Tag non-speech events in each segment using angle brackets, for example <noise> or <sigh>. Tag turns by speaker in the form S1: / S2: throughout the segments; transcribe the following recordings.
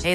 S1: Hey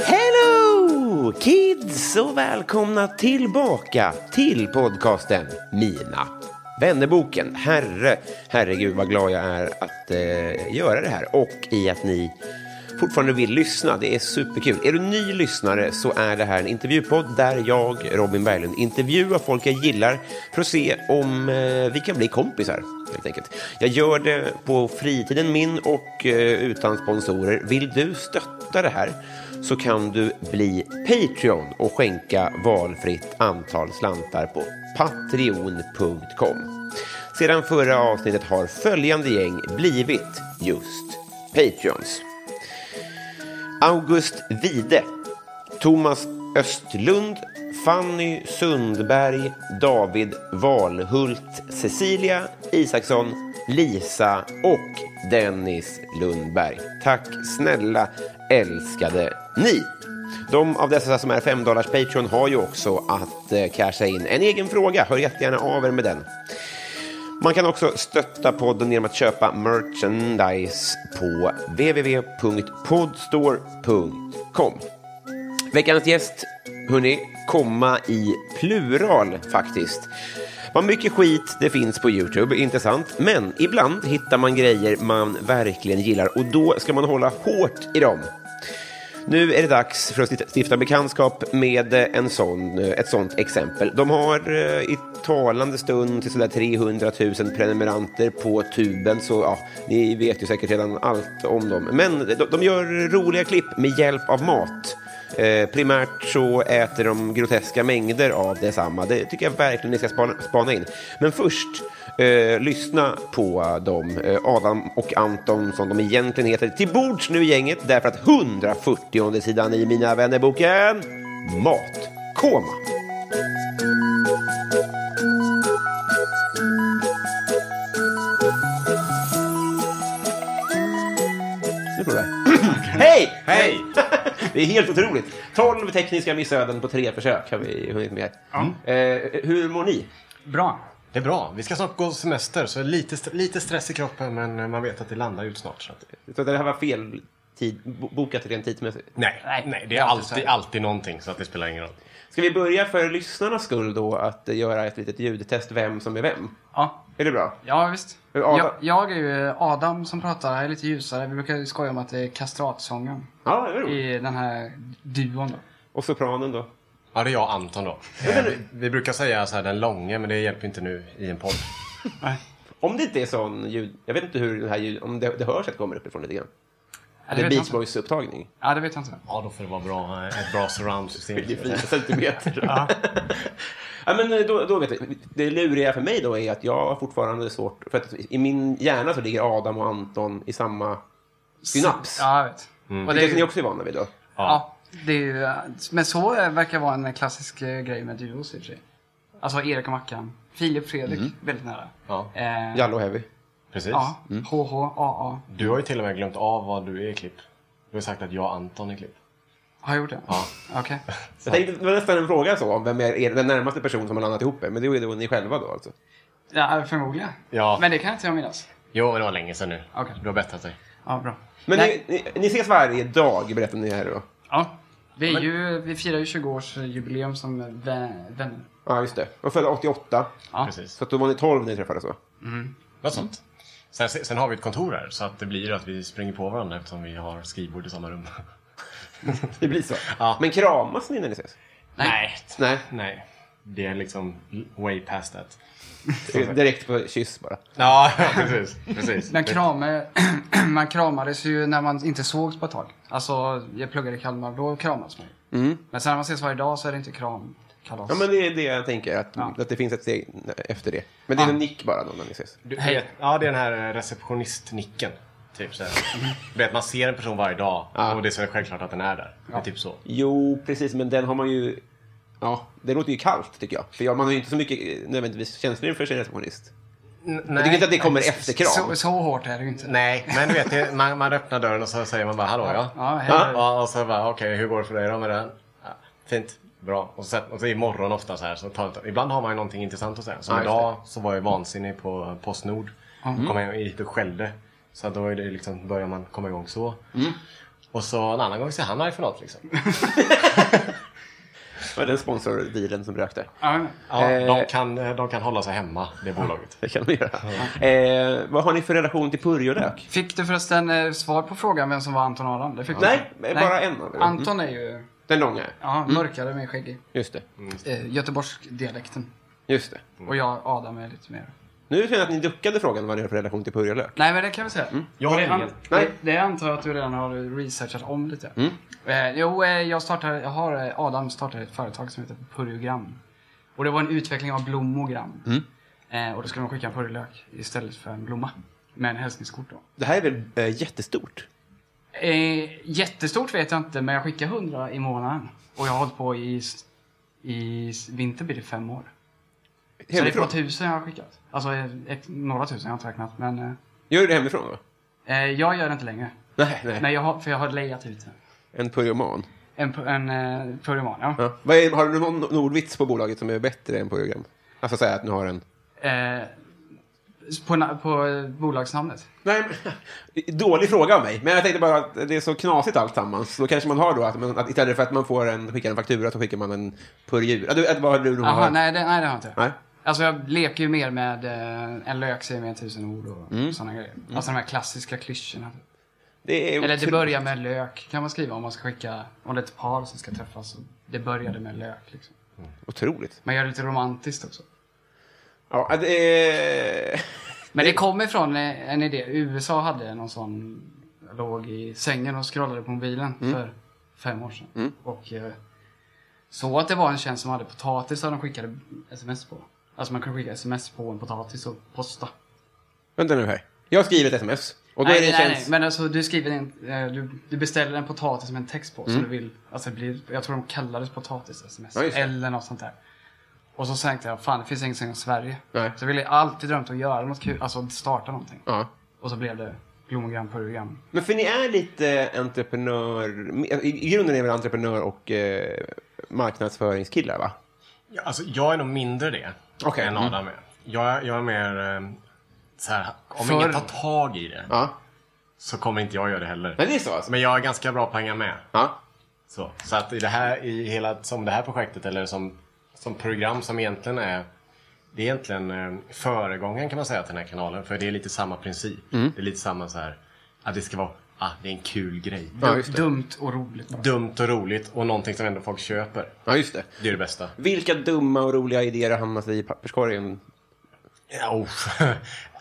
S2: Hello kids och välkomna tillbaka till podcasten Mina vännerboken. Herre, herregud vad glad jag är att eh, göra det här och i att ni fortfarande vill lyssna. Det är superkul. Är du ny lyssnare så är det här en intervjupodd där jag, Robin Berglund, intervjuar folk jag gillar för att se om eh, vi kan bli kompisar. Helt enkelt. Jag gör det på fritiden min och eh, utan sponsorer. Vill du stötta det här så kan du bli Patreon och skänka valfritt antal slantar på patreon.com. Sedan förra avsnittet har följande gäng blivit just Patreons. August Vide, Thomas Östlund, Fanny Sundberg, David Valhult, Cecilia Isaksson, Lisa och Dennis Lundberg. Tack snälla älskade ni. De av dessa som är 5 dollars Patreon har ju också att eh, casha in en egen fråga. Hör jättegärna av er med den. Man kan också stötta podden genom att köpa merchandise på www.podstore.com. Veckans gäst, hörni, komma i plural faktiskt. Vad mycket skit det finns på Youtube, intressant. Men ibland hittar man grejer man verkligen gillar och då ska man hålla hårt i dem. Nu är det dags för att stifta bekantskap med eh, en sån, ett sånt exempel. De har eh, i talande stund till sådär 300 000 prenumeranter på tuben, så ja, ni vet ju säkert redan allt om dem. Men de, de gör roliga klipp med hjälp av mat. Eh, primärt så äter de groteska mängder av detsamma. Det tycker jag verkligen ni ska spana, spana in. Men först, eh, lyssna på dem, eh, Adam och Anton som de egentligen heter. Till bords nu gänget, därför att 140 sidan i Mina vännerboken Mat. Koma. Nu provar jag. Hej!
S3: Hej!
S2: <laughs> Det är helt otroligt. 12 tekniska missöden på tre försök har vi hunnit med. Eh, hur mår ni?
S3: Bra.
S4: Det är bra. Vi ska snart gå semester, så lite, st- lite stress i kroppen, men man vet att det landar ut snart. Så att...
S2: Så det här var fel tid, bo- bokat rent tidsmässigt.
S4: nej,
S3: Nej,
S4: nej,
S3: det
S4: det
S3: är
S4: är
S3: alltid så här.
S4: alltid, alltid någonting, så att det spelar ingen roll.
S2: Ska vi börja för lyssnarnas skull då att göra ett litet ljudtest vem som är vem?
S3: Ja,
S2: Är det bra?
S3: ja visst.
S2: Hur Adam-
S3: Jag, jag är ju Adam som pratar, jag är lite ljusare. Vi brukar ju skoja om att det är kastratsången
S2: Ja, det är roligt.
S3: i den här duon. Då.
S2: Och sopranen då?
S4: Ja, det är jag och Anton då. Eh, vi, vi brukar säga så här den långe, men det hjälper inte nu i en podd.
S2: Om det inte är sån ljud... Jag vet inte hur den här ljud... Om det, det hörs att det kommer uppifrån lite grann.
S3: Ja,
S2: Det
S3: vet
S2: är
S3: jag
S2: Beach
S3: inte.
S2: Boys-upptagning.
S3: Ja, det vet jag inte.
S4: Ja, då får det vara bra, eh, ett bra surround-system.
S2: 24 centimeter. <laughs> ja. men eh, då, då vet jag. Det luriga för mig då är att jag har fortfarande svårt... För att i min hjärna så ligger Adam och Anton i samma synaps.
S3: Ja, jag vet. Och
S2: Det
S3: det är
S2: kanske Mm. ni
S3: ju,
S2: också är vana vid då?
S3: ja, det är ju, men så verkar vara en klassisk eh, grej med duos i och för sig. Alltså Erik och Mackan. Filip Fredrik, väldigt nära.
S4: Ja,
S3: Eh,
S2: Jallo Heavy.
S4: precis.
S3: ja, HHAA.
S4: Du har ju till och med glömt av vad du är i klipp. Du har sagt att jag Anton är klipp.
S3: Har jag gjort det?
S4: Ja.
S3: Okej.
S2: Jag tänkte, det var nästan en fråga så, om vem är er, den närmaste person som har landat ihop er? Men det är då ni själva då alltså.
S3: Ja, förmodligen.
S4: Ja.
S3: Men det kan inte jag minnas.
S4: Jo, det var länge sedan nu.
S3: Okej.
S4: Du har bättrat dig.
S3: Ja, bra.
S2: Men
S3: Nej,
S2: ni, ni, ni ses varje dag, berättar ni här då?
S3: ja. Vi, är ju, vi firar ju 20-årsjubileum som vä- vänner.
S2: Ja, just det. Och födda 88,
S3: Ja.
S4: Precis.
S2: så att då var ni 12 när ni träffades va?
S4: Något sånt. Sen, sen har vi ett kontor här, så att det blir att vi springer på varandra eftersom vi har skrivbord i samma rum.
S2: Det blir så.
S4: Ja.
S2: Men kramas ni när ni ses?
S4: <laughs> Nej.
S2: Nej,
S4: Nej. Det är liksom way past that.
S2: direkt på kyss bara.
S4: <laughs> Ja, precis. precis.
S3: Men krame, <clears throat> man kramades ju när man inte sågs på ett tag. Alltså, jag pluggade i Kalmar, då kramas man ju. Men sen när man ses varje dag så är det inte kram, kalas.
S2: Mm. Ja, men det är det jag tänker, att,
S3: Ja.
S2: att det finns ett steg efter det. Men det är en nick bara då när ni ses.
S4: Du vet, ja, det är den här receptionistnicken. Typ så här. Du vet, man ser en person varje dag
S2: Ja.
S4: och det är så självklart att den är där. Det är typ så.
S2: Jo, precis, men den har man ju... Ja, det låter ju kallt tycker jag. För jag, man har ju inte så mycket eh, nödvändigtvis känslor inför sin receptionist.
S4: N-
S2: Jag tycker inte att det kommer efter kram.
S3: så, så hårt är det ju inte.
S4: Nej, men du vet, det, man, man öppnar dörren och så säger man bara hallå ja.
S3: Ja, hej.
S4: Ja, och så bara okej, hur går det för dig då med den? Ja, fint, bra. Och så, och så imorgon ofta så här. Så tar, ibland har man ju någonting intressant att säga. Som
S2: Ja, just
S4: idag så var jag vansinnig på Postnord. Kom jag hit och skällde. Så att då är det liksom, börjar man komma igång så. Och så en annan gång så är han arg för något liksom.
S2: Det var den sponsordealen som rökte.
S3: Ja, men-
S4: Ja,
S2: Eh.
S4: de, kan, de kan hålla sig hemma, det bolaget.
S2: Det kan man göra. Eh, vad har ni för relation till purjolök?
S3: Fick du förresten eh, svar på frågan vem som var Anton Adam? Det fick du
S2: Nej,
S3: inte.
S2: bara en av er. Mm.
S3: Anton är ju
S2: Den långa?
S3: ja, mörkare med skägg i.
S2: Just det.
S3: eh, Göteborgsdialekten.
S2: Just det.
S3: Och jag, Adam, är lite mer...
S2: Nu känner jag att ni duckade frågan vad ni har för relation till purjolök.
S3: Nej, men det kan vi säga.
S2: Mm.
S4: Jag
S3: Och
S4: har
S3: det,
S4: ingen.
S3: an-
S2: Nej. Mm.
S3: det, det antar jag att du redan har researchat om lite. Eh, jo, eh, jag, startar, jag har eh, Adam startade ett företag som heter Purjogram. Och det var en utveckling av blommogram.
S2: Mm.
S3: Eh, och då skulle man skicka en purjolök istället för en blomma. Med en hälsningskort då.
S2: Det här är väl eh, jättestort?
S3: Eh, jättestort vet jag inte, men jag skickar 100 i månaden. Och jag har hållit på i, s- i s- vinter blir det fem år. Så det är på typ-
S2: Hemifrån?
S3: tusen jag har skickat. Alltså eh, ett, några tusen, jag har inte räknat. Men eh,
S2: Gör du det hemifrån då?
S3: eh, jag gör det inte längre.
S2: Nej, nej.
S3: Nej, jag har, för jag har lejat ut den.
S2: En purjoman.
S3: En, pu- en eh, pyroman, ja.
S2: Ja. Vad är, har du någon nordvits på bolaget som är bättre än purjogram? Alltså säga att ni har en...
S3: Eh, på, na- på eh, bolagsnamnet.
S2: Nej, men, <laughs> dålig fråga av mig. Men jag tänkte bara att det är så knasigt alltsammans. Då kanske man har då att, man, att istället för att man får en, skickar en faktura så skickar man en purjur. Att, du- att, vad har du nog
S3: Jaha,
S2: har?
S3: nej, det, nej det har jag inte.
S2: Nej.
S3: Alltså jag leker ju mer med eh, en lök säger mer tusen ord och sådana grejer. Alltså de här klassiska klyschorna.
S2: Det är
S3: Eller det
S2: otro-
S3: börjar med lök kan man skriva om man ska skicka, om det är ett par som ska träffas. Det började med lök liksom.
S2: Otroligt.
S3: Man gör det lite romantiskt också.
S2: Ja, att, eh,
S3: Men det kom ifrån eh, en idé. USA hade någon sån, jag låg i sängen och scrollade på mobilen
S2: Mm.
S3: för fem år sedan. Och eh, så att det var en tjänst som hade potatis som de skickade sms på. Alltså man kunde skicka sms på en potatis och posta.
S2: vänta nu här. Jag skriver ett sms. Och då
S3: Nej,
S2: är det en
S3: nej,
S2: tjänst...
S3: nej, men alltså du skriver en, eh, du, du beställer en potatis med en text på som du vill. Alltså det blir, jag tror de kallades potatis-sms
S2: Mm. Ja, just det.
S3: eller något sånt där. Och så tänkte jag, fan det finns ingenting om Sverige.
S2: Nej.
S3: Så jag ville alltid drömt att göra något kul, alltså starta någonting.
S2: Ja.
S3: Och så blev det blommogram på program.
S2: Men för ni är lite entreprenör... I i grunden är väl entreprenör och eh, marknadsföringskillar, va?
S4: Ja, alltså, jag är nog mindre det
S2: Okej,
S4: än
S2: mm.
S4: Adam är. Jag, jag är mer eh, så här, om
S3: Förr.
S4: ingen tar tag i det
S2: Ja.
S4: så kommer inte jag göra det heller.
S2: Men det är så alltså?
S4: Men jag är ganska bra på att hänga med.
S2: Ja.
S4: Så, så att i det här, i hela, som det här projektet eller som, som program som egentligen är det är egentligen eh, föregången kan man säga till den här kanalen för det är lite samma princip.
S2: Mm.
S4: Det är lite samma så här att det ska vara, ah, det är en kul grej.
S2: Ja, just det.
S3: Dumt och roligt. bara.
S4: Dumt och roligt och någonting som ändå folk köper.
S2: Ja, just det.
S4: Det är det bästa.
S2: Vilka dumma och roliga idéer har hamnat i papperskorgen?
S4: Ja, oh. <laughs>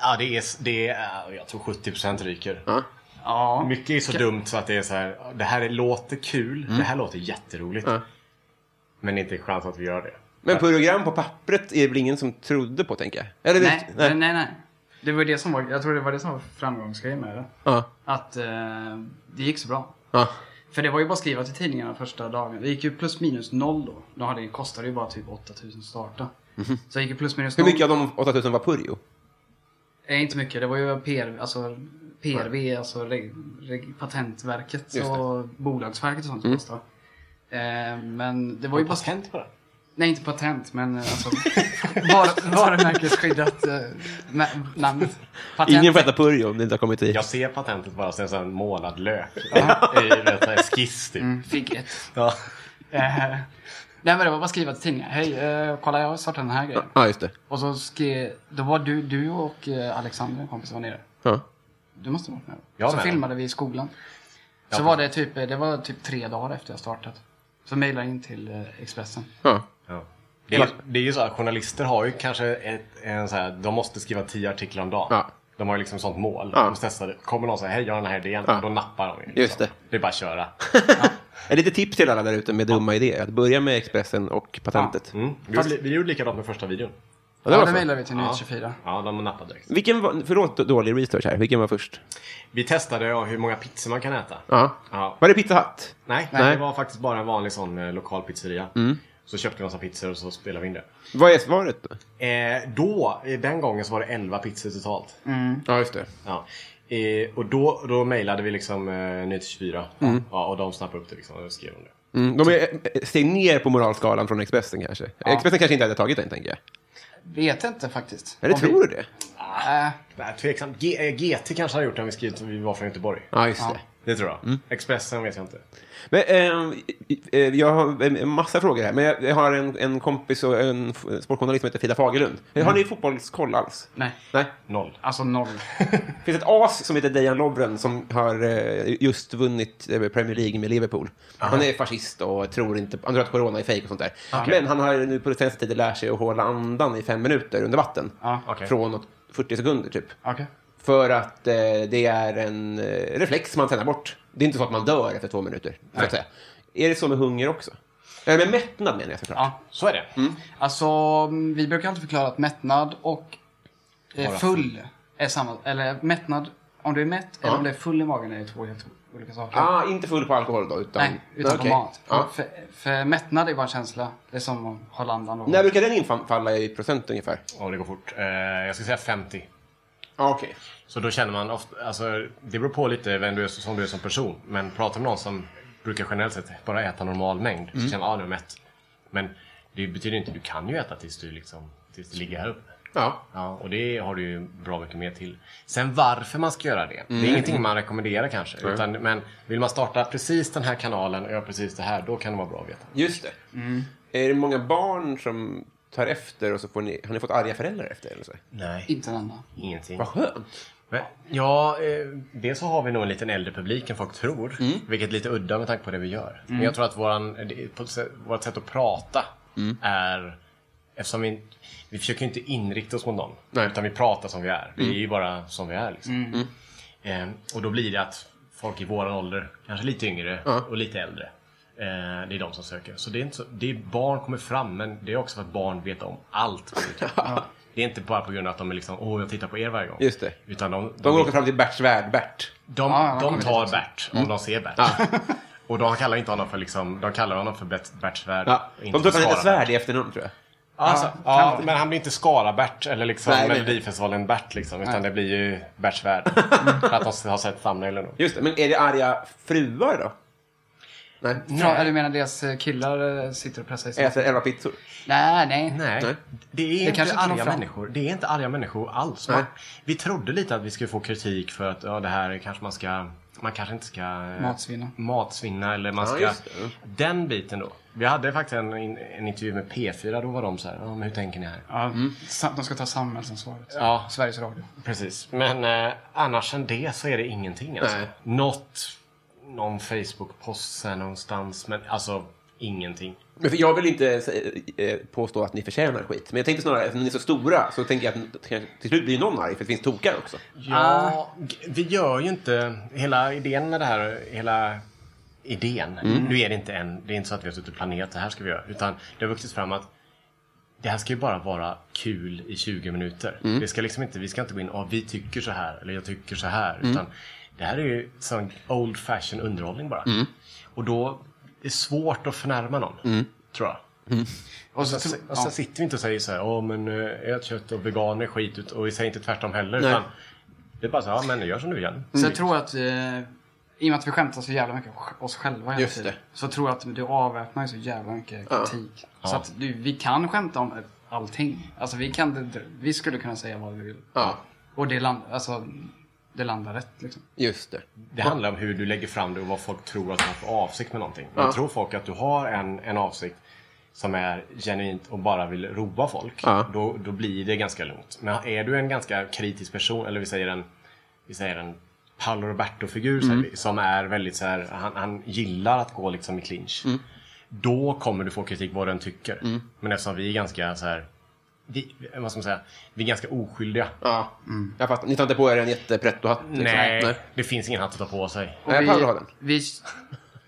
S4: ja det är, det är, jag tror 70% ryker.
S2: Ja.
S3: Ja.
S4: Mycket är så dumt så att det är så här, det här låter kul, det här låter jätteroligt.
S2: Mm. Ja.
S4: Men det är inte en chans att vi gör det.
S2: Men program på pappret är det väl ingen som trodde på, tänker jag? Eller,
S3: Nej,
S2: visst?
S3: nej, nej, nej. Det var det som var, jag tror det var det som var framgångsgrejen med det.
S2: Ja.
S3: Att eh, det gick så bra.
S2: Ja.
S3: För det var ju bara att skriva till tidningarna första dagen. Det gick ju plus minus noll då. Då hade det kostade ju bara typ 8000 att starta. Så jag gick ju plus minus
S2: Mhm. Hur
S3: noll.
S2: mycket av de 8000 var purjo?
S3: Eh, inte mycket, det var ju PR, alltså, PRV, alltså reg, reg, Patentverket
S2: Just det. Mm.
S3: och Bolagsverket och sånt som kostade. Eh, men det var ju bara...
S4: patent på det?
S3: Nej, inte patent, men eh, alltså, var, varumärkesskyddat eh, na- namnet. Patent.
S2: Ingen får äta purjo om det inte har kommit hit.
S4: Jag ser patentet bara som en sån här
S2: <laughs>
S4: målad lök. I rätt så här skiss typ.
S2: Mm.
S3: Fick ett.
S4: Ja.
S3: Eh, nej, men det var bara att skriva till tidningen. Hej, eh, kolla jag har startat den här grejen.
S2: Ja, just det.
S3: Och så skrev... Då var du, du och eh, Alexander, en kompis, var nere.
S2: Ja.
S3: Du måste ha varit med.
S4: Jag
S3: så
S4: med.
S3: filmade vi i skolan. Så
S4: Ja.
S3: var det, typ, det var typ tre dagar efter jag startat. Så mejlade jag in till eh, Expressen.
S2: Ja.
S4: Ja. Det, är, det är ju så att journalister har ju kanske ett, en så här, de måste skriva tio artiklar om dagen.
S2: Ja.
S4: De har ju liksom sånt mål.
S2: Ja.
S4: De måste testa det. Kommer någon säga hej jag har den här idén,
S2: Ja.
S4: då nappar de ju. Liksom.
S2: Just det.
S4: det är bara att köra.
S2: Ett litet tips till alla där ute med dumma idéer. Att börja med Expressen och patentet.
S4: Mm. Vi, gjorde, vi gjorde likadant med första videon.
S2: det var
S3: Ja, det
S2: så.
S3: mejlade vi till Nyhet24.
S4: Ja, de nappade direkt.
S2: Vilken var, förlåt dålig research här. Vilken var först?
S4: Vi testade ja, hur många pizzor man kan äta.
S2: Ja.
S4: Ja.
S2: Var det Pizza Hut?
S4: Nej,
S2: Nej. Mm.
S4: det var faktiskt bara en vanlig sån eh, lokal pizzeria. Så köpte vi en massa pizzor och så spelade vi in det.
S2: Vad är svaret då?
S4: Eh, då, eh, den gången så var det 11 pizzor totalt.
S2: Ja, just det.
S4: Ja. Eh, och då, då mejlade vi liksom eh, Nyheter 24 ja, och de snappade upp det liksom och skrev om det.
S2: Mm, de är eh, steg ner på moralskalan från Expressen kanske. Expressen kanske inte hade tagit den, tänker jag.
S3: Vet inte faktiskt.
S2: Eller
S3: Om
S2: tror du det?
S3: Vi, äh,
S4: Nej, tveksamt. G- eh, GT kanske har gjort det om vi skrivit att vi var från Göteborg.
S2: Ja, just det.
S4: Det tror
S2: Mm.
S4: jag. Expressen vet jag inte.
S2: Men, eh, eh, jag har en massa frågor här, men jag jag har en, en kompis och en f- sportjournalist som heter Frida Fagerlund. Har ni fotbollskoll alls?
S3: nej,
S2: Nej.
S4: Noll.
S3: alltså noll.
S2: <laughs> Det finns ett as som heter Dejan Lovren som har eh, just vunnit eh, Premier League med Liverpool. Han är fascist och tror inte, han tror att corona är fejk och sånt där. Men han har nu på den senaste tiden lärt sig att hålla andan i fem minuter under vatten.
S3: Ja,
S4: okej.
S2: Från något 40 sekunder typ.
S3: Okej.
S2: För att eh, det är en eh, reflex man tränar bort. Det är inte så att man dör efter två minuter. Så att säga. Är det så med hunger också? Eller med mättnad menar jag såklart.
S3: Ja.
S4: Så är det.
S3: Alltså, mm, vi brukar alltid förklara att mättnad och eh,
S4: Bara
S3: full är samma. Eller mättnad, om du är mätt eller om du är full i magen är två helt olika saker.
S2: Ah, inte full på alkohol då? Utan,
S3: Nej, utan på
S2: Okej.
S3: mat.
S2: Ja.
S3: För, för mättnad är bara en känsla. Det är som att hålla andan. då.
S2: När brukar den infalla i procent ungefär?
S4: Om det går fort. Eh, jag ska säga 50.
S2: Ah, Okej.
S4: Så då känner man ofta, alltså, det beror på lite vem du är som du är som person. Men pratar med någon som brukar generellt sett bara äta normal mängd så känner man, ah, nu är jag mätt. Men det betyder inte, du kan ju äta tills du liksom, tills du ligger här uppe.
S2: Ja.
S4: Ja, och det har du ju bra mycket mer till. Sen varför man ska göra det, det är ingenting man rekommenderar kanske. Utan, men vill man starta precis den här kanalen och göra precis det här, då kan det vara bra att veta.
S2: Just det.
S3: Mm.
S2: Är det många barn som tar efter och så får ni, har ni fått arga föräldrar efter? Eller så?
S4: Nej.
S3: Inte en enda.
S4: Ingenting.
S2: Vad skönt.
S4: Men, ja, eh, dels så har vi nog en liten äldre publik än folk tror.
S2: Mm.
S4: Vilket är lite udda med tanke på det vi gör. Men jag tror att våran, det- på ett sätt- vårt sätt att prata
S2: Mm.
S4: är... Eftersom vi, vi försöker ju inte inrikta oss mot någon.
S2: Nej. Mm.
S4: Utan vi pratar som vi är. Vi är ju bara som vi är. Liksom. Eh, och då blir det att folk i våran ålder, kanske lite yngre och lite äldre. Eh, det är de som söker. Så det är inte så, det är barn kommer fram, men det är också för att barn vet om
S2: <laughs>
S4: allt. på YouTube. Det är inte bara på grund av att de är liksom, åh jag tittar på er varje gång.
S2: Just det.
S4: Utan de,
S2: De åker fram till Berts värld, Bert.
S4: de,
S3: Ja, ja,
S4: de
S3: kommer
S4: tar Bert om
S2: Mm.
S4: de ser Bert. <laughs> Och de kallar inte honom för liksom, de kallar honom för Bet- Bert Svärd.
S2: Ja.
S4: och
S2: De
S4: inte
S2: tror att han heter
S4: för Skara-Bert.
S2: Svärd i efternamn, tror jag.
S4: Alltså,
S3: kan
S4: ja,
S3: vara.
S4: men han blir inte Skara-Bert eller liksom
S2: Nej, nej.
S4: Melodifestivalen-Bert liksom. Utan det blir ju
S2: <laughs>
S4: Bert Svärd. För att de har sett thumbnailen. då.
S2: Just det. Men är det arga fruar då? Nej.
S3: Fra, eller du menar deras eh, killar eh, sitter och pressar i sig?
S2: Äter elva pizzor?
S3: Nej, nej.
S4: Nej,
S2: Nej.
S4: det är inte
S3: kanske inte når
S4: arga
S3: fram.
S4: människor. Det är inte arga människor alls. Man,
S2: Nej.
S4: vi trodde lite att vi skulle få kritik för att ja, det här kanske man ska... Man kanske inte ska... eh,
S3: Matsvinna.
S4: Matsvinna eller man
S2: Ja,
S4: ska...
S2: just det.
S4: den biten då. Vi hade faktiskt en, en intervju med P4. Då var de så här, ja, men hur tänker ni här?
S3: Ja, sam- De ska ta samhällsansvaret.
S4: Ja.
S3: Sveriges Radio.
S4: Precis. Men eh, annars än det så är det ingenting. Alltså.
S2: Nej.
S4: Något... Någon Facebook-post så här någonstans. Men alltså, ingenting.
S2: Men för jag vill inte eh, påstå att ni förtjänar skit. Men jag tänkte snarare, eftersom ni är så stora, så tänker jag att till slut blir någon arg, för det finns tokar också.
S4: Ja, g- vi gör ju inte... Hela idén med det här, hela idén. Nu är det inte en, det är inte så att vi har suttit och planerat det här ska vi göra. Utan det har vuxit fram att det här ska ju bara vara kul i 20 minuter. Det ska liksom inte, vi ska inte gå in och vi tycker så här eller jag tycker så här. Utan det här är ju sån old fashion underhållning bara. Och då är det svårt att förnärma någon, tror jag.
S3: Och så,
S4: Och sen, och
S3: ja.
S4: sen alltså, sitter vi inte och säger så här, åh men eh, ät kött och veganer skit ut och vi säger inte tvärtom heller.
S2: Nej.
S4: Utan det är bara så, ja men gör som du gör.
S3: Så
S2: Mm.
S3: jag tror att vi, i och med att vi skämtar så jävla mycket om oss själva hela
S2: Just
S3: tiden,
S2: det.
S3: så tror jag att det avväpnar ju så jävla mycket kritik. Så att du, vi kan skämta om eh, allting. Alltså vi, kan, vi skulle kunna säga vad vi vill.
S2: Ja,
S3: Och det, land, alltså, det landar rätt liksom.
S2: just det.
S4: Det handlar om hur du lägger fram det och vad folk tror att du har för avsikt med någonting. Men Tror folk att du har en, en avsikt som är genuint och bara vill roa folk,
S2: Ja.
S4: då, då blir det ganska lugnt. Men är du en ganska kritisk person, eller vi säger en, vi säger en Paolo Roberto-figur säger vi, som är väldigt så här, han, han gillar att gå liksom i clinch. Då kommer du få kritik vad du än tycker. Men eftersom vi är ganska så här, vi, vad ska man säga, vi är ganska oskyldiga.
S2: Ja. Jag fattar. Ni tar inte på er en jättepretto-hatt? liksom?
S4: Nej, det finns ingen hatt att ta på sig.
S3: Och
S2: Nej,
S3: vi-
S2: Paolo har den.
S3: Vi,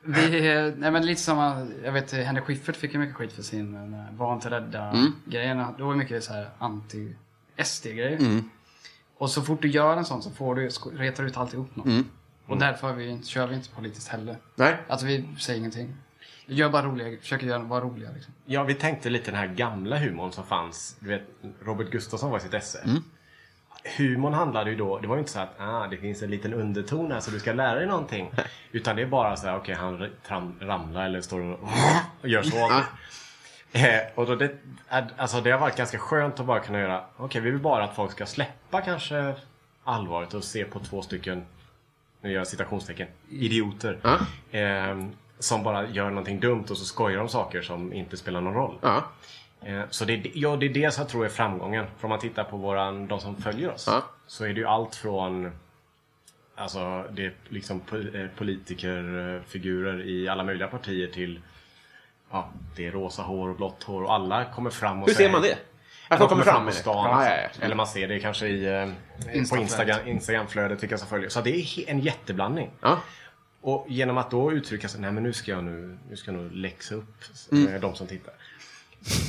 S3: vi, eh, nej men lite samma, jag vet eh, Henrik Schiffert fick ju mycket skit för sin eh, var inte rädda-grejen. Det var ju mycket så här anti-SD-grejer. Och så fort du gör en sån så får du, sko- retar du ut alltihop något. Och därför har vi, inte- kör vi inte politiskt heller.
S2: Nej.
S3: Alltså vi säger ingenting. Vi gör bara roliga, försöker göra, vara roliga liksom.
S4: Ja, vi tänkte lite den här gamla humorn som fanns. Du vet, Robert Gustafsson var i sitt esse. Humorn handlade ju då, det var ju inte så att ah, det finns en liten underton här så du ska lära dig någonting. Utan det är bara så här, okej han tram, ramlar eller står och, och <laughs> gör så. Eh, och då det, ad- alltså det har varit ganska skönt att bara kunna göra, okej vi vill bara att folk ska släppa kanske allvaret och se på två stycken, nu gör jag citationstecken, idioter. Eh, som bara gör någonting dumt och så skojar de saker som inte spelar någon roll.
S2: Ja.
S4: Eh, så det, är det- ja, det är det som jag tror är framgången. För om man tittar på våran, de som följer oss
S2: Ja.
S4: så är det ju allt från Alltså det är liksom po- eh, politikerfigurer i alla möjliga partier till ja, det är rosa hår och blått hår och alla kommer fram och
S2: Hur ser
S4: säger-
S2: man det? Att
S4: de kommer fram på
S2: med det?
S4: stan.
S2: Ja, ja, ja.
S4: Eller man ser det kanske i, eh, på
S3: Instaflödet.
S4: Instagram, Instagramflödet, vilka som följer. Så det är he- en jätteblandning.
S2: Ja.
S4: Och genom att då uttrycka sig, nej men nu ska jag nu, nu ska jag nog läxa upp
S2: Mm.
S4: eh, de som tittar.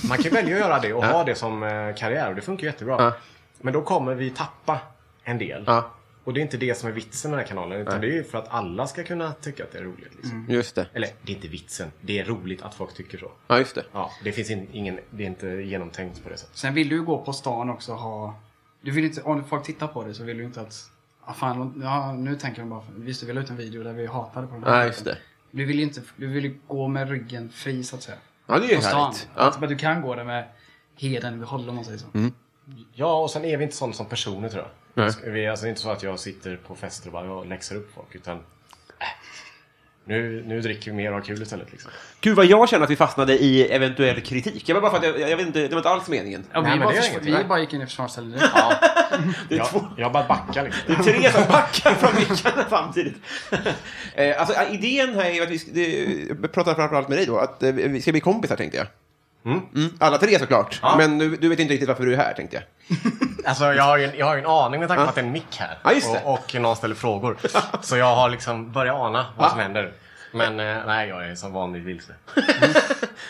S4: Man kan välja att göra det och ha det som eh, karriär och det funkar jättebra.
S2: Ja.
S4: Men då kommer vi tappa en del.
S2: Ja.
S4: Och det är inte det som är vitsen med den här kanalen. Utan det är ju för att alla ska kunna tycka att det är roligt. Liksom.
S2: Just det.
S4: Eller det är inte vitsen. Det är roligt att folk tycker så.
S2: Ja, just det.
S4: Ja, det finns in, ingen, det är inte genomtänkt på det sättet.
S3: Sen vill du ju gå på stan också ha... Du vill inte, om folk tittar på dig så vill du inte att... Ah, fan, ja, nu tänker de bara, visst du vill ut en video där vi hatade på den
S2: Ja,
S3: här
S2: just det.
S3: Du vill ju inte, du vill ju gå med ryggen fri så att säga.
S2: Ja, det är ju
S3: På stan.
S2: härligt.
S3: Att-
S2: Ja. Mm.
S3: Men du kan gå där med heden i behåll om man säger så.
S4: Ja, och sen är vi inte sådana som personer tror jag.
S2: Nej.
S4: Vi är alltså inte så att jag sitter på fester och bara jag läxar upp folk. Utan äh, nu, nu dricker vi mer och har kul istället. Liksom.
S2: Gud vad jag känner att vi fastnade i eventuell kritik. Jag var bara för att jag, jag vet inte, det var inte alls meningen.
S3: Ja, vi,
S4: Nej, men
S3: bara,
S4: det gör
S3: försv-
S4: inget,
S3: vi
S4: nej.
S3: bara gick in i försvarsställning direkt.
S2: Det är
S4: Jag,
S2: två,
S4: jag bara backar liksom.
S2: tre som backar från mickarna samtidigt. <laughs> Eh, alltså eh, idén här är ju att vi, sk- det, jag pratar framförallt med dig då, att eh, vi ska bli kompisar tänkte jag. Mm, alla tre såklart, men du, du vet inte riktigt varför du är här tänkte jag.
S4: Alltså, jag, har ju en, jag har ju en aning med tanke på att det är en mick här.
S2: Ja, just det.
S4: och, och någon ställer frågor. Så jag har liksom börjat ana vad som händer. Men eh, nej, jag är som vanligt vilse.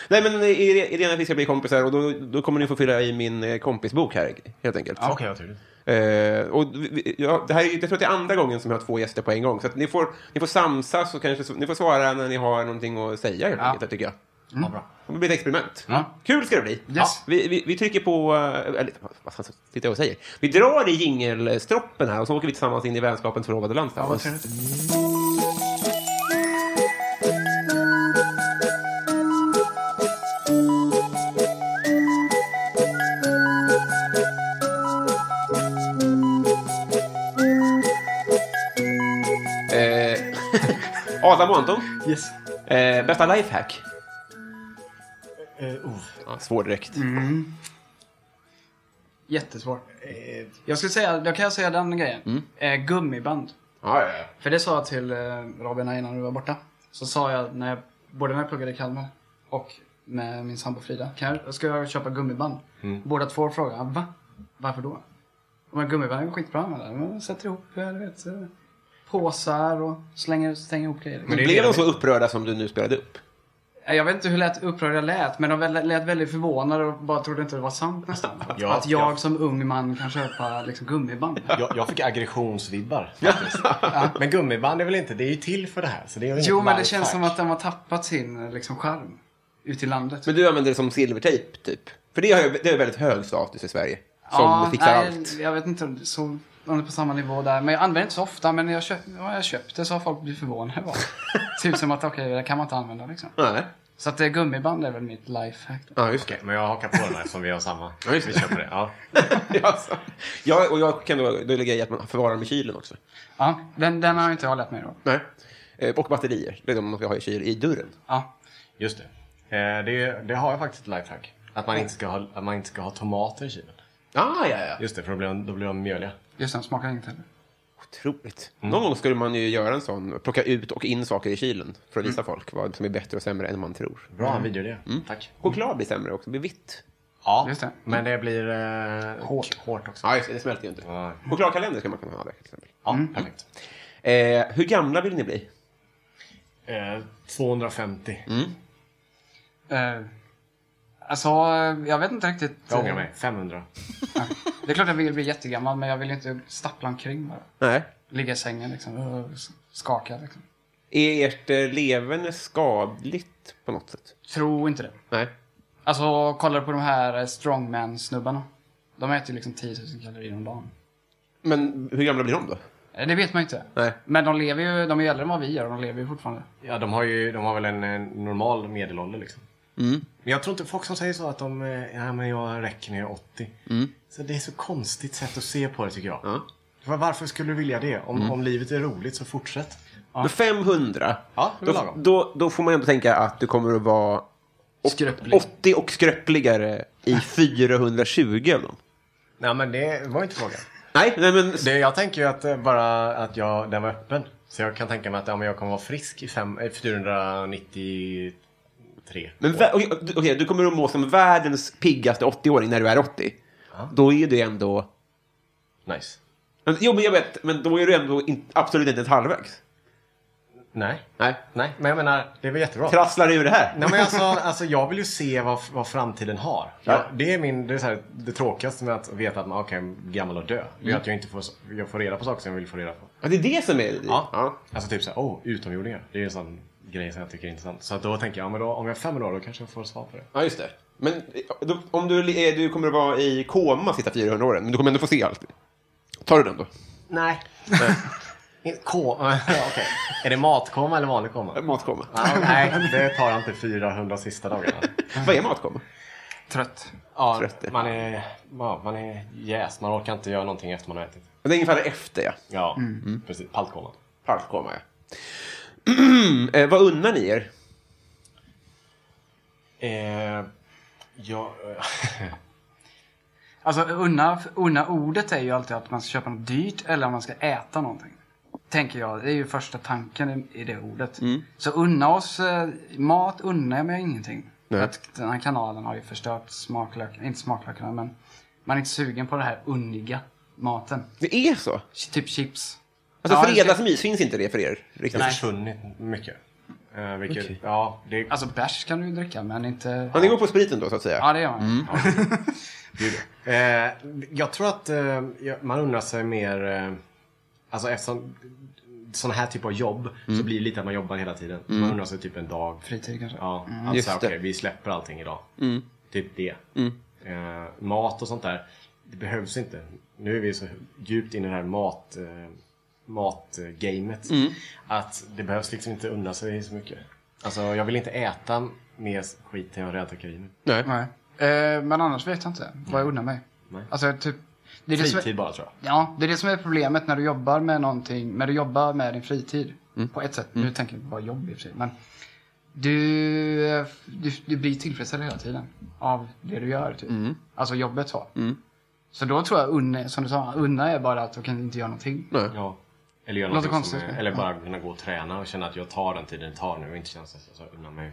S2: Nej men eh, ide- idén är att vi ska bli kompisar och då, då kommer ni få fylla i min eh, kompisbok här helt enkelt.
S4: Okej, vad tur.
S2: Eh, och vi- vi, ja, det här är, ju- jag tror att det är andra gången som jag har två gäster på en gång. Så att ni, får, ni får samsas och kanske så- ni får svara när ni har någonting att säga helt enkelt, tycker jag.
S4: Mm. Ja, bra.
S2: Det blir ett experiment.
S3: Ja.
S2: Kul ska det bli.
S3: Ja.
S2: Vi, vi, vi trycker på... eh, Eller, vad fan sitter jag och säger? Vi drar i jingelstroppen här och så åker vi tillsammans in i vänskapens förlovade land.
S3: Ja, vad
S2: tillsammans.
S3: trevligt.
S2: Eh, <laughs> Adam och Anton,
S3: Yes.
S2: eh, bästa lifehack?
S4: Eh, oh.
S2: Ja, svår direkt.
S3: Jättesvårt.
S4: Eh.
S3: Jag skulle säga, då kan jag säga den grejen.
S2: Mm.
S3: Eh, gummiband.
S2: Ja, ja, ja.
S3: För det sa jag till eh, Robin här innan du var borta. Så sa jag, när jag, både när jag pluggade i Kalmar och med min sambo Frida. Kan jag, ska jag köpa gummiband?
S4: Mm.
S3: Båda två frågade, va? Varför då? Men gummiband är skitbra med det. Man sätter ihop, eh, du vet, eh, påsar och slänger, slänger ihop grejer.
S4: det är
S2: Blev
S4: det
S2: de
S4: vi-
S2: så upprörda som du nu spelade upp?
S3: Eh, Jag vet inte hur lätt upprörd jag lät, men de väl- lät väldigt förvånade och bara trodde inte det var sant nästan. Att,
S4: <laughs> Ja,
S3: att jag
S4: ja.
S3: som ung man kan köpa liksom,
S4: <laughs>
S3: gummiband.
S4: Jag, jag fick aggressionsvibbar.
S2: <laughs>
S4: faktiskt. Men gummiband är väl inte, det är ju till för det här. Så det är väl
S3: Jo,
S4: inte
S3: men det
S4: lifehack.
S3: känns som att de har tappat sin eh, liksom, charm. ut i landet.
S2: Men du använder det som silvertejp, typ? För det har ju det är väldigt hög status i Sverige. Som fixar
S3: nej,
S2: allt.
S3: Jag vet inte om det- så, om det är på samma nivå där. Men jag använder inte så ofta. Men när jag, köp, ja, jag köpte så har folk blivit förvånade. bara.
S4: <laughs>
S3: Det ser ut som att okej, det kan man inte använda liksom.
S2: Nej.
S3: Så att eh, gummiband är väl mitt lifehack. då.
S2: Ja, just det.
S4: Okej, men jag hakar på den här som vi har samma.
S2: Ja, just det.
S4: Vi köper det. Ja.
S2: <laughs> ja, så. ja, och jag kan då, då lägga i att man förvarar dem i kylen också.
S3: Ja, den, den har inte jag lärt mig då.
S2: Nej. Eh, Och batterier. Det är de man ska ha i kyl, i dörren.
S3: Ja.
S4: Just det. Eh, det. Det har jag faktiskt ett lifehack. Att man inte ska ha, att man inte ska ha tomater i kylen.
S2: Ah, ja, ja.
S4: Just det, för då blir de, då blir de mjöliga.
S3: Just det, de smakar inget heller.
S2: Otroligt. Någon gång skulle man ju göra en sån, plocka ut och in saker i kylen för att visa folk vad som är bättre och sämre än man tror.
S4: Bra videoidé. Tack.
S2: Choklad blir sämre också, blir vitt.
S4: Mm. Ja,
S3: Just det.
S4: men det blir eh,
S3: Hårt.
S4: hårt också.
S2: Ja, just det, det smälter ju inte.
S4: Ja.
S2: Chokladkalender ska man kunna ha där, till exempel.
S4: Ja,
S3: Mm.
S4: perfekt.
S2: Eh, hur gamla vill ni bli?
S4: Eh, 250.
S3: Eh, alltså, eh, jag vet inte riktigt. eh,
S4: Jag ångrar mig. 500.
S3: Det är klart jag vill bli jättegammal, men jag vill inte stappla omkring bara.
S2: Nej.
S3: Ligga i sängen liksom. eh, Skaka liksom.
S2: Är ert eh, leverne skadligt på något sätt?
S3: Tro inte det.
S2: Nej.
S3: Alltså, kollar du på de här eh, strongman-snubbarna? De äter ju liksom 10 000 kalorier om dagen.
S2: Men hur gamla blir de då?
S3: Eh, Det vet man ju inte.
S2: Nej.
S3: Men de lever ju, de är ju äldre än vad vi är och de lever ju fortfarande.
S4: Ja, de har ju de har väl en eh, normal medelålder liksom. Men jag tror inte folk som säger så att de, eh, ja men jag räcker när jag är 80. Så det är så konstigt sätt att se på det tycker jag. Var- Varför skulle du vilja det? Om, om livet är roligt så fortsätt.
S2: Men 500?
S4: Ja, det är
S2: då,
S4: lagom.
S2: då, då får man ändå tänka att du kommer att vara
S3: Skröplig.
S2: 80 och skröpligare <laughs> i 420 eller något.
S4: Nej men det var inte frågan.
S2: Nej, nej men...
S4: Det, jag tänker ju att eh, bara att jag, den var öppen. Så jag kan tänka mig att ja, men jag kommer vara frisk i fem, eh, 493.
S2: Men vä- okej, du- okej, du kommer att må som världens piggaste 80-åring när du är 80. Då är du ändå...
S4: Nice.
S2: men- Jo, men jag vet, men då är du ändå in, absolut inte ens halvvägs.
S4: Nej.
S2: Nej.
S4: Nej, men jag menar, det var jättebra.
S2: Trasslar ur det här.
S4: Nej, men alltså, alltså, jag vill ju se vad, vad framtiden har.
S2: Ja.
S4: det är, min, det, är så här, det tråkigaste med att veta att man okay, är gammal och dö. Det är att jag inte får, jag får reda på saker som jag vill få reda på.
S2: Ja, det är det som är...
S4: Ja.
S2: Ja.
S4: Alltså typ såhär, oh, utomjordingar. Det är en sån grej som jag tycker är intressant. Så att då tänker jag, ja, men då, om jag är fem år då kanske jag får svar på det.
S2: Ja, just det. Men då, om du, är, du kommer att vara i koma sista 400 åren, men du kommer ändå få se allt. Tar du den då?
S4: Nej. <laughs> K- ja, okej. Är det matkoma eller vanlig komma?
S2: Matkoma.
S4: Ja, Nej, det tar jag inte 400 sista dagarna.
S2: Vad är matkoma?
S3: Trött.
S4: Ja,
S2: Trött.
S4: man är, ja, man är jäs. Man orkar inte göra någonting efter man har ätit. Mm.
S2: Det är ungefär efter, ja.
S4: Ja, precis. Paltkoma.
S2: Paltkoma, ja. <clears throat> eh, vad unnar ni er?
S4: Eh, <laughs> ja, eh,
S3: Alltså unna, unna ordet är ju alltid att man ska köpa något dyrt eller om man ska äta någonting. Tänker jag. Det är ju första tanken i, i det ordet.
S2: Mm.
S3: Så unna oss eh, mat unnar jag ingenting.
S2: Nej.
S3: För Att den här kanalen har ju förstört smaklökarna, inte smaklökarna men man är inte sugen på den här unniga maten.
S2: Det är så.
S3: Ch- Typ chips.
S2: Alltså,
S3: Ja,
S2: fredagsmys finns inte det för er?
S4: det
S2: Riktigt.
S4: har försvunnit mycket. Eh, vilket, ja, det är
S3: Alltså bärs kan du ju dricka men inte...
S2: Ja, Mm. det går på spriten då, så att säga.
S3: Ja det gör man.
S4: Eh, jag tror att eh, jag- man undrar sig mer, eh, alltså eftersom sådana här typ av jobb
S2: Mm.
S4: så blir det lite att man jobbar hela tiden. Man undrar sig typ en dag.
S3: Fritid kanske. Mm.
S4: Ja,
S2: Just
S4: alltså
S2: det. Mm.
S4: okej, vi släpper allting idag. Typ det. Eh, mat och sånt där, det behövs inte. Nu är vi så djupt inne i det här mat, eh, matgamet.
S2: Mm.
S4: Att det behövs liksom inte unna sig så mycket. Alltså jag vill inte äta mer skit än jag redan tycker i mig.
S2: Nej.
S3: Nej. Eh, men annars vet jag inte vad jag unnar mig.
S4: Nej.
S3: Alltså typ... Det är det som är-
S4: Fritid bara tror jag.
S3: Ja, det är det som är problemet när du jobbar med någonting, när du jobbar med din fritid.
S4: Mm.
S3: På ett sätt. Nu tänker jag bara jobb i och för sig. Men du, eh, du, du blir tillfredsställd hela tiden av det du gör. Typ.
S4: Mm.
S3: Alltså jobbet så. Så då tror jag, unna, som du sa, unna är bara att du kan inte göra någonting.
S4: Ja. Eller, göra
S3: Låter
S4: någonting
S3: konstigt,
S4: som,
S3: men-
S4: är- eller bara kunna gå och träna och känna att jag tar den tiden det tar nu och inte känna sig så- så undan mig.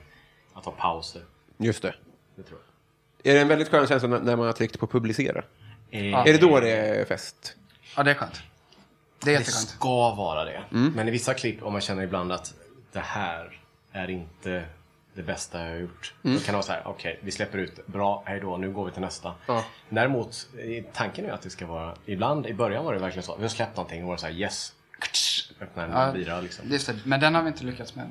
S4: Att ta pauser.
S2: Just det.
S4: Det tror jag.
S2: Är det en väldigt skön känsla när när man har tryckt på publicera?
S4: Eh,
S2: Är det då det är fest?
S3: Ja, det är skönt. Det är
S4: Det
S3: jätteskönt.
S4: ska vara det.
S2: Mm.
S4: Men i vissa klipp, om man känner ibland att det här är inte det bästa jag har gjort.
S2: Mm.
S4: Då kan det vara så här, okej, vi släpper ut det. Bra, hej då, nu går vi till nästa.
S2: Ja.
S4: Däremot, eh, tanken är att det ska vara, ibland, i början var det verkligen så, vi har släppt någonting och var det så här, yes, öppna en
S3: Ja,
S4: bira liksom.
S3: Just det, men den har vi inte lyckats med.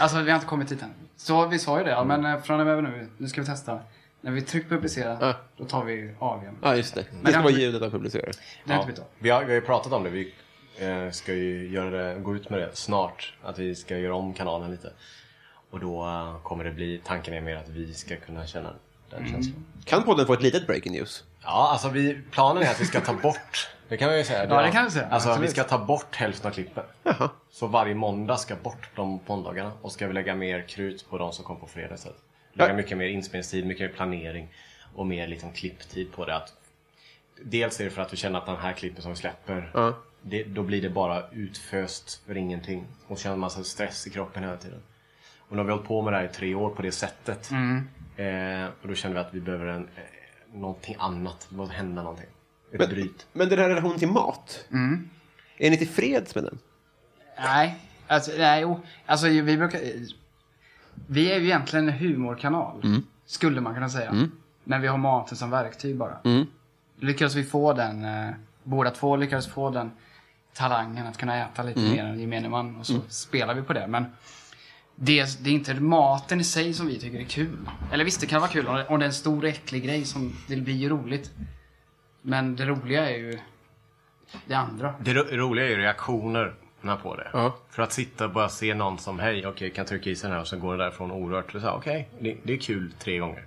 S3: Alltså vi har inte kommit dit än. Så vi sa ju det, ja, men eh, från och med nu, nu ska vi testa. När vi trycker publicera,
S2: Ja.
S3: då tar vi AWn.
S2: Ja, just det. Det
S3: Men
S2: ska
S3: den-
S2: vara ljudet han publicerar.
S3: Det har inte vi tagit.
S4: Vi har, vi har ju pratat om det. Vi eh, ska ju göra det, gå ut med det snart. Att vi ska göra om kanalen lite. Och då eh, kommer det bli, tanken är mer att vi ska kunna känna den känslan.
S2: Kan podden få ett litet breaking news?
S4: Ja, alltså vi, planen är att vi ska ta bort, det kan vi ju säga.
S3: Ja, det kan vi säga.
S4: Alltså
S3: Absolut.
S4: vi ska ta bort hälften av klippen. Så varje måndag ska bort de måndagarna. Och ska vi lägga mer krut på de som kom på fredag istället. Lägga
S2: Ja.
S4: mycket mer inspelningstid, mycket mer planering och mer liksom klipptid på det. Att, dels är det för att vi känner att den här klippen som vi släpper,
S2: Ja.
S4: det, då blir det bara utföst för ingenting. Och känner en massa stress i kroppen hela tiden. Och nu har vi hållit på med det här i tre år på det sättet. Eh, och då känner vi att vi behöver en, eh, någonting annat. Det måste hända någonting. Ett bryt.
S2: Men den här relationen till mat,
S4: Mm.
S2: är ni tillfreds med den?
S3: Nej, alltså, nej jo. Alltså, ju- vi, brukar, vi är ju egentligen en humorkanal, skulle man kunna säga. Men vi har maten som verktyg bara. Lyckades vi få den, eh, båda två lyckades få den talangen att kunna äta lite mer än gemene man och så spelar vi på det. Men det, det är inte maten i sig som vi tycker är kul. Eller visst, det kan vara kul om det, om det är en stor äcklig grej som det blir ju roligt. Men det roliga är ju det andra.
S4: Det ro- roliga är ju reaktionerna på det. För att sitta och bara se någon som hej, okej, jag kan trycka i sig den här och så går det därifrån orört. Och så här, Okej, det, det är kul tre gånger.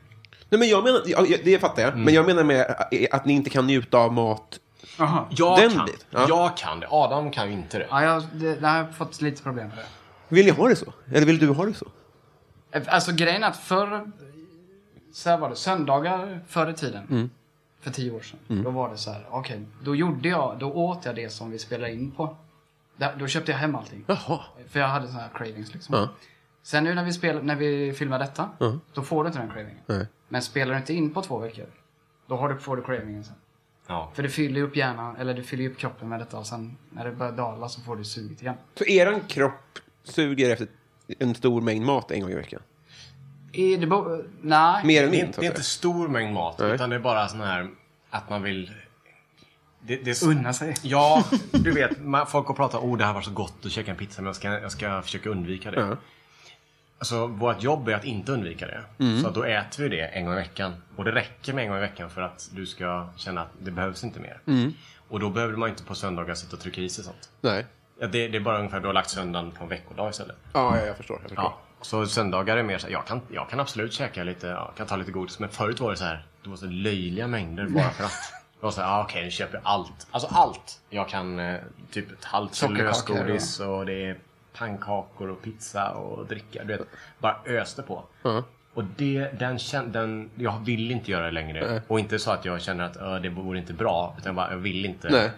S2: Nej, men jag menar, ja, det fattar jag,
S4: Mm.
S2: men jag menar med att ni inte kan njuta av mat.
S3: Aha.
S4: Jag
S2: Den
S4: kan,
S2: bit, ja.
S4: jag kan det. Adam kan ju inte det.
S3: Ja, jag, det, det har jag fått lite problem med.
S2: Vill ni ha det så? Eller vill du ha det så?
S3: Alltså grejen är att förr, så här var det, söndagar förr i tiden,
S2: Mm.
S3: för tio år sedan, då var det så här, okej, då gjorde jag, då åt jag det som vi spelade in på. Där, då köpte jag hem allting.
S2: Jaha.
S3: För jag hade såna här cravings liksom.
S2: Ja.
S3: Sen nu när vi, spelar, när vi filmar detta, då får du inte den cravingen.
S2: Nej.
S3: Men spelar du inte in på två veckor, då har du, får du cravingen sen.
S4: Ja.
S3: För du fyller ju upp hjärnan, eller du fyller ju upp kroppen med detta och sen när det börjar dala så får du suget igen.
S2: Så eran kropp suger efter en stor mängd mat en gång i veckan?
S3: I, det bo- nej.
S2: Mer än
S4: Det är,
S2: min,
S4: inte,
S2: så
S4: det är
S2: att
S4: inte
S2: säga.
S4: stor mängd mat,
S2: Nej.
S4: utan det är bara sån här att man vill... Det, det är så-
S3: Unna sig.
S4: Ja, du vet, man, folk har pratat om oh, det här var så gott att käka en pizza, men jag ska, jag ska försöka undvika det.
S2: Ja.
S4: Alltså, vårt jobb är att inte undvika det.
S2: Mm.
S4: Så att då äter vi det en gång i veckan. Och det räcker med en gång i veckan för att du ska känna att det behövs inte mer.
S2: Mm.
S4: Och då behöver man inte på söndagar sitta och trycka i sig sånt.
S2: Nej.
S4: Ja, det, det är bara ungefär, du har lagt söndagen på en veckodag istället.
S2: Ja, jag, jag förstår. Jag förstår.
S4: Ja, så söndagar är mer så här, jag kan, jag kan absolut käka lite, jag kan ta lite godis. Men förut var det så här, det var så löjliga mängder bara för att. Det var så här, ah, okej nu köper jag allt. Alltså allt! Jag kan eh, typ ett halvt kilo
S3: Sockerkakor,
S4: lösgodis och det är pannkakor och pizza och dricka. Du vet, bara öste på. Och det, den, kän- den, jag vill inte göra det längre. Och inte så att jag känner att "Ö, det vore inte bra. Utan bara, jag vill inte.
S2: Nej.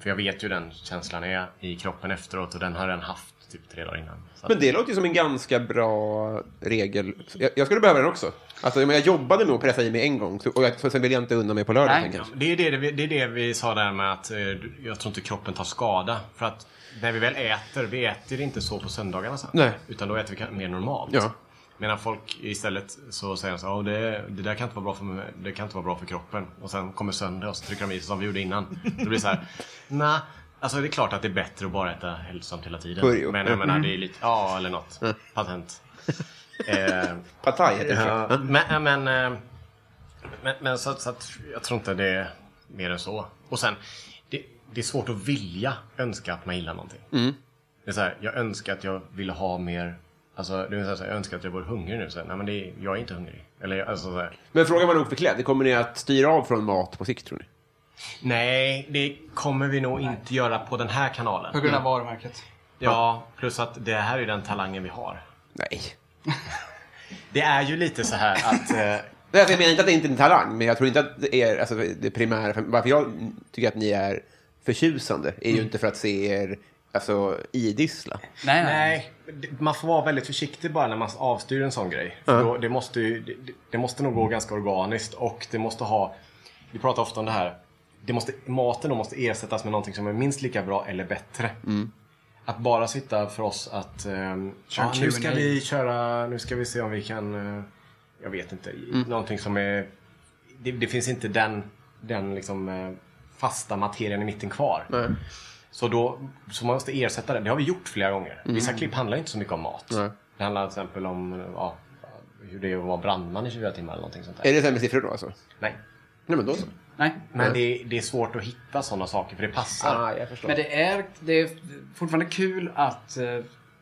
S4: För jag vet ju den känslan är i kroppen efteråt och den har jag redan haft typ tre dagar innan. Så att-
S2: Men det låter ju som en ganska bra regel. Jag, jag skulle behöva den också. Alltså, jag, menar, jag jobbade med att pressa i mig en gång så- och jag, så sen vill jag inte undan mig på lördagen
S3: Nej.
S2: kanske.
S4: Det är det, vi- det är det vi sa där med att eh, jag tror inte kroppen tar skada. För att när vi väl äter, vi äter inte så på söndagarna sen.
S2: Nej.
S4: Utan då äter vi kan- mer normalt.
S2: Ja.
S4: Medan folk istället så säger de så här, "Åh, det, det där kan inte, vara bra för, mig- det kan inte vara bra för kroppen. Och sen kommer söndag och så trycker de i sig som vi gjorde innan. Det blir så här, <laughs> nej. Alltså det är klart att det är bättre att bara äta hälsosamt hela tiden.
S2: Purjo.
S4: Men jag
S2: Mm.
S4: menar, det är lite, ja eller något. Patent. Eh,
S2: Partaj heter det.
S4: Ja, men, men, eh, men, men så, att- så att jag tror inte det är mer än så. Och sen, det, det är svårt att vilja önska att man gillar någonting. Det är så här, jag önskar att jag ville ha mer, alltså det är så här, jag önskar att jag var hungrig nu. Så här, nej men det, är- jag är inte hungrig. Eller jag- alltså så här,
S2: Men frågan var nog förklädd. Det kommer ni att styra av från mat på sikt tror ni?
S4: nej det kommer vi nog inte göra på den här
S3: På
S4: kanalen.
S3: grund av varumärket.
S4: Ja, plus att det här är den talangen vi har.
S2: Nej.
S4: Det är ju lite så här att eh,
S2: Nej, alltså, jag menar inte att det inte är en talang, men jag tror inte att det är alltså, det primära. För, varför jag tycker att ni är förtjusande är ju inte för att se er alltså, idissla.
S3: Nej, nej.
S4: Nej, det- man får vara väldigt försiktig bara när man avstyr en sån grej. För Då, det, måste ju, det, det måste nog gå ganska organiskt och det måste ha... Vi pratar ofta om det här. Det måste, maten då måste ersättas med någonting som är minst lika bra eller bättre. Att bara sitta för oss att... ehm,
S3: Köra
S4: ja, nu ska
S3: Q&A.
S4: vi köra... Nu ska vi se om vi kan... eh, jag vet inte. Någonting som är... Det, det finns inte den, den liksom, eh, fasta materien i mitten kvar.
S2: Mm.
S4: Så då så man måste ersätta det. Det har vi gjort flera gånger. Vissa klipp handlar inte så mycket om mat. Det handlar till exempel om ja, hur det är att vara brandman i 24 timmar eller någonting sånt där.
S2: Är det sämre siffror då alltså?
S4: Nej.
S2: Nej, men då så.
S3: Nej.
S4: Men det, det är svårt att hitta sådana saker för det passar.
S2: Ah, jag förstår.
S3: Men det är, det är fortfarande kul att eh,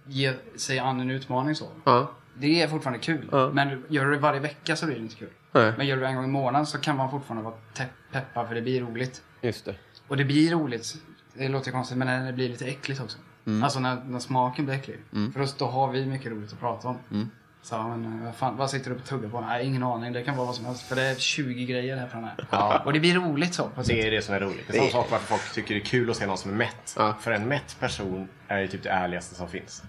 S3: ge sig an en utmaning så.
S2: Ja.
S3: Det är fortfarande kul.
S2: Ja.
S3: Men gör du det varje vecka så blir det inte kul.
S2: Nej.
S3: Men gör du det en gång i månaden så kan man fortfarande vara te- peppad för det blir roligt.
S2: Just det.
S3: Och det blir roligt. Det låter konstigt men det blir lite äckligt också. Alltså när, när smaken blir äcklig. För oss, då har vi mycket roligt att prata om. Så, ja, men, eh, vad, fan, vad sitter du och tuggar på? Nej, ingen aning. Det kan vara vad som helst. För det är 20 grejer här på den här. Och det blir roligt så. På ett
S4: Det
S3: sätt.
S4: är det som är roligt. Det är samma sak varför folk tycker det är kul att se någon som är mätt.
S2: Ja.
S4: För en mätt person är ju typ det ärligaste som finns.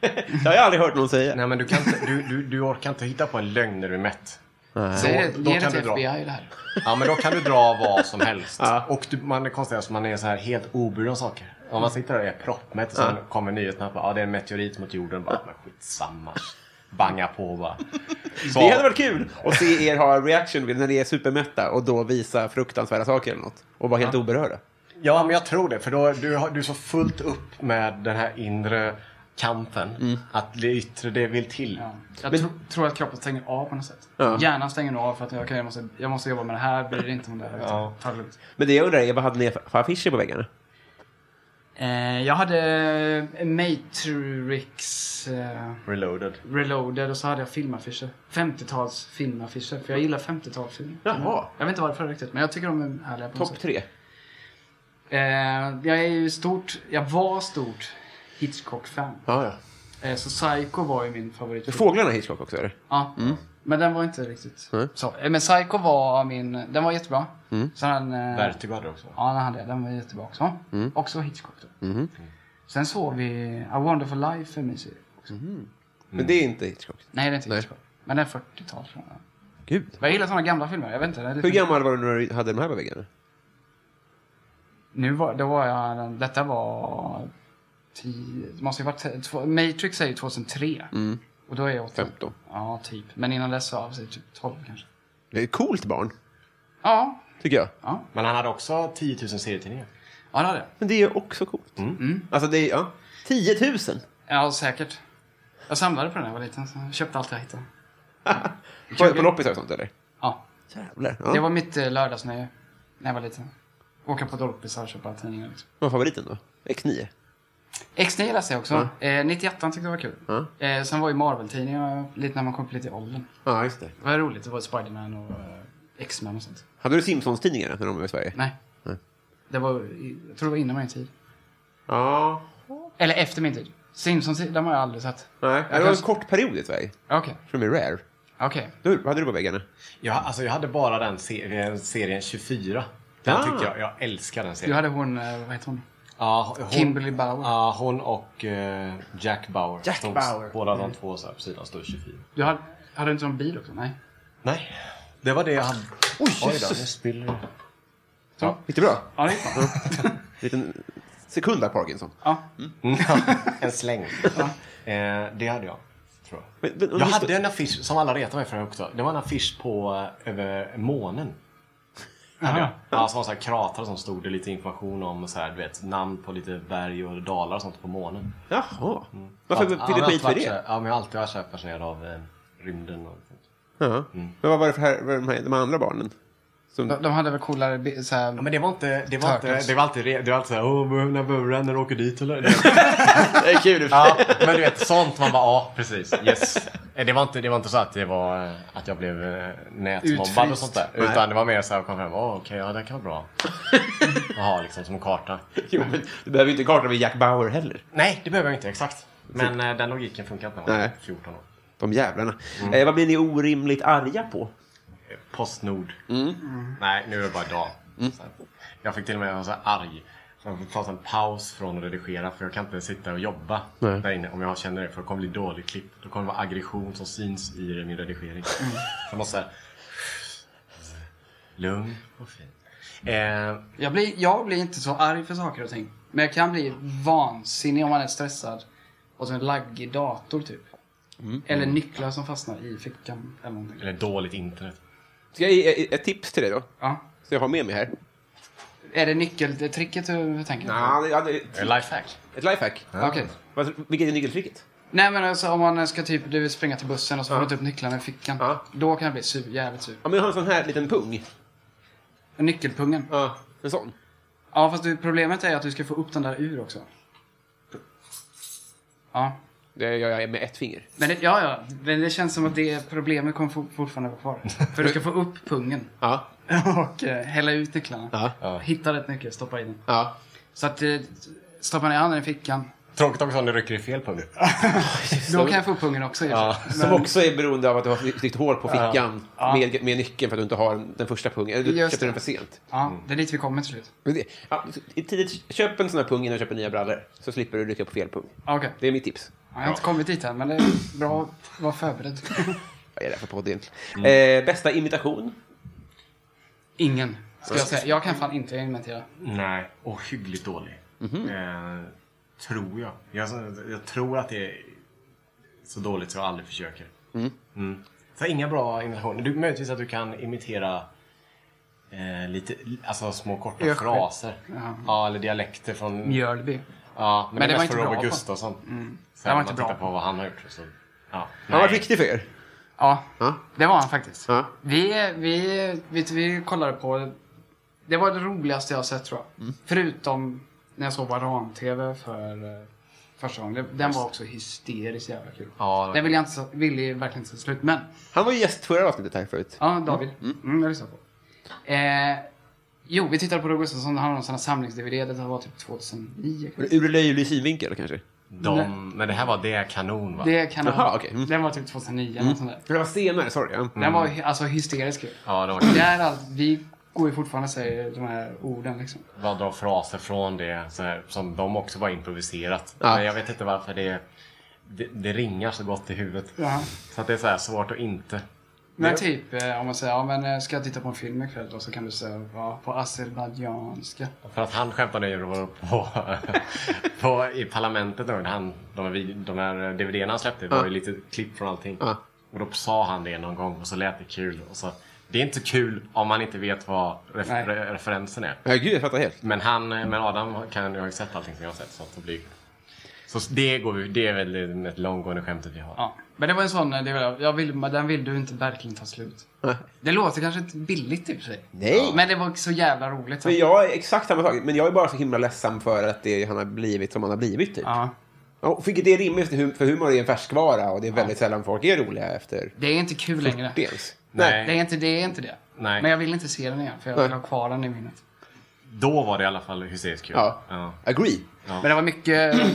S2: Det har jag aldrig hört någon säga.
S4: Nej men du, kan inte, du, du, du orkar inte hitta på en lögn när du är mätt.
S3: Så är
S4: Då-
S3: det, typ
S4: då
S3: ge det
S4: kan
S3: till
S4: du dra.
S3: FBI det här.
S4: Ja men då kan du dra vad som helst.
S2: Ja.
S4: Och du, man konstaterar att man är så här helt oburen av saker. Om man sitter där och är proppmätt och sen kommer nyheterna på ja det är en meteorit mot jorden. Bara, men skitsamma. Banga på bara. Så,
S2: Det hade varit kul att se er ha en reaction vid när ni är supermätta och då visa fruktansvärda saker eller något. Och vara helt oberörda.
S4: Ja men jag tror det. För då, du, har, du är så fullt upp med den här inre kampen.
S2: Mm.
S4: Att det yttre det vill till.
S3: Ja. Jag tro, tror att kroppen stänger av på något sätt.
S2: Ja.
S3: Hjärnan stänger av för att jag, okay, jag, måste, jag måste jobba med det här, bryr inte om det här.
S4: Ja.
S3: Utan, ta det lugnt.
S2: Men det jag undrar är, vad hade ni för affischer på väggarna?
S3: Eh, jag hade eh, Matrix eh,
S4: Reloaded.
S3: Reloaded och så hade jag filmaffischer. 50-tals filmaffischer, för jag gillar 50-talsfilmer.
S2: Jaha.
S3: Jag vet inte varför riktigt, men jag tycker de är härliga på något
S2: Topp
S3: sätt.
S2: tre.
S3: Eh, jag är ju stort, jag var stort Hitchcock-fan.
S2: Ja, ja.
S3: Eh, så Psycho var ju min favorit.
S2: Fåglarna Hitchcock också, eller?
S3: Ja. Men den var inte riktigt så. Eh, Men Psycho var min... Den var jättebra.
S2: Mm.
S3: Sen, eh,
S4: Vertigo hade du också.
S3: Ja, den hade jag. Den var jättebra också.
S2: Mm.
S3: Också Hitchcock då.
S2: Mm-hmm.
S3: Sen såg vi A Wonderful Life, en mysig också.
S2: Men det är inte Hitchcock.
S3: Nej, det är inte
S2: Nej.
S3: Hitchcock. Men den är 40-tal tror jag.
S2: Gud.
S3: Men Jag gillar såna gamla filmer. Jag vet inte. det är lite-
S2: Hur gammal var du när du hade de här på väggarna?
S3: Nu var, då var jag... Detta var... 10, det måste ju varit... t- två- Matrix är ju 2003.
S2: Mm.
S3: Och då är jag 8.
S2: 15.
S3: Ja, typ. Men innan dess så var jag typ 12 kanske.
S2: Det är ett coolt barn,
S3: Ja.
S2: tycker jag.
S4: Men han hade också 10 000 serietidningar.
S3: Ja, det hade jag.
S2: Men det är ju också coolt. Alltså, det är ja. 10 000! <laughs>
S3: Ja, säkert. Jag samlade på den när jag var liten. Så jag köpte allt jag hittade.
S2: Var det på loppis och sånt, eller?
S3: Ja.
S2: Jävlar.
S3: Det
S2: Ja.
S3: var mitt eh, lördagsnöje när jag var liten. Åka på loppisar och köpa tidningar. Liksom.
S2: Vad var favoriten då? X9?
S3: X9 läste jag också. Eh, 91 tyckte jag var kul. Eh, sen var ju Marvel-tidningar lite när man kom upp lite i åldern.
S2: Ja, just det.
S3: Det var roligt. Det var Spiderman och eh, X-Men och sånt.
S2: Hade du Simpsons-tidningarna när de var i Sverige?
S3: Nej. Det var, jag tror det var innan min tid.
S2: Ja.
S3: Eller efter min tid. Simpsons, de har jag aldrig sett.
S2: Nej, det var en kort period i Sverige.
S3: Ja, Okej.
S2: Som är rare.
S3: Okej.
S2: Du, vad hade du på väggarna?
S4: Jag, alltså jag hade bara den serien, serien 24. Den
S2: Ah.
S4: tycker jag, jag älskar den
S3: Du
S4: serien.
S3: hade hon, eh, vad heter hon?
S4: Ja, hon,
S3: Kimberly Bauer.
S4: Ja, hon och eh, Jack Bauer.
S2: Jack
S4: Stod-
S2: Bauer. Mm.
S4: Båda de två så här på sidan står 24.
S3: Du hade, hade inte någon bil också? Nej.
S4: Nej, det var det jag <laughs> hade. Oj, då, nu spiller det.
S2: Gick det bra?
S3: Ja, det gick bra.
S2: Liten sekund där, Parkinson.
S3: Ja.
S4: en släng. eh, det hade jag, tror jag.
S2: Men- men om
S4: jag
S2: du
S4: hade
S2: stod-
S4: en affisch som alla retade mig för också. Det var en affisch på eh, över månen. Hade jag. Ja, som var så här kratrar som stod det lite information om så här, du vet, namn på lite berg och dalar och sånt på månen.
S2: Jaha. Varför
S4: Ja,
S2: fick
S4: men
S2: du
S4: jag har
S2: skit för
S4: alltid varit
S2: det?
S4: så här- Ja, men jag har alltid varit så här fascinerad av eh, rymden och sånt.
S2: Ja.
S3: Mm.
S2: Men vad var det för här, vad var de, här, de andra barnen? Som,
S3: De, de hade väl coolare bi- så här,
S4: Ja, men det var inte, det var inte,
S3: Turtles.
S4: det var alltid, re- det var alltid såhär, åh, när Bumränner åker dit eller?
S2: det är kul.
S4: <laughs> ja, men du vet, sånt man bara, ja, precis, yes. Eh, Det var inte, det var inte så att det var, eh, att jag blev eh, nätmobbad och
S3: Utfryst.
S4: sånt där. Utan det var mer såhär, kom hem, åh, okej, ja, det kan vara bra. Jaha, liksom som en karta.
S2: <laughs> Jo, men du behöver inte karta med Jack Bauer heller.
S4: Nej, det behöver jag inte, exakt. Men eh, den logiken funkar inte när man
S2: Nej.
S4: är 14 år.
S2: De jävlarna. Eh, vad blir ni orimligt arga på?
S4: Eh, Postnord. Nej, nu är det bara idag. Så här. Jag fick till och med vara så här arg. Så jag fick ta en paus från att redigera för jag kan inte sitta och jobba
S2: Nej.
S4: där inne om jag känner det. För det kommer bli dåligt klipp. Då kommer det vara aggression som syns i min redigering. Så jag måste så här, lugn och fin. Eh,
S3: Jag blir, jag blir inte så arg för saker och ting. Men jag kan bli vansinnig om man är stressad. Och så en laggig dator typ. Eller nycklar som fastnar i fickan eller någonting.
S4: eller dåligt internet.
S2: Ska jag ge ett tips till dig då?
S3: Ja.
S2: Så jag har med mig här.
S3: Är det nyckeltricket du tänker på?
S2: Ja, det- ja, det-
S4: Eh, Lifehack.
S2: Ett lifehack.
S3: Ah. Okej.
S2: Vad- Vilket är nyckeltricket?
S3: Nej men alltså om man ska typ du vill springa till bussen och så får du inte upp nycklarna i fickan.
S2: Ja.
S3: Då kan jag bli sur, jävligt sur.
S2: Ja, men jag har en sån här liten pung.
S3: Nyckelpungen. Ja,
S2: Ja, en sån.
S3: fast du, problemet är att du ska få upp den där ur också. Ja.
S2: Det gör jag med ett finger.
S3: Men det, ja, ja. Men det känns som att det problemet kommer for- fortfarande vara kvar. För du ska få upp pungen.
S2: Ja.
S3: Och eh, hälla ut nycklarna.
S2: Ja.
S3: Hitta rätt nyckel, stoppa in den.
S2: Ja.
S3: Så att eh, stoppar ner handen i fickan.
S4: Tråkigt också om du rycker i fel pung.
S3: Då kan jag få upp pungen också. i och för sig.
S2: Som också är beroende av att du har ett litet hål på fickan Med, med nyckeln för att du inte har den första pungen. Eller du
S3: Just
S2: köpte den
S3: det.
S2: för sent.
S3: Ja, det är dit vi kommer till slut.
S2: Men det- Ja, i tidigt, köp en sån här pung innan du köper nya brallor. Så slipper du rycka på fel pung.
S3: Ja, Okej.
S2: Det är mitt tips.
S3: Ja, jag har inte kommit dit än, men det är bra att vara förberedd.
S2: Vad är det här för podd egentligen? Eh, bästa imitation?
S3: Ingen, ska jag säga. Jag kan fan inte inventera.
S4: Nej, och hyggligt dålig. Eh, tror jag. jag. Jag tror att det är så dåligt så jag aldrig försöker. Mm. Så inga bra imitationer. Du, möjligtvis att du kan imitera eh, lite, alltså små korta
S3: Ökskär.
S4: fraser. Ja, eller dialekter från...
S3: Mjölby.
S4: Ja, men,
S3: Men
S4: det,
S3: det
S4: är
S3: var
S4: mest
S3: inte
S4: för
S3: bra
S4: Robert
S3: på. Mm.
S4: Gustafsson.
S3: Det var
S4: Sen när man
S3: inte bra
S4: tittar
S3: på.
S4: på vad han har gjort. Så, ja,
S2: Han var
S4: nej.
S2: viktig för er.
S3: Ja,
S2: Ja.
S3: det var han faktiskt.
S2: Ja.
S3: Vi, vi, vi, vi kollade på... Det var det roligaste jag har sett tror jag. Förutom när jag såg Varan-TV för eh, första gången. Det- Den var också hysteriskt jävla kul.
S4: Ja, det var
S3: den ville jag inte, så- ville ju verkligen inte ta slut. Men
S2: Han var ju gäst förra avsnittet här förut.
S3: Ja, David. Mm. jag lyssnar på. Eh, jo, vi tittade på Roy Gustafsson. Det handlade om sina samlings-DVD. Det var typ 2009. kanske.
S2: Ur löjlig synvinkel kanske?
S4: De, men det här var det kanon va?
S3: Det kan
S2: Jaha, okej. Mm.
S3: Den var typ 2009. Mm. Sånt där.
S2: Det var senare, sorry. Ja.
S3: Den var hy- alltså hysterisk kul.
S4: Ja, det var
S3: Det är allt. Vi går ju fortfarande och säger de här orden liksom.
S4: bara dra fraser från det så här, som de också var improviserat.
S2: Ja.
S4: Men jag vet inte varför det, det, det ringar så gott i huvudet.
S3: Jaha.
S4: Så att det är så här svårt att inte.
S3: Men
S4: Det-
S3: typ eh, om man säger, ja men eh, ska jag titta på en film ikväll då? Så kan du säga, ja, på azerbajdzjanska.
S4: För att han skämtade ju då på, <laughs> på, i parlamentet då, när han, de, här, vid- de här DVDerna han släppte var ju lite klipp från allting.
S2: Ja.
S4: Och då sa han det någon gång och så lät det kul. Och så, det är inte kul om man inte vet vad ref,
S3: Nej.
S4: re, referensen är.
S2: Ja, gud, jag fattar helt.
S4: Men han, men Adam kan, jag har ju sett allting som jag har sett så att det blir... Så det, går, vi- det är väl ett långgående skämtet vi har.
S3: Ja. Men det var en sån, eh, det var, jag vill, men den vill du inte verkligen ta slut. Det låter kanske inte billigt i och för sig.
S2: Nej.
S3: Men det var så jävla roligt.
S2: Men jag är exakt samma sak, men jag är bara så himla ledsam för att det, han har blivit som han har blivit. Typ.
S3: Ja.
S2: Ja, vilket det är rimligt, för hum- för humor är en färskvara och det är väldigt sällan folk är roliga efter
S3: Det är inte kul längre. Det
S2: dels.
S4: Nej.
S3: är inte det. Är inte det.
S4: Nej.
S3: Men jag vill inte se den igen för jag vill ha kvar den i minnet.
S4: Då var det i alla fall hysteriskt kul.
S2: Ja.
S4: Ja.
S2: Agree.
S3: Men det var mycket eh,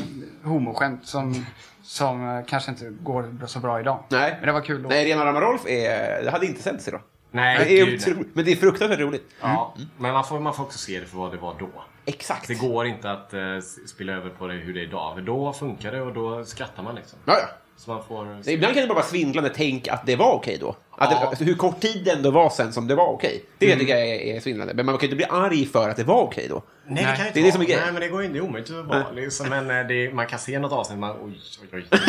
S3: homoskämt som, som eh, kanske inte går så bra idag.
S2: Nej.
S3: Men det var kul då.
S2: Nej, Rena Rama Rolf är, det hade inte sänts idag.
S4: Nej,
S2: det är
S4: gud.
S2: otro- men det är fruktansvärt roligt.
S4: Ja. Men man får, man får också se det för vad det var då.
S2: Exakt.
S4: Det går inte att eh, s- spela över på det hur det är idag. För då funkar det och då skrattar man liksom.
S2: Ja, ja.
S4: Så man får...
S2: Det- Ibland kan det bara vara svindlande tänk att det var okej då. Att det,
S4: Ja.
S2: alltså, hur kort tid det ändå var sen som det var okej. Det tycker jag är, är svindlande. Men man kan ju inte bli arg för att det var okej då.
S4: Nej, det kan inte
S2: det är det som är
S4: vara.
S2: grejen.
S4: Nej, men det går ju inte. Det är omöjligt att vara. Liksom, men eh, det är, man kan se något avsnitt. Man, oj, oj, oj,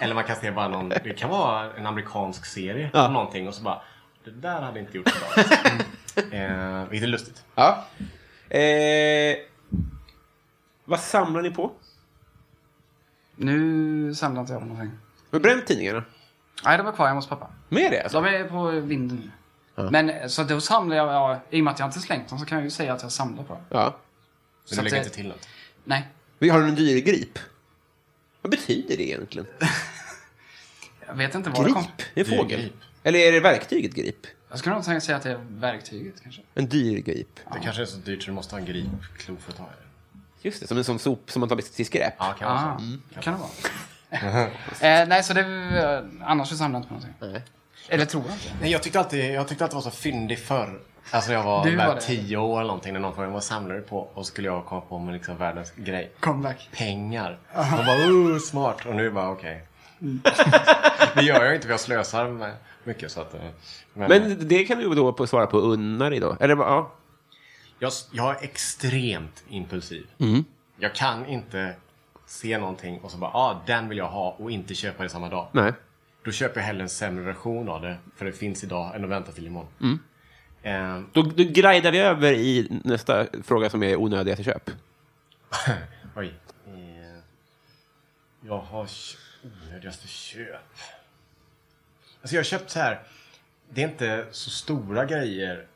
S4: Eller man kan se bara någon. Det kan vara en amerikansk serie. Om någonting och så bara. Det där hade inte gjort så bra. eh, vilket är lustigt.
S2: Ja. Eh, vad samlar ni på?
S3: Nu samlar inte jag på någonting.
S2: Har du bränt tidningarna?
S3: Nej, det var kvar hemma hos pappa.
S2: Med det alltså?
S3: De är på vinden nu. Men så då samlar jag, ja, i och med att jag inte slängt dem så kan jag ju säga att jag samlar på dem.
S2: Ja.
S4: Så
S3: Så
S4: du
S3: att
S4: lägger
S3: det-
S4: inte till något.
S3: Nej.
S2: Vi har en dyr grip. Vad betyder det egentligen?
S3: Jag vet inte var det kom.
S2: Grip? Det är en fågel.
S4: Dyrgrip.
S2: Eller är det verktyget grip?
S3: Jag skulle nog tänka säga att det är verktyget kanske.
S2: En dyr grip.
S4: Det kanske är så dyrt så du måste ha en gripklo för att ta i det.
S2: Just det, som en sån sop som man tar med till skräp.
S4: Ja, kan vara
S3: Ah,
S4: så.
S3: kan det vara. eh, nej, så det... eh, Annars så samlar jag inte på någonting.
S2: Nej.
S3: Eller tror jag inte.
S4: Nej, jag tyckte alltid jag tyckte alltid det var så fyndig förr. Alltså när jag var,
S3: Du var
S4: var
S3: det.
S4: tio år eller någonting. När någon frågade vad samlar du på? Och så skulle jag komma på med liksom världens grej.
S3: Comeback.
S4: pengar. Och bara, oh, smart. Och nu bara, okej.
S3: Mm.
S4: <laughs> det gör jag inte för jag slösar med mycket. Så att, eh, men
S2: Men det kan du då på- svara på unnar idag. Eller vad- ja.
S4: jag, jag är extremt impulsiv. Jag kan inte se någonting och så bara, ah, den vill jag ha och inte köpa det samma dag.
S2: Nej.
S4: Då köper jag hellre en sämre version av det, för det finns idag, än att vänta till imorgon. Eh,
S2: Då, då glidar vi över i nästa fråga som är onödiga till köp.
S4: Oj. Eh, Jag har... kö- Onödigaste köp. Alltså jag har köpt så här. Det är inte så stora grejer.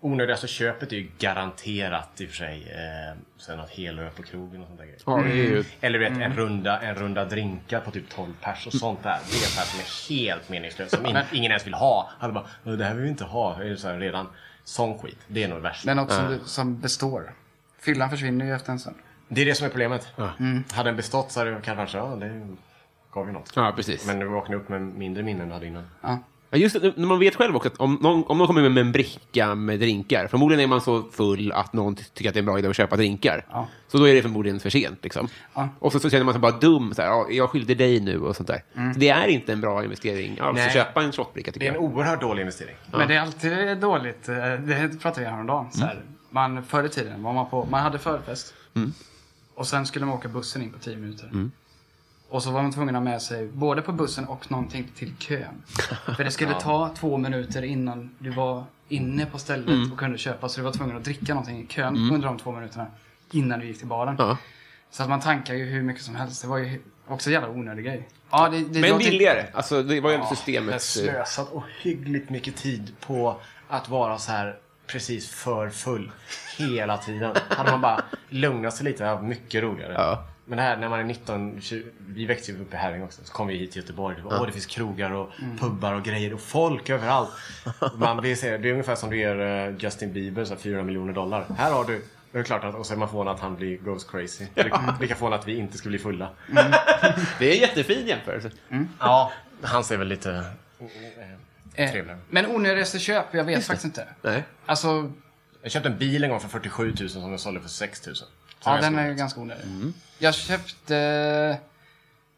S4: Onödigaste köpet är ju garanterat i och för sig. Eh, sen något helöl på krogen och sånt där grejer.
S2: Ja, det är ju...
S4: Eller du vet, en, runda, en runda drinkar på typ 12 pers och sånt där. Det är så här som är helt meningslöst. Som in, ingen ens vill ha. Alla bara, "Åh, det här vill vi inte ha. Det är så här redan. Sån skit. Det är nog det värsta.
S3: Det är något som, du, som består. Fyllan försvinner ju efter en stund.
S4: Det är det som är problemet. Hade den bestått så hade jag kanske, ja det gav ju något.
S2: Ja, precis.
S4: Men du vaknade upp med mindre minnen än du hade innan.
S3: Ja.
S2: Ja, just det, när man vet själv också att om någon, om någon kommer med en bricka med drinkar, förmodligen är man så full att någon ty- tycker att det är en bra idé att köpa drinkar.
S3: Ja.
S2: Så då är det förmodligen för sent. Liksom.
S3: Ja.
S2: Och så, så känner man sig bara dum, så här, ja, jag skyllde dig nu och sånt där. Så det är inte en bra investering alls
S4: Nej.
S2: att köpa en shotbricka
S4: Det är
S2: tycker
S4: en
S2: jag.
S4: oerhört dålig investering.
S3: Men det är alltid dåligt. eh, Det pratade vi häromdagen. Så
S2: Mm.
S3: här, man, förr i tiden var man på, man hade förfest. Och sen skulle man åka bussen in på 10 minuter.
S2: Mm.
S3: Och så var man tvungen att ha med sig både på bussen och någonting till
S2: <laughs>
S3: kön. För det skulle ta två minuter innan du var inne på stället
S2: Mm.
S3: och kunde köpa. Så du var tvungen att dricka någonting i kön under de två minuterna innan du gick till baren.
S2: Ja.
S3: Så att man tankar ju hur mycket som helst. Det var ju också en jävla onödig grej. Ja, det, det
S2: Men
S3: låter-
S2: billigare. Alltså, det var ju ändå
S4: Jag har
S2: systemet. eh,
S4: slösat ohyggligt mycket tid på att vara så här precis för full hela tiden. Hade man bara lugnat sig lite hade det varit mycket roligare.
S2: Ja.
S4: Men det här när man är 19, 20, vi växte ju upp i Herräng också, så kom vi hit till Göteborg. Det, var, Åh, det finns krogar och pubbar och grejer och folk överallt. Man blir, så här- det är ungefär som du ger eh, Justin Bieber så här, 4 miljoner dollar. Här har du. Det är klart att, och så är man förvånad att han blir goes crazy. Lika förvånad att vi inte skulle bli fulla.
S2: Det är en jättefin jämförelse.
S4: Ja, han ser väl lite...
S3: eh,
S4: Trevligare.
S3: Men onödigaste köp, jag vet faktiskt inte.
S2: Nej.
S3: Alltså,
S4: Jag köpte en bil en gång för 47 000 som jag sålde för 6 000. Så
S3: Ja,
S4: jag
S3: den
S4: såg- Mm.
S3: är ju ganska onödig. Jag köpte,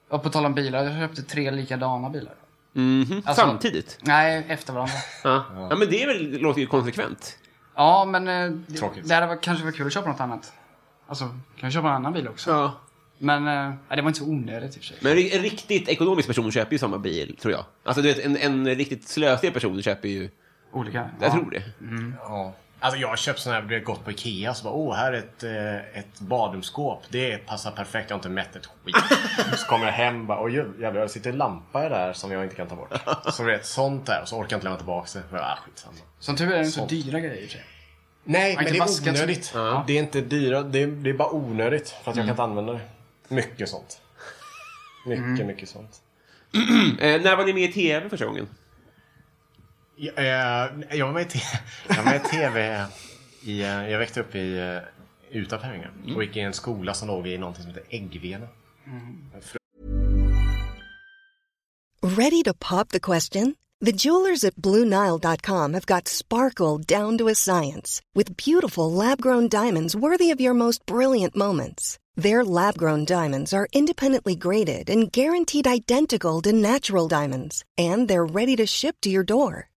S3: och på tal om bilar, jag köpte tre likadana bilar.
S2: Mhm.
S3: Alltså-
S2: Samtidigt.
S3: Nej, efter varandra.
S2: Ja. Ja. men det är väl, det låter ju konsekvent.
S3: ja, men eh, det-
S4: Tråkigt.
S3: det hade varit- kanske var kul att köpa något annat. Alltså, kan jag köpa en annan bil också?
S2: Ja.
S3: Men eh, ja, det var inte så onödigt i och för sig.
S2: Men en riktigt ekonomisk person köper ju samma bil, tror jag. Alltså, du vet, en, en riktigt slösig person köper ju...
S3: Olika.
S2: Jag
S3: ja.
S2: tror det.
S4: Ja. Alltså jag har köpt sådana här, du vet, gått på Ikea och så bara, åh, här är ett, eh, ett badrumsskåp. Det passar perfekt, jag har inte mätt ett skit. <laughs> så kommer jag hem och bara, oj jävlar, det sitter en lampa där som jag inte kan ta bort. Så du vet, sånt där. Och så orkar jag inte lämna tillbaka det. För, ah, skitsamma.
S3: Som tur är det inte så
S4: Sånt.
S3: dyra grejer i och för sig.
S4: Nej,
S3: Man
S4: men
S3: kan
S4: det
S3: vaska
S4: är
S3: en-
S4: onödigt.
S3: Ja. Mm.
S4: Det är inte dyra, det är, det är bara onödigt. För att jag kan inte använda det. Mycket sånt. Mycket,
S3: Mm.
S4: mycket sånt.
S2: Eh, när var ni med i tv första gången?
S4: Ja, eh, Jag var med i te- <laughs> jag var med i tv. I, eh, jag växte upp i, eh, utanför Herrängen och gick i en skola som låg i någonting som heter Äggvena.
S5: Ready to pop the question? The jewelers at BlueNile.com have got sparkle down to a science with beautiful lab grown diamonds worthy of your most brilliant moments. Their lab grown diamonds are independently graded and guaranteed identical to natural diamonds, and they're ready to ship to your door.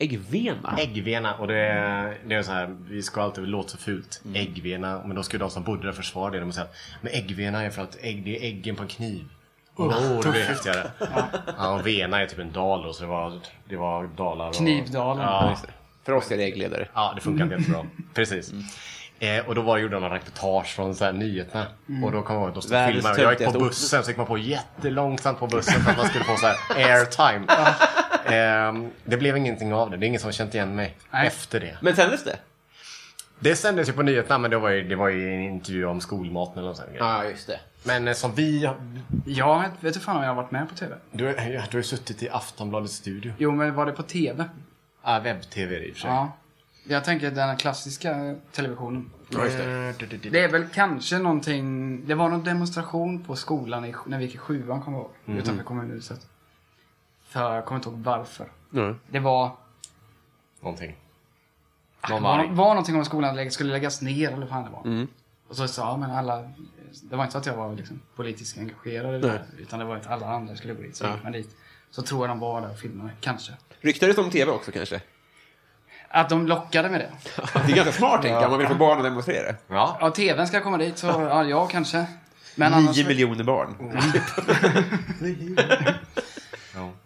S2: Äggvena?
S4: Äggvena och det är, det är så här, vi ska alltid låta så fult. Äggvena, men då skulle de som bodde där försvara det. De säger att men äggvena är för att ägg, det är äggen på en kniv. Åh, det blir häftigare. ja, och vena är typ en dal då, så det var, det var dalar. Och,
S3: Knivdalen.
S4: Ja,
S2: För oss är det äggledare.
S4: Ja, det funkar inte
S2: Mm.
S4: jättebra. Precis. Eh, och då var, gjorde de en reportage från så här, nyheterna. Och då kom jag ihåg att de stod och
S2: Mm. Världens
S4: filmade. Jag gick på
S2: töntigaste ord.
S4: bussen, så gick man på jättelångsamt på bussen för att man skulle få
S2: <laughs>
S4: så här airtime. Ehm, det blev ingenting av det. Det är ingen som känt igen mig
S3: Nej.
S4: efter det.
S2: Men sändes det?
S4: Det sändes ju på nyheterna, men det var ju, det var ju en intervju om skolmaten eller något sånt.
S2: Ja, just det.
S4: Men eh, som vi...
S3: Jag vet, vet du fan om jag har varit med på TV?
S4: Du, har- du har ju suttit i Aftonbladets studio.
S3: Jo, men var det på TV?
S4: Ja, webb-tv i och för sig.
S3: Ja. Jag tänker den här klassiska televisionen. Eh,
S2: Ja, just det.
S3: Det är väl kanske någonting... Det var någon demonstration på skolan i, när vi gick i sjuan, kommer jag ihåg.
S2: Mhm.
S3: Utanför kommunhuset. För jag kommer inte ihåg varför.
S2: Nej.
S3: Det var...
S4: Någonting.
S3: Det
S4: Någon var
S3: var,
S4: arg.
S3: var någonting om skolan lä- skulle läggas ner eller vad fan det var.
S2: Mm.
S3: Och så sa jag, men alla... Det var inte så att jag var liksom politiskt engagerad eller
S2: Nej.
S3: det, utan det var att alla andra skulle gå dit. Så gick man dit. Så tror jag de var där och filmade, kanske.
S2: Ryktades om tv också kanske?
S3: Att de lockade med det.
S2: Det är ganska smart tänker jag, om man vill få barn att demonstrera.
S4: Ja.
S3: Ja, tvn ska komma <laughs> dit, så ja, jag kanske. Men annars...
S2: Nio miljoner barn.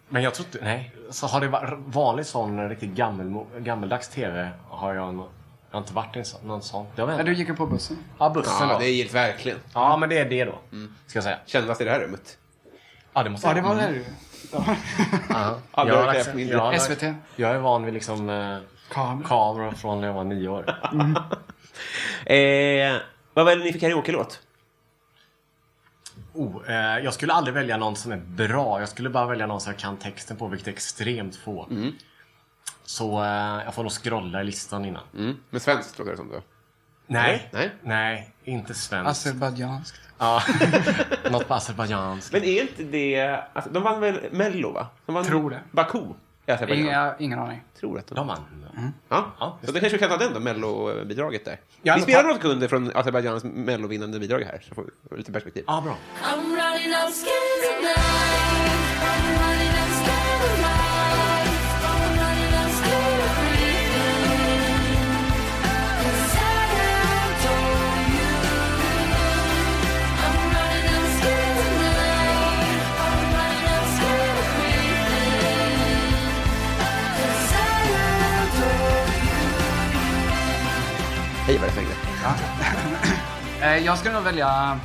S4: Men jag tror inte... Nej. Så har det varit vanlig sån riktigt gammel, gammeldags tv har jag, nog- jag har inte varit i en sån- någon sån. Det har
S3: Ja,
S4: väl...
S3: du gick ju på bussen.
S4: Ja, bussen
S2: Ja,
S4: då.
S2: det gills verkligen.
S4: Ja, men det är det då. Ska jag säga.
S2: Kändast i det här rummet.
S4: Mm. Ja, det måste
S3: Ja, det var det du. Ja.
S4: Ja.
S2: Ja,
S4: Jag,
S2: det var
S4: har
S2: det.
S4: accept- jag, har-
S3: SVT.
S4: jag är van vid liksom eh,
S3: Kameror.
S4: kameror från när jag var nio år.
S2: Eh, vad väljer ni för karaoke-låt?
S4: <laughs> Oh, eh, jag skulle aldrig välja någon som är bra. Jag skulle bara välja någon som jag kan texten på, vilket är extremt få.
S2: Mm.
S4: Så eh, jag får nog scrolla i listan innan.
S2: Mm. Med svenskt låter det som då.
S4: Nej,
S2: Nej.
S4: nej, inte svenskt.
S3: Azerbajdzjanskt.
S4: Ja. <laughs> Något på azerbajdzjanskt.
S2: Men är inte det... Alltså, de vann väl Mello, va? De vann
S3: Tror det.
S2: Baku. i Azerbajdzjan.
S3: Inga, ingen aning.
S2: Tror att de...
S4: De vann.
S2: Ja.
S4: Ja,
S2: så då kanske vi kan ta den då, Mello-bidraget där.
S4: Ja,
S2: vi
S4: men
S2: spelar
S4: ta-
S2: några sekunder från Azerbajdzjans Mello-vinnande bidrag här, så får vi får lite perspektiv.
S4: Ja, bra.
S6: I'm running up scared tonight. I'm running up scared of life. I'm running up scared of breathing. 'Cause I adore you. I'm running up scared tonight. I'm running up scared of breathing. 'Cause I adore you.
S2: Hej, vad det svängde.
S3: Eh, jag skulle nog välja...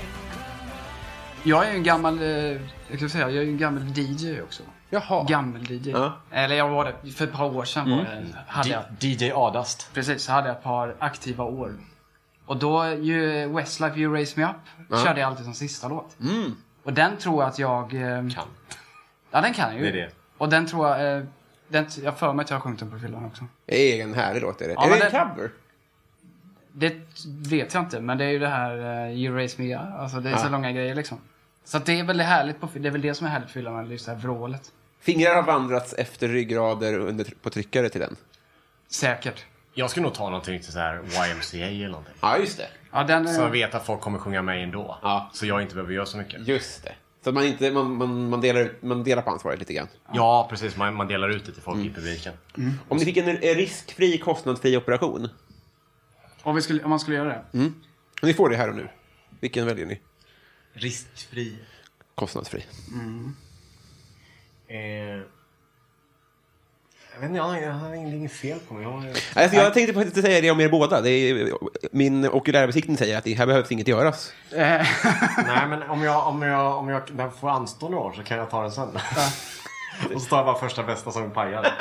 S3: Jag är ju en gammal... eh, Jag skulle säga, jag är ju en gammal DJ också.
S2: Jaha.
S3: Gammel-DJ.
S2: Ja.
S3: Eller jag var det. För ett par år sedan var det, hade jag.
S4: Mm. D- DJ Adast.
S3: Precis, så hade jag ett par aktiva år. Och då, ju Westlife You Raise Me Up, körde jag alltid som sista låt. Och den tror jag att jag... eh,
S4: Mm. Kan.
S3: Ja, den kan jag ju.
S4: Det är det.
S3: Och den tror jag... eh, Den, t- jag har för mig att jag har sjungit den på fyllan också.
S2: Det är en härlig låt, är det.
S3: Ja,
S2: är
S3: men
S2: det en
S3: det-
S2: cover?
S3: Det vet jag inte, men det är ju det här eh, You Raise Me Up. Alltså det är så långa grejer liksom. Så att det är väl det, härligt på, fy- det är väl det som är härligt på fyllan, eller just det här vrålet.
S2: Fingrar har vandrats efter ryggrader under, på tryckare till den.
S3: Säkert.
S4: Jag skulle nog ta någonting riktigt så här YMCA eller någonting.
S2: Ja, just det.
S3: Ja, den... eh,
S4: Så jag vet att folk kommer sjunga mig ändå.
S2: Ja.
S4: Så jag inte behöver göra så mycket.
S2: Just det. Så att man, inte, man, man, man, delar, ut- man delar på ansvaret lite grann.
S4: Ja, precis. Man, man delar ut det till folk i publiken.
S2: Om ni fick en en riskfri, kostnadsfri operation.
S3: Om, vi skulle, om man skulle göra det.
S2: Ni får det här och nu. Vilken väljer ni?
S4: Riskfri.
S2: Kostnadsfri.
S4: Eh, jag vet inte, jag har, jag har inget fel på mig. Jag har,
S2: Alltså, jag tänkte på att säga det om er båda. Det är, min okulärbesiktning säger att det här behövs inget göras.
S3: Eh,
S4: nej, men om jag, om, jag, om jag den får anstå några år så kan jag ta den sen. <laughs> Och så tar jag bara första bästa som pajar.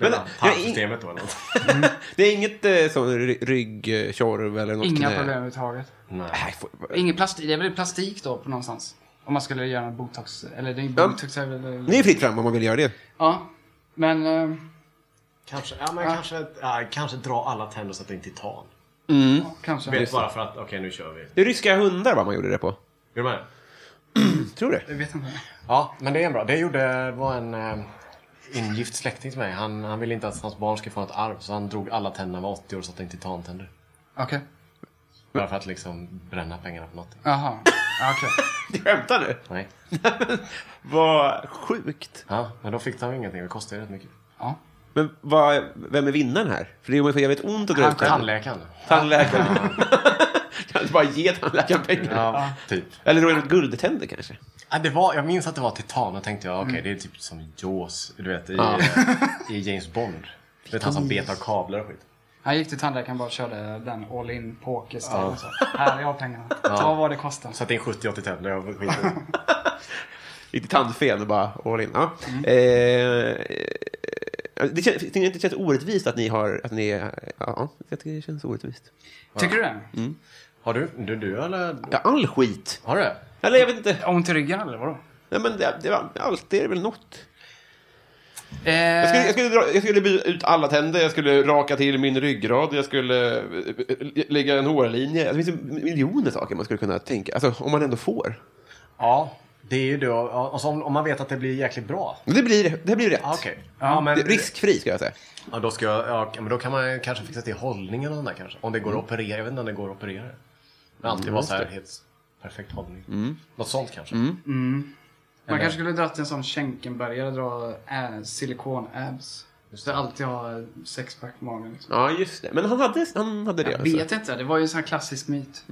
S2: Men-
S4: Men, tarmsystemet då eller något.
S2: Det är inget eh, sån ry- ryggtjorv eller
S3: <laughs>
S2: något
S3: inga
S2: knä.
S3: problem överhuvudtaget.
S4: Nej.
S2: Nej, får-
S3: Ingen plastik, det är väl plastik då på någonstans? Om man skulle göra en botox, eller det är
S2: Ja.
S3: botox är väl...
S2: Det är fritt fram om man vill göra det.
S3: Ja, men... eh,
S4: Kanske, ja, men kanske, ja, kanske dra alla tänder så att det inte är titan.
S3: ja, kanske.
S4: Vet bara för att, okej nu kör vi. Är
S2: Det är ryska hundar vad man gjorde det på.
S4: du med?
S2: Tror det.
S3: Jag vet inte.
S4: Ja, men det är en bra. Det gjorde, det var en eh, ingift släkting till mig. Han, han ville inte att hans barn skulle få något arv så han drog alla tänderna med 80 år så att det inte är titantänder.
S3: Okej.
S4: Bara för att liksom bränna pengarna på någonting.
S3: Jaha. Ja, Okej.
S2: <laughs> Du <laughs> skämtar nu?
S4: Nej.
S2: Vad sjukt.
S4: Ja, men då fick de ingenting. Det kostade ju rätt mycket.
S3: Ja.
S2: Men vad, vem är vinnaren här? För det gör mig så jävligt ont att dra ut tänder.
S4: Tandläkaren.
S2: Tandläkaren. <laughs> kan du bara ge tandläkaren pengar?
S4: Ja, typ.
S2: Eller då är det något guldtänder kanske?
S4: Ja, det var, jag minns att det var titan. Då tänkte jag, okej det är typ som Jaws, du vet, i, eh, i James Bond. Du vet han som betar kablar och skit.
S3: Han gick till tandläkaren och bara körde den all in poker style och så. Här, jag har pengarna. Ta vad det kostar.
S4: Så att det är 70-80 tänder. Jag skiter i det.
S2: Lite tandfen och bara all in. Ja. Eh, eh, det, känns, jag tycker inte det känns orättvist att ni har... Att ni, ja, jag tycker det känns orättvist.
S3: Tycker du det?
S2: Mm.
S4: Har du, du, du eller?
S2: Ja, all skit.
S4: Har du det?
S2: Eller jag vet inte.
S3: Ont i ryggen eller vadå?
S2: Nej, men det, det, var- alltid är det väl något.
S3: Eh,
S2: Jag skulle, jag, skulle dra, jag skulle byta ut alla tänder, jag skulle raka till min ryggrad, jag skulle eh, eh, lägga en hårlinje. Alltså, det finns ju miljoner saker man skulle kunna tänka, alltså, om man ändå får.
S4: Ja, det är ju då... ja, Och så om, om man vet att det blir jäkligt bra.
S2: Men Det blir, det blir rätt.
S4: Ja, Ah, Okej. Ja, men...
S2: Det- Riskfri, ska jag säga.
S4: Ja, då, ska jag, ja, men då kan man kanske fixa till hållningen och den där kanske. Om det går att operera. Jag vet inte om det går att operera. Men alltid vara så här helt perfekt hållning. Något sånt kanske.
S3: man kanske skulle dra till en sån Schenkenbergare och dra äh, silikon-abs. Så alltid ha sexpack i magen. Liksom.
S2: Ja, just det. Men han hade, han hade det.
S3: Jag
S2: alltså.
S3: vet inte, det var ju en sån här klassisk myt.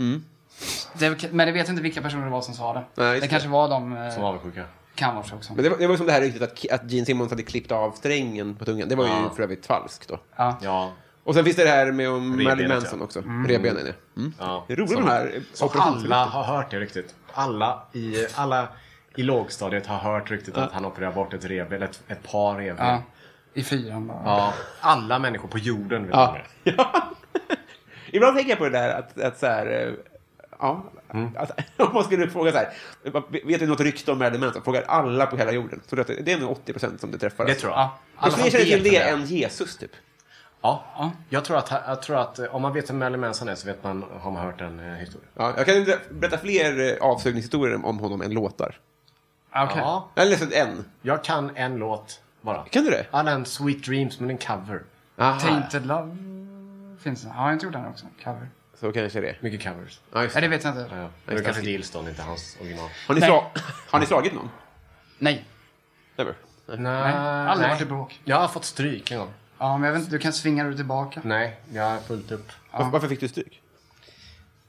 S3: Det, men jag vet inte vilka personer det var som sa det.
S2: Nej, just
S3: det
S2: det.
S3: kanske var de... eh,
S4: Som avundsjuka.
S3: Kan vara så också.
S2: Men det var, det var som det här ryktet att, att Gene Simmons hade klippt av strängen på tungan. Det var ju
S4: Ja.
S2: för övrigt falskt då.
S3: Ja.
S4: Ja.
S2: Och sen finns det det här med om
S4: Revbenet,
S2: Marilyn
S4: ja.
S2: Manson också. Revbenen, ja. Mm.
S4: ja.
S2: Det är roligt
S4: Som-
S2: med de här
S4: Som
S2: operationsrykten.
S4: alla har hört det ryktet. Alla i, alla i lågstadiet har hört ryktet att han opererar bort ett revben, eller ett, ett par revben.
S3: ja.
S4: Ja.
S3: I fyran bara.
S4: Alla människor på jorden
S2: <laughs>
S4: vet
S2: Ja.
S4: det.
S2: Ibland tänker jag på det där att, att så här... eh, Ja,
S4: Mm.
S2: att, <laughs> om man skulle fråga så här, vet du något rykte om Marilyn Manson? Frågar alla på hela jorden. Så det, det är nog 80 procent som det träffar.
S4: Det tror jag.
S3: Ja.
S2: Alla
S4: som
S2: fler känner till
S4: vet
S2: det än Jesus, typ.
S4: Ja. Jag, tror att, jag tror att eh, om man vet vem Marilyn Manson är så vet man, har man hört den eh, historien.
S2: Ja, jag kan inte berätta fler eh, avsugningshistorier om- om honom än låtar.
S3: Ah, Okej.
S4: Ja.
S2: Eller nästan en.
S4: Jag kan en låt bara.
S2: Kan du det?
S4: Ja, den Sweet Dreams, men en cover.
S2: Aha,
S3: Tainted Love finns det. Har jag inte gjort den också? Cover.
S2: så kanske det är.
S4: Mycket covers.
S2: Ja, just
S3: Nej, det
S2: det.
S3: vet jag inte.
S4: Ja, ja. Det är kanske Gilston, inte hans original.
S2: Har, ni
S3: Nej.
S2: sla- har ni slagit någon?
S3: Nej.
S2: Never.
S4: Nej,
S3: aldrig varit i bråk.
S4: Jag har fått stryk en gång.
S3: Ja, men jag vet inte. Du kan svinga dig tillbaka.
S4: Nej, jag har fullt upp.
S2: Varför, varför fick du stryk?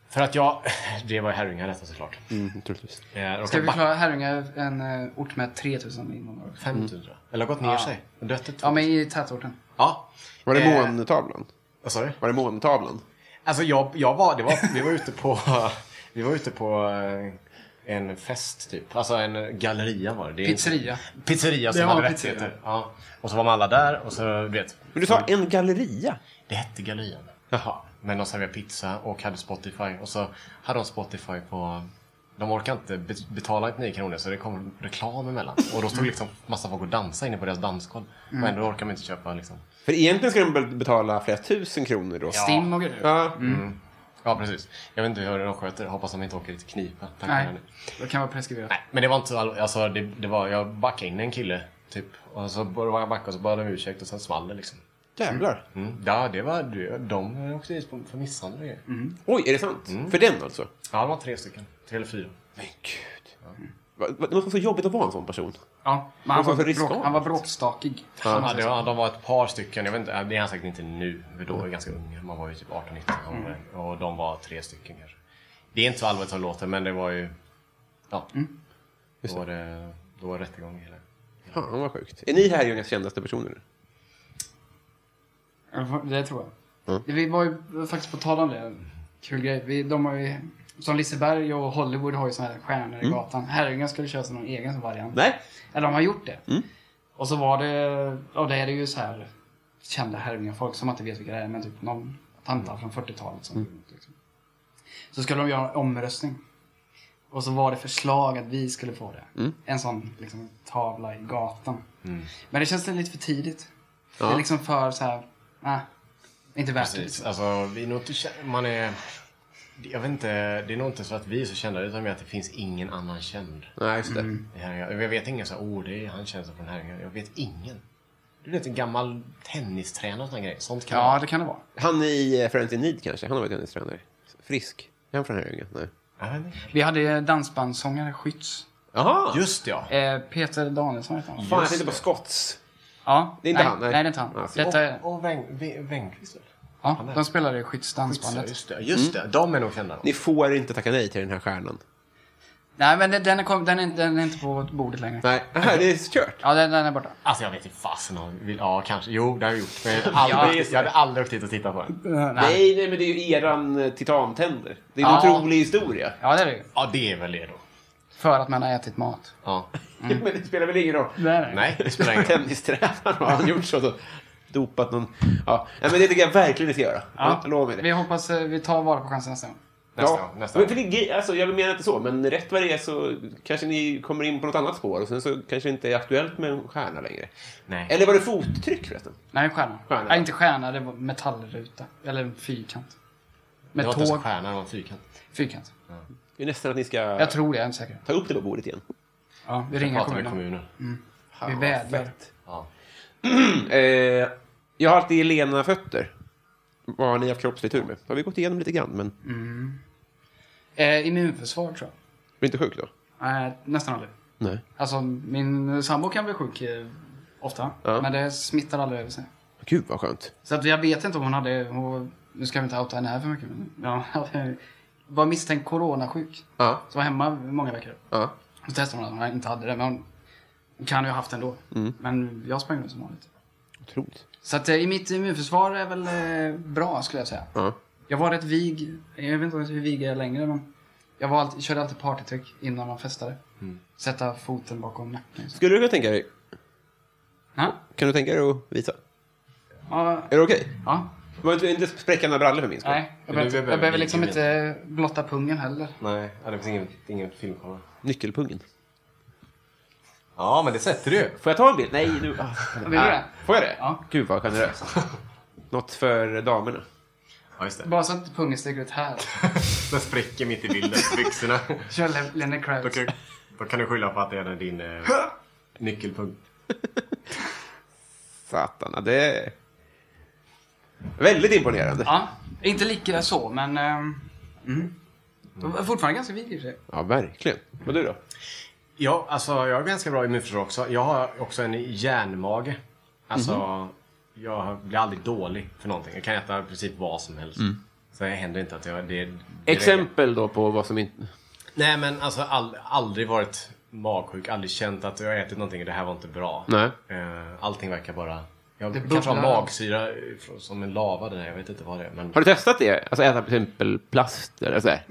S4: För att jag... <laughs> Det var ju Herrljungarätten såklart. Eh,
S2: Mm, troligtvis.
S4: Jag
S3: Ska
S4: råkade
S3: vi
S4: backa
S3: klara Herrljunga, är en eh, ort med 3000 invånare?
S4: 5000 tror jag. Eller har gått ner sig. Dött till
S3: Ja, men
S4: 2000.
S3: i tätorten.
S4: Ja.
S2: Var det
S4: Eh.
S2: måntavlan?
S4: Vad sa du?
S2: Var det måntavlan?
S4: Alltså jag, jag var, det var, vi var ute på, <laughs> vi var ute på eh, en fest typ. Alltså en galleria var det. det. är
S3: Pizzeria.
S4: Inte, pizzeria som
S3: Det var
S4: hade
S3: en pizzeria.
S4: rättigheter. Ja. Och så var man alla där och så, du vet.
S2: Men du sa en galleria?
S4: Det hette gallerian. Jaha. Men de serverade pizza och hade Spotify. Och så hade de Spotify på... De orkade inte be- betala 9 kronor så det kom reklam emellan. Och då stod liksom massa folk och dansade inne på deras dansgolv. Och ändå orkar man inte köpa liksom...
S2: För egentligen ska de be- betala flera tusen kronor då.
S3: Stim och grejer.
S2: Ja.
S4: Ja, precis. Jag vet inte hur de sköter det. Hoppas de inte åker dit i knipa. Tack
S3: Nej,
S4: för det.
S3: det kan vara preskriberat.
S4: Nej, men det var inte all... Alltså, det, det var... Jag backade in en kille, typ. Och så började jag backa och så bad de om ursäkt och sen small det liksom.
S2: Jävlar.
S4: Mm. Ja, det var... det- De åkte dit på- för misshandel och grejer.
S2: Oj, är det sant? För den alltså?
S4: Ja, det var tre stycken. Tre eller fyra.
S2: Men gud. Va- va- Det måste vara så jobbigt att vara en sån person.
S3: Ja, men han
S2: Och så
S3: var,
S2: för riskabelt.
S3: bråk, han var bråkstakig.
S4: Ja, det var, de var ett par stycken. Jag vet inte, det är han säkert inte nu. För då var jag ganska ung. Man var ju typ 18-19 år. Och de var tre stycken kanske. Det är inte så allvarligt som det låter, men det var ju... Ja. Då var det, då var det rättegång hela.
S2: Fan, vad sjukt. Är ni Herrljungas kändaste personer?
S3: Ja, Det tror jag. Vi var ju faktiskt på tal om det. Kul grej. Vi, de har ju, som Liseberg och Hollywood har ju såna här stjärnor i gatan. Herrljunga skulle köra någon egen som variant.
S2: Nej.
S3: Eller de har gjort det. Och så var det, och det är det ju så här kända Herrljunga-folk som man inte vet vilka det är, men typ någon tanta från 40-talet som liksom. Så skulle de göra en omröstning. Och så var det förslag att vi skulle få det.
S2: Mm.
S3: En sån liksom, tavla i gatan.
S4: Mm.
S3: Men det känns lite för tidigt. Det är liksom för så här, nej, inte värt det.
S4: Precis.
S3: Liksom.
S4: Alltså, vi är nog inte, kä- man är... Jag vet inte, det är nog inte så att vi är så kända, utan mer att det finns ingen annan känd.
S2: Nej, just det.
S4: i Herrljunga. Jag vet ingen så här, åh, det är han känd från Herrljunga. Jag vet ingen. Du vet, en gammal tennistränare och sån här grej. Sånt kan
S3: Ja,
S4: vara.
S3: det kan det vara.
S2: Han i eh, Friends in Need kanske? Han har varit tennistränare. Frisk. Är han från Herrljunga? Nej.
S4: Jag vet inte.
S3: Vi hade ju dansbandssångare Skytts.
S2: Jaha!
S4: Just det, ja.
S3: Eh, Peter Danielsson hette han.
S2: Fan, jag tänkte på Scotts.
S3: Ja,
S2: Det är inte
S3: nej,
S2: han, nej.
S3: Nej, det är inte han.
S2: Alltså,
S3: Detta är,
S4: Och, och Weng- Ve- Wengqvist väl?
S3: ja, de spelade i Skyddsdansbandet.
S4: Just det, just det. De är nog kända.
S2: Ni får inte tacka nej till den här stjärnan.
S3: Nej, men den- den är, kom, den, är, den är inte på bordet längre.
S2: Nej, Aha, det är kört.
S3: Ja, den, den är borta.
S4: Alltså jag vet inte fasen om... vill- Ja, kanske. Jo, det har jag gjort. Men jag, hade aldrig, jag hade aldrig åkt dit och tittat på den.
S2: Nej, nej, men det är ju eran eh, titantänder. Det är en
S3: Ja.
S2: otrolig historia.
S3: Ja, det är det ju.
S4: Ja, det är väl det då.
S3: För att man har ätit mat.
S4: Ja.
S2: <laughs> men det spelar väl ingen roll.
S3: Nej,
S4: Nej, det spelar ingen roll.
S2: Tennistränaren, har han gjort så? Då? Dopat någon... Ja. Nej, men det tycker jag verkligen ni ska göra. Ja. Lova mig det.
S3: Vi hoppas eh, vi tar vara på chansen nästa gång.
S4: Nästa
S2: <laughs> ja.
S4: gång. Nästa
S2: men
S4: gång.
S2: för det, är grej- alltså, jag menar inte så, men rätt vad det är så kanske ni kommer in på något annat spår och sen så kanske det inte är aktuellt med en stjärna längre.
S4: Nej.
S2: Eller var det fottryck förresten?
S3: Nej, stjärna.
S2: Stjärna.
S3: Nej, inte stjärna. Det var metallruta. Eller en fyrkant.
S4: det
S3: Med
S4: var inte ens en
S3: tåg.
S4: stjärna, det var en fyrkant.
S3: Fyrkant.
S2: Det är nästan att ni ska
S3: Jag tror det, jag är inte säker.
S2: ta upp det på bordet igen.
S3: Ja, vi
S4: Jag
S3: ringer
S4: pratar med
S3: kommunen.
S4: kommunen.
S3: Vi
S2: Fan,
S3: vädjar.
S2: fett.
S4: Ja.
S2: <clears throat> Eh, jag har alltid lena fötter. Vad har ni haft kroppslig tur med? Har vi gått igenom lite grann, men
S3: Eh, immunförsvar tror jag.
S2: blir inte sjuk då?
S3: Nej, nästan aldrig.
S2: Nej.
S3: Alltså, min sambo kan bli sjuk eh, ofta.
S2: Ja.
S3: Men det smittar aldrig över sig.
S2: Gud, vad skönt.
S3: Så att jag vet inte om hon hade... Hon, nu ska vi inte outa henne här för mycket. Men, ja, <laughs> hon hade- var misstänkt coronasjuk.
S2: Ja,
S3: Så var hemma många veckor.
S2: ja.
S3: Så testade hon att hon inte hade det. Men hon, hon kan ju ha haft det ändå.
S2: Mm.
S3: Men jag sprang runt som vanligt.
S2: Otroligt.
S3: Så att eh, i mitt immunförsvar är väl eh, bra skulle jag säga.
S2: Ja.
S3: Jag var rätt vig. Jag vet inte hur vig jag är längre men. Jag var alltid, körde alltid partytrick innan man festade.
S4: Mm.
S3: Sätta foten bakom nacken. liksom. Så.
S2: Skulle du kunna tänka dig,
S3: Ja,
S2: kan du tänka dig att visa?
S3: ja,
S2: Är det okej?
S3: ja.
S2: Var inte, inte spräcka några brallor för min skull.
S3: Nej, jag
S4: Men
S3: behöver,
S4: du
S3: jag
S4: behöver
S3: behöver
S4: ingen
S3: liksom
S4: bild.
S3: inte blotta pungen heller.
S4: Nej, ja, det finns ingen, ingen filmkamera.
S2: Nyckelpungen.
S4: Ja, men det sätter du ju.
S2: Får jag ta en bild? Nej, nu... ah.
S3: Vill du det?
S2: Får jag det?
S3: Ja.
S2: Gud, vad <laughs> generöst. Något för damerna.
S4: Ja, just det.
S3: Bara så att pungen sticker ut här.
S4: Den spricker mitt i <laughs> bilden, byxorna.
S3: Kör Le- Lenny
S4: Då
S3: Kravitz.
S4: kan, då kan du skylla på att det är din eh, nyckelpunkt.
S2: Satan, ja, det är... Väldigt imponerande.
S3: Ja, inte lika så men... ehm, mm. De är Fortfarande ganska vig i och för sig.
S2: Ja, verkligen. Vad du då?
S4: Ja, alltså jag är ganska bra immunförsvar också. Jag har också en järnmage. Alltså, jag blir aldrig dålig för någonting. Jag kan äta i princip vad som helst. Så det händer inte att jag... Det, det
S2: Exempel då på vad som inte...
S4: Nej, men alltså all, aldrig varit magsjuk. Aldrig känt att jag har ätit någonting och det här var inte bra.
S2: Nej.
S4: Eh, Allting verkar bara... Jag
S3: Det
S4: kanske har
S3: bubblar.
S4: magsyra från- som en lava där. Jag vet inte vad det är. Men...
S2: Har du testat det? Alltså äta till exempel alltså, plast eller sådär?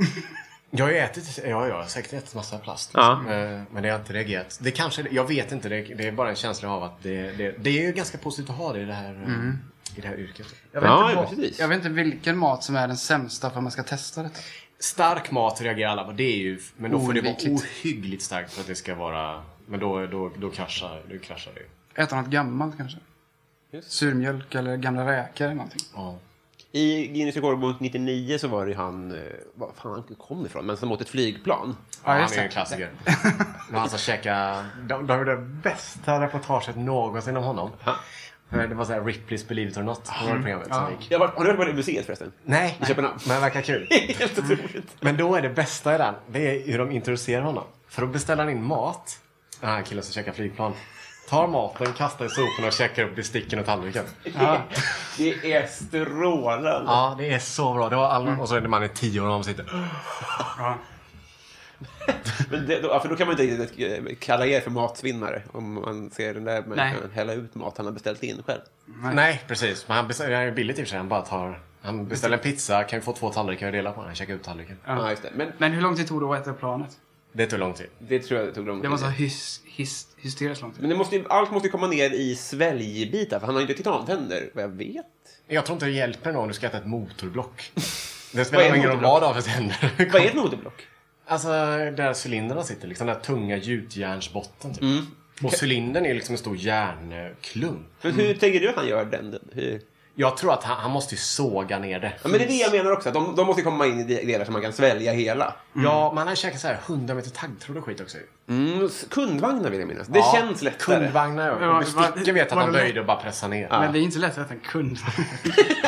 S4: Jag har ju ätit, ja, jag har säkert ätit massa plast.
S2: Ja.
S4: Liksom. Eh, Men det har inte reagerat. Det kanske, jag vet inte, det, det är bara en känsla av att det, det, det är ju ganska positivt att ha det i det här, eh, i det här yrket.
S3: Mm. Jag vet,
S2: Ja,
S3: inte
S2: ja,
S3: vad,
S2: precis.
S3: jag vet inte vilken mat som är den sämsta för att man ska testa detta.
S4: Stark mat reagerar alla på, det är ju, men då får det vara
S3: Oundvikligt.
S4: ohyggligt starkt för att det ska vara, men då, då, då, kraschar, då kraschar det ju.
S3: Äta något gammalt kanske.
S2: Just.
S3: Surmjölk eller gamla räkor eller någonting.
S4: Ja.
S2: I Guinness rekordbok 99 så var det ju han, eh, vad fan han kom ifrån, men som åt ett flygplan.
S3: Ja,
S4: han
S3: just
S4: är ju
S3: det.
S4: en klassiker. <laughs> Det var han som käkade... De, de gjorde det bästa reportaget någonsin om honom. För Det var såhär Ripleys Believe it or not. Det var det programmet som gick.
S2: Jag har, varit- har du varit på det museet förresten? <laughs>
S4: Nej,
S2: I Köpenhamn.
S4: men det verkar kul.
S2: Helt otroligt.
S4: Men då är det bästa i den, det är hur de introducerar honom. För då beställer han in mat, den här killen som käkar flygplan. Tar maten, kastar i soporna och käkar upp besticken och tallriken.
S2: Det är strålande.
S4: Ja, det är så bra. Det var all... Och så är det man är tio år och de sitter...
S2: Men det, då, ja, för då kan man inte riktigt, eh, kalla er för matsvinnare om man ser den där människan
S3: Nej.
S2: hälla ut mat han har beställt in själv.
S4: Nej, precis. Men han beställer, han är billigt i och för sig. Han bara tar... Han beställer en pizza, kan ju få två tallrikar och dela på den. Han käkar upp tallriken.
S2: Ja. just det. Men
S3: Men hur lång tid tog det att äta upp planet?
S4: Det tog lång tid.
S2: det tror jag tog lång
S3: Det var så
S2: tid.
S3: hys, hys, hysteriskt lång tid.
S2: Men det måste, ju- allt måste ju komma ner i sväljbitar, för han har ju inte titantänder, vad jag vet.
S4: Jag tror inte det hjälper någon om du ska äta
S2: <laughs>
S4: ett motorblock. Det
S2: Vad är
S4: spelar ingen roll
S2: motorblock?
S4: vad du har för tänder.
S2: Vad är ett motorblock?
S4: Alltså där cylindrarna sitter, liksom den här tunga gjutjärnsbotten. Typ.
S2: Mm.
S4: Och cylindern är liksom en stor järnklump.
S2: För hur tänker du att han gör den? den? Hur?
S4: Jag tror att han, han måste ju såga ner det.
S2: Ja, men det är det jag menar också. att De, de måste komma in i de- delar som man kan svälja hela.
S4: Ja, man har käkat så här 100 meter taggtråd och skit också ju.
S2: Mm, s- kundvagnar vill jag minnas. Det
S4: Ja,
S2: känns lättare. <laughs>
S4: Kundvagnar
S3: Men vad-
S4: och besticken vet att
S3: vad-
S4: han
S3: vad-
S4: böjde och bara pressade ner.
S3: Men det är inte så lätt att äta en kund.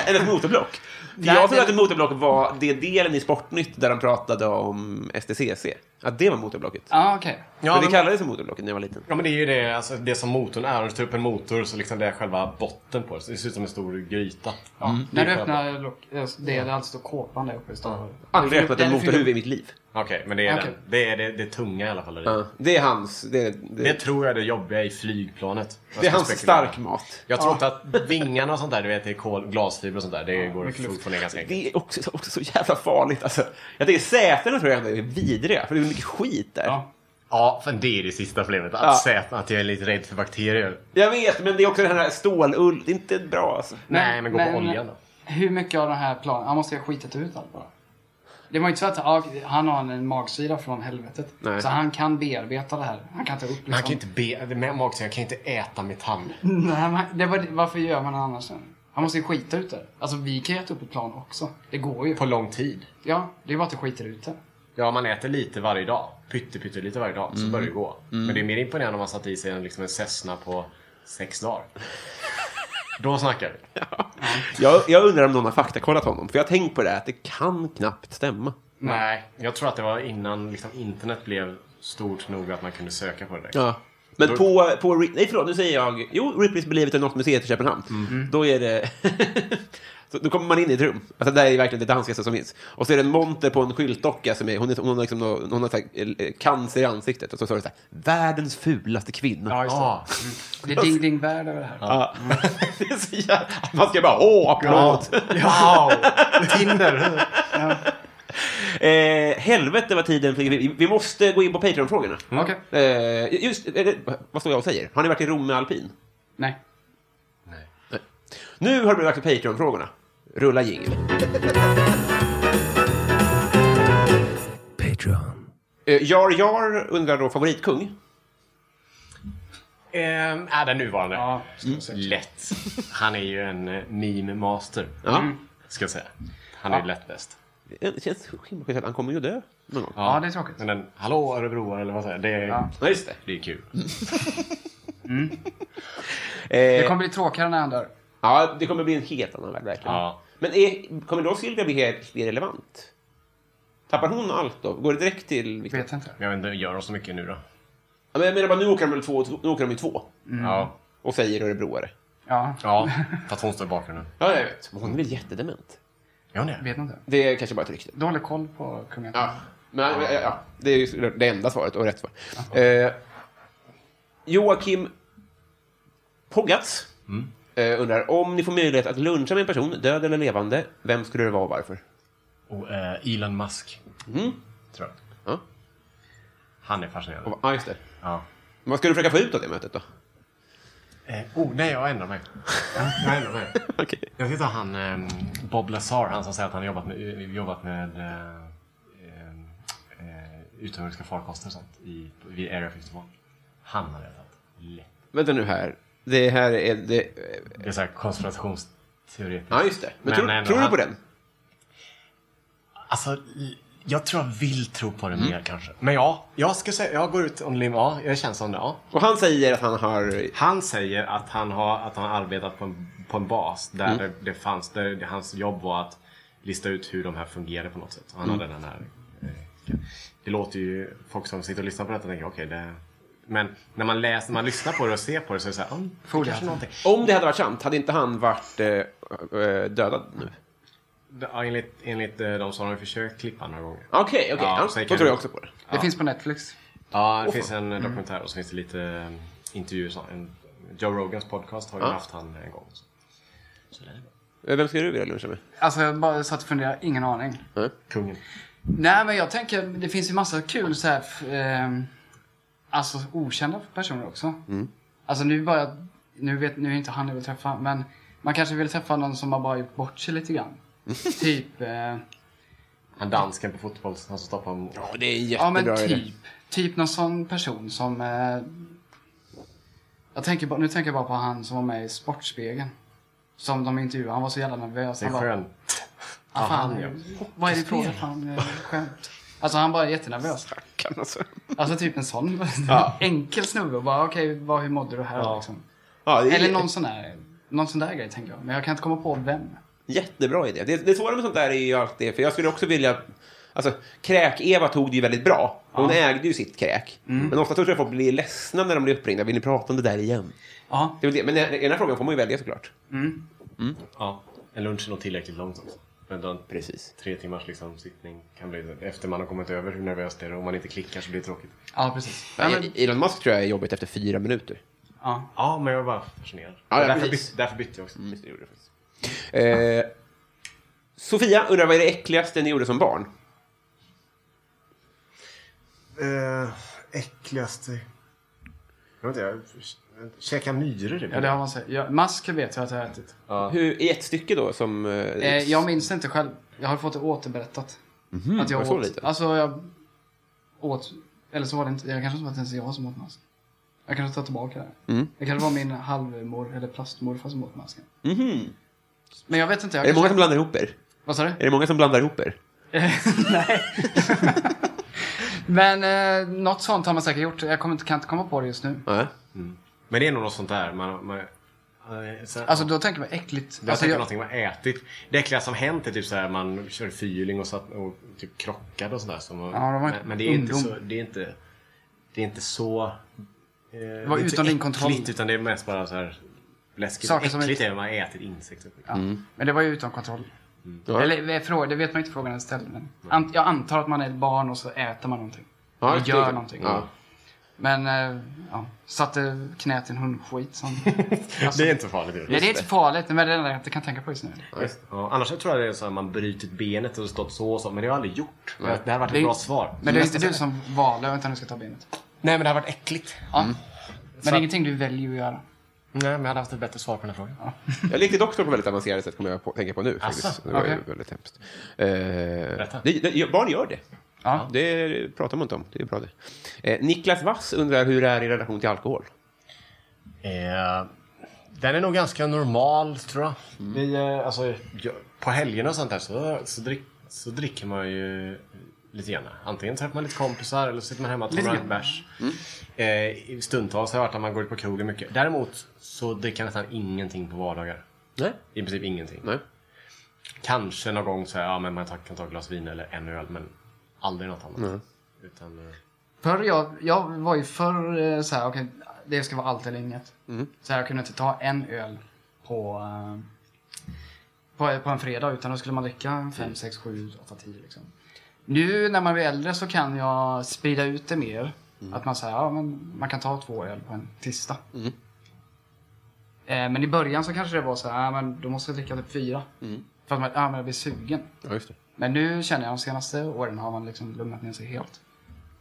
S2: Än ett motorblock.
S3: Nej,
S2: jag tror
S3: det-
S2: att ett motorblock var det delen i Sportnytt där de pratade om STCC. Att det var motorblocket.
S3: <laughs> Ja, okej.
S4: Ja,
S2: För det
S4: men-
S2: kallades motorblocket när jag var liten.
S4: Ja men det är ju det, alltså, det som motorn är. Om du tar upp en motor så liksom det är själva botten på det. Så det ser ut som en stor gryta. Ja,
S2: Mm.
S4: det
S3: När
S4: är
S3: du
S4: själva-
S3: öppnar lock, det, det alltså kåpan där uppe i stan.
S2: Aldrig öppnat
S3: Den
S2: en
S3: är fylld upp.
S2: motorhuvud i mitt liv.
S4: Okej, men det är,
S3: Okej.
S4: den. Det, är det, det är tunga i alla fall.
S2: Ja, det är hans... Det, det,
S4: Det
S2: det,
S4: tror jag är det jobbiga i flygplanet. Jag
S2: är
S4: ska
S2: hans
S4: spekulera.
S2: stark mat.
S4: Jag tror inte att vingarna och sånt där, du vet, det är kol, glasfiber och sånt där. Det går att få ner ganska enkelt.
S2: Det är också, också så jävla farligt. Alltså, jag tänker sätena tror jag ändå är vidriga, för det är mycket skit där.
S3: Ja.
S4: Ja, för det är det sista problemet. Att
S2: Ja.
S4: sätta att jag är lite rädd för bakterier.
S2: Jag vet, men det är också den här stålull. Det är inte bra alltså.
S3: liksom-
S4: Nej, men gå på oljan då.
S3: Hur mycket av den här planen? Han måste ju ha skitit ut allt bara. Det var ju inte så att ah, han har en magsida från helvetet.
S2: Nej.
S3: Så han kan bearbeta det här. Han kan ta upp liksom.
S4: Men han kan ju inte be... det är Max, jag kan ju inte äta mitt tand.
S3: Nej, men det var, varför gör man det annars sen? Han måste ju skita ut det. Alltså vi kan ju äta upp ett plan också. Det går ju.
S4: På lång tid.
S3: Ja, det är bara att det skiter ut det.
S4: Ja, man äter lite varje dag. Pytte, pytte lite varje dag. Så
S2: Mm.
S4: börjar det gå. Men det är mer imponerande om man satt i sig en, liksom en Cessna på
S2: <laughs>
S4: sex dagar. Då snackar vi.
S2: Jag, jag undrar om någon har faktakollat honom, för jag har tänkt på det, här, att det kan knappt stämma.
S4: Nej, jag tror att det var innan liksom, internet blev stort nog att man kunde söka på det direkt.
S2: Ja. Men på, på... Ri- Nej, förlåt, nu säger jag... Jo, Ripleys Believe It or Not-museet i Köpenhamn. Då är det... <laughs> så, då kommer man in i ett rum. Alltså, det där är verkligen det danskaste som finns. Och så är det en monter på en skyltdocka som är... Hon, är, hon har, liksom, nå- hon har så här, eh, cancer i ansiktet. Och så står det så här, världens fulaste kvinna.
S3: Ja, just det.
S4: Ah,
S3: Det är ding ding värld över det här.
S2: Ja. <laughs> det är så jävla... Man ska bara, åh, applåd!
S4: wow! <laughs> Tinder!
S2: Eh, helvete vad tiden flyger förbi. Vi måste gå in på Patreon-frågorna.
S3: Okej.
S2: Eh, just, eller, vad står jag och säger? Har ni varit i Rom med alpin?
S3: Nej.
S2: Nej. Nu har det blivit dags för Patreon-frågorna. Rulla jingel.
S7: Patreon.
S2: Eh, Jar Jar undrar då favoritkung.
S4: Ehm, är den nuvarande.
S3: Ja.
S4: Lätt. Han är ju en eh, meme master.
S2: Ja.
S4: Ska jag säga. Han är ju lätt bäst.
S2: Mm. Det känns så himla skit att han kommer ju dö någon gång.
S3: Ja, det är tråkigt.
S4: Men en hallå örebroare eller vad säger jag? det är,
S3: Ja.
S2: Ja, just det.
S4: det är kul.
S3: Det
S2: Eh,
S3: kommer bli tråkigare när han dör.
S2: ja, det kommer bli en helt annan värld verkligen.
S4: Ja.
S2: Men är, kommer då Silvia bli helt irrelevant? Tappar hon allt då? Går det direkt till... liksom, Victor?
S3: Vet inte.
S4: Men jag vet inte, gör de så mycket nu då?
S2: Ja, men jag menar bara, nu åker de väl två, nu åker de ju två.
S3: Mm.
S4: Ja.
S2: Och säger örebroare.
S3: Ja, <laughs>
S4: ja, fast hon står i bakgrunden.
S2: Ja, jag vet. Men hon är väl jättedement?
S4: Gör hon det?
S3: vet inte.
S2: Det är kanske bara ett rykte.
S3: Dålig koll på kungen.
S2: Ja. Men, ja, ja, det är ju såklart det enda svaret och rätt svar. Eh, Joakim Poggatz eh, undrar om ni får möjlighet att luncha med en person, död eller levande, vem skulle det vara och varför?
S4: Och eh, Elon Musk. Tror jag.
S2: Mm. Ja,
S4: Han är fascinerande.
S2: och, ja just det.
S4: Ja.
S2: Men Vad skulle du försöka få ut av det mötet då?
S4: Eh, oh, nej, jag ändrar mig. jag ändrar mig.
S2: Okej.
S4: Jag ska ta han eh, Bob Lazar, han som säger att han har jobbat med, jobbat med eh, eh, eh, utomjordiska farkoster och sånt i, vid Area 51. Han har jag tagit. Lätt.
S2: Vänta nu här. Det här är... Det... eh,
S4: Det är så här konspirationsteoretiskt.
S2: Ja, just det. Men,
S4: Men
S2: tror,
S4: ändå,
S2: tror du
S4: han-
S2: på den?
S4: Alltså, i- jag tror jag vill tro på det
S2: Mm.
S4: mer kanske. Men ja, jag ska säga, jag går ut on lim, ja, jag känns som det, ja.
S2: Och han säger att han har...
S4: Han säger att han har, att han har arbetat på en, på en bas där det, det fanns, där det, hans jobb var att lista ut hur de här fungerade på något sätt. Och han hade den här... eh, Det låter ju, folk som sitter och lyssnar på detta tänker okej, det... Men när man läser, man lyssnar på det och ser på det så är det såhär, mm, det kanske är någonting.
S2: Om det hade varit sant, hade inte han varit eh, eh, dödad nu?
S4: Ja, enligt, enligt eh, de som har försökt klippa några gånger.
S2: Okej, okej.
S4: Ja,
S2: Ja,
S4: så
S2: då
S4: kan-
S2: tror jag också på det.
S3: Det finns på Netflix.
S4: Ja, det finns en eh, dokumentär och så finns det lite eh, intervjuer. Så, en, Joe Rogans podcast har ju
S2: Ja.
S4: haft han en gång. Så. Så det är bra.
S2: Eh, Vem ska du vilja luncha med?
S3: Alltså jag bara satt och funderade, ingen aning.
S4: Kungen.
S3: Nej men jag tänker, det finns ju massa kul så här, f- ehm, alltså okända personer också.
S2: Mm.
S3: Alltså nu bara, nu vet, nu är inte han jag vill träffa, men man kanske vill träffa någon som har bara gjort bort sig lite
S2: <laughs>
S3: grann. typ, eh,
S4: Han dansken på fotboll, han som stoppar mål.
S2: Ja, det är en
S3: ja men
S2: jättebra idé.
S3: typ, typ någon sån person som, eh, jag tänker bara, nu tänker jag bara på han som var med i Sportspegeln. Som de intervjuade, han var så jävla nervös.
S4: Det är
S3: Han bara,
S4: skön.
S3: Ah, fan,
S4: han, ja.
S3: Vad är det frågan? Fan, eh, skämt. Alltså han bara är jättenervös.
S2: Kan alltså.
S3: Alltså typ en sån <laughs> enkel snubbe och bara okej, vad hur mådde du här liksom.
S2: Ja, det är
S3: Eller någon sån där, någon sån där grej tänker jag. Men jag kan inte komma på vem.
S2: Jättebra idé. Det, det svåra med sånt där är ju alltid, för jag skulle också vilja... Alltså, Kräk-Eva tog det ju väldigt bra. Hon ägde ju sitt kräk.
S3: Mm.
S2: Men ofta tror jag folk blir ledsna när de blir uppringda. Vill ni prata om det där igen?
S3: Ja,
S2: Det är väl det. Men den den här frågan får man ju välja såklart.
S4: Ja, en lunch är nog tillräckligt långt också. Men då,
S2: Precis.
S4: tre timmars liksom, sittning kan bli efter man har kommit över hur nervös det är och om man inte klickar så blir det tråkigt.
S3: ja precis.
S2: Ja,
S3: Ja, men,
S2: Elon Musk tror jag är jobbigt efter fyra minuter.
S3: ja.
S4: Ja, men jag var bara fascinerad.
S2: Ja, ja,
S4: därför,
S2: precis.
S4: bytte, därför bytte jag också.
S2: Mm, det gjorde jag faktiskt. Eh, Sofia undrar vad är det äckligaste ni gjorde som barn?
S4: Eh, äckligaste... Jag vet inte, jag... Käka myror
S3: ja, det har man sagt. Ja, mask vet jag att jag har ätit.
S2: Hur, I ett stycke då som... eh,
S3: Eh, jag minns det inte själv. Jag har fått det återberättat. att jag
S2: var så
S3: åt,
S2: Mhm, lite?
S3: Alltså jag åt, eller så var det inte, jag kanske inte var det ens jag som åt masken. Jag kanske tar tillbaka det.
S2: Mm.
S3: Det kanske var min halvmor eller plastmorfar som åt masken. Men jag vet inte. Jag
S2: Mhm.
S3: kanske,
S2: Är det många som blandar ihop er?
S3: Vad sa du?
S2: Är det många som blandar ihop er?
S3: Men eh, något sånt har man säkert gjort. Jag kommer inte, kan inte komma på det just nu.
S2: Nej.
S4: Men det är nog något sånt där. Man, man, eh, så-
S3: Alltså då tänker man äckligt.
S4: Jag
S3: alltså,
S4: tänker någonting man ätit. Det äckliga som hänt är typ så här man körde fyrhjuling och, satt och typ krockade och sådär. Som,
S3: Ja, det var
S4: men, men det är inte
S3: ungdom.
S4: så... Det är inte, det är inte så... eh, det
S3: var
S4: är inte
S3: utom din kontroll.
S4: äckligt, utan det är mest bara så här läskigt.
S3: Saker som är-
S4: äckligt är när man äter insekter.
S3: ja. Men det var ju utan kontroll.
S2: Mm.
S4: Mm.
S2: Ja.
S3: Eller eh, fråga, det vet man inte frågan är ställd. Men an, jag antar att man är ett barn och så äter man någonting.
S2: Ja,
S3: Eller
S2: just
S3: gör
S2: det.
S3: någonting.
S2: Ja.
S3: Men eh, ja, satte knät i en hundskit.
S2: <laughs>
S3: Som, alltså,
S4: Det är inte så farligt.
S3: Nej, det är inte farligt. Men det är det enda jag inte kan tänka på just nu.
S4: Just. Ja, annars så tror jag det är så att man brutit benet och stått så och så, men det har jag aldrig gjort. Det här har varit
S3: Det
S4: ett
S3: är-
S4: bra svar.
S3: Men det är inte du som valde utan du ska ta benet.
S4: Nej, men det har varit äckligt.
S3: Ja.
S2: Mm.
S3: Men det är ingenting du väljer att göra.
S4: Nej, men jag hade haft ett bättre svar på den här frågan.
S2: Jag lekte doktor på väldigt avancerat sätt, kommer jag på, tänka på nu. Faktiskt. Det var ju
S3: okej.
S2: väldigt hemskt. Eh,
S4: Berätta.
S2: det, det, barn gör det.
S3: Ja.
S2: Det pratar man inte om. Det är bra det. Eh, Niklas Wass undrar hur det är i relation till alkohol.
S4: Eh, den är nog ganska normal, tror jag.
S3: Mm.
S4: Vi, eh, alltså, jag- på helgerna och sånt där så, så, drick, så dricker man ju lite grann. Antingen träffar man lite kompisar eller så sitter man hemma och tar några bärs.
S3: Mm.
S4: Eh, i stundtals har jag hört att man går ut på krogen mycket. Däremot så dricker jag nästan ingenting på vardagar.
S2: Nej.
S4: I princip ingenting.
S2: Nej.
S4: Kanske någon gång så här, ja, men man tar- kan ta ett glas vin eller en öl, men aldrig något annat. Utan, eh,
S3: Förr jag, jag var ju förr eh, så här, okej, det ska vara allt eller inget. Så här, jag kunde inte ta en öl på, eh, på, på en fredag utan då skulle man dricka 5, 6, 7, 8, 10 liksom. Nu när man blir äldre så kan jag sprida ut det mer. Att man säger, ja men man kan ta två öl på en tisdag. Eh, men i början så kanske det var så här, ja men då måste jag dricka typ fyra. För att man, ja men jag blir sugen.
S2: Ja, just det.
S3: Men nu känner jag de senaste åren har man liksom lugnat ner sig helt.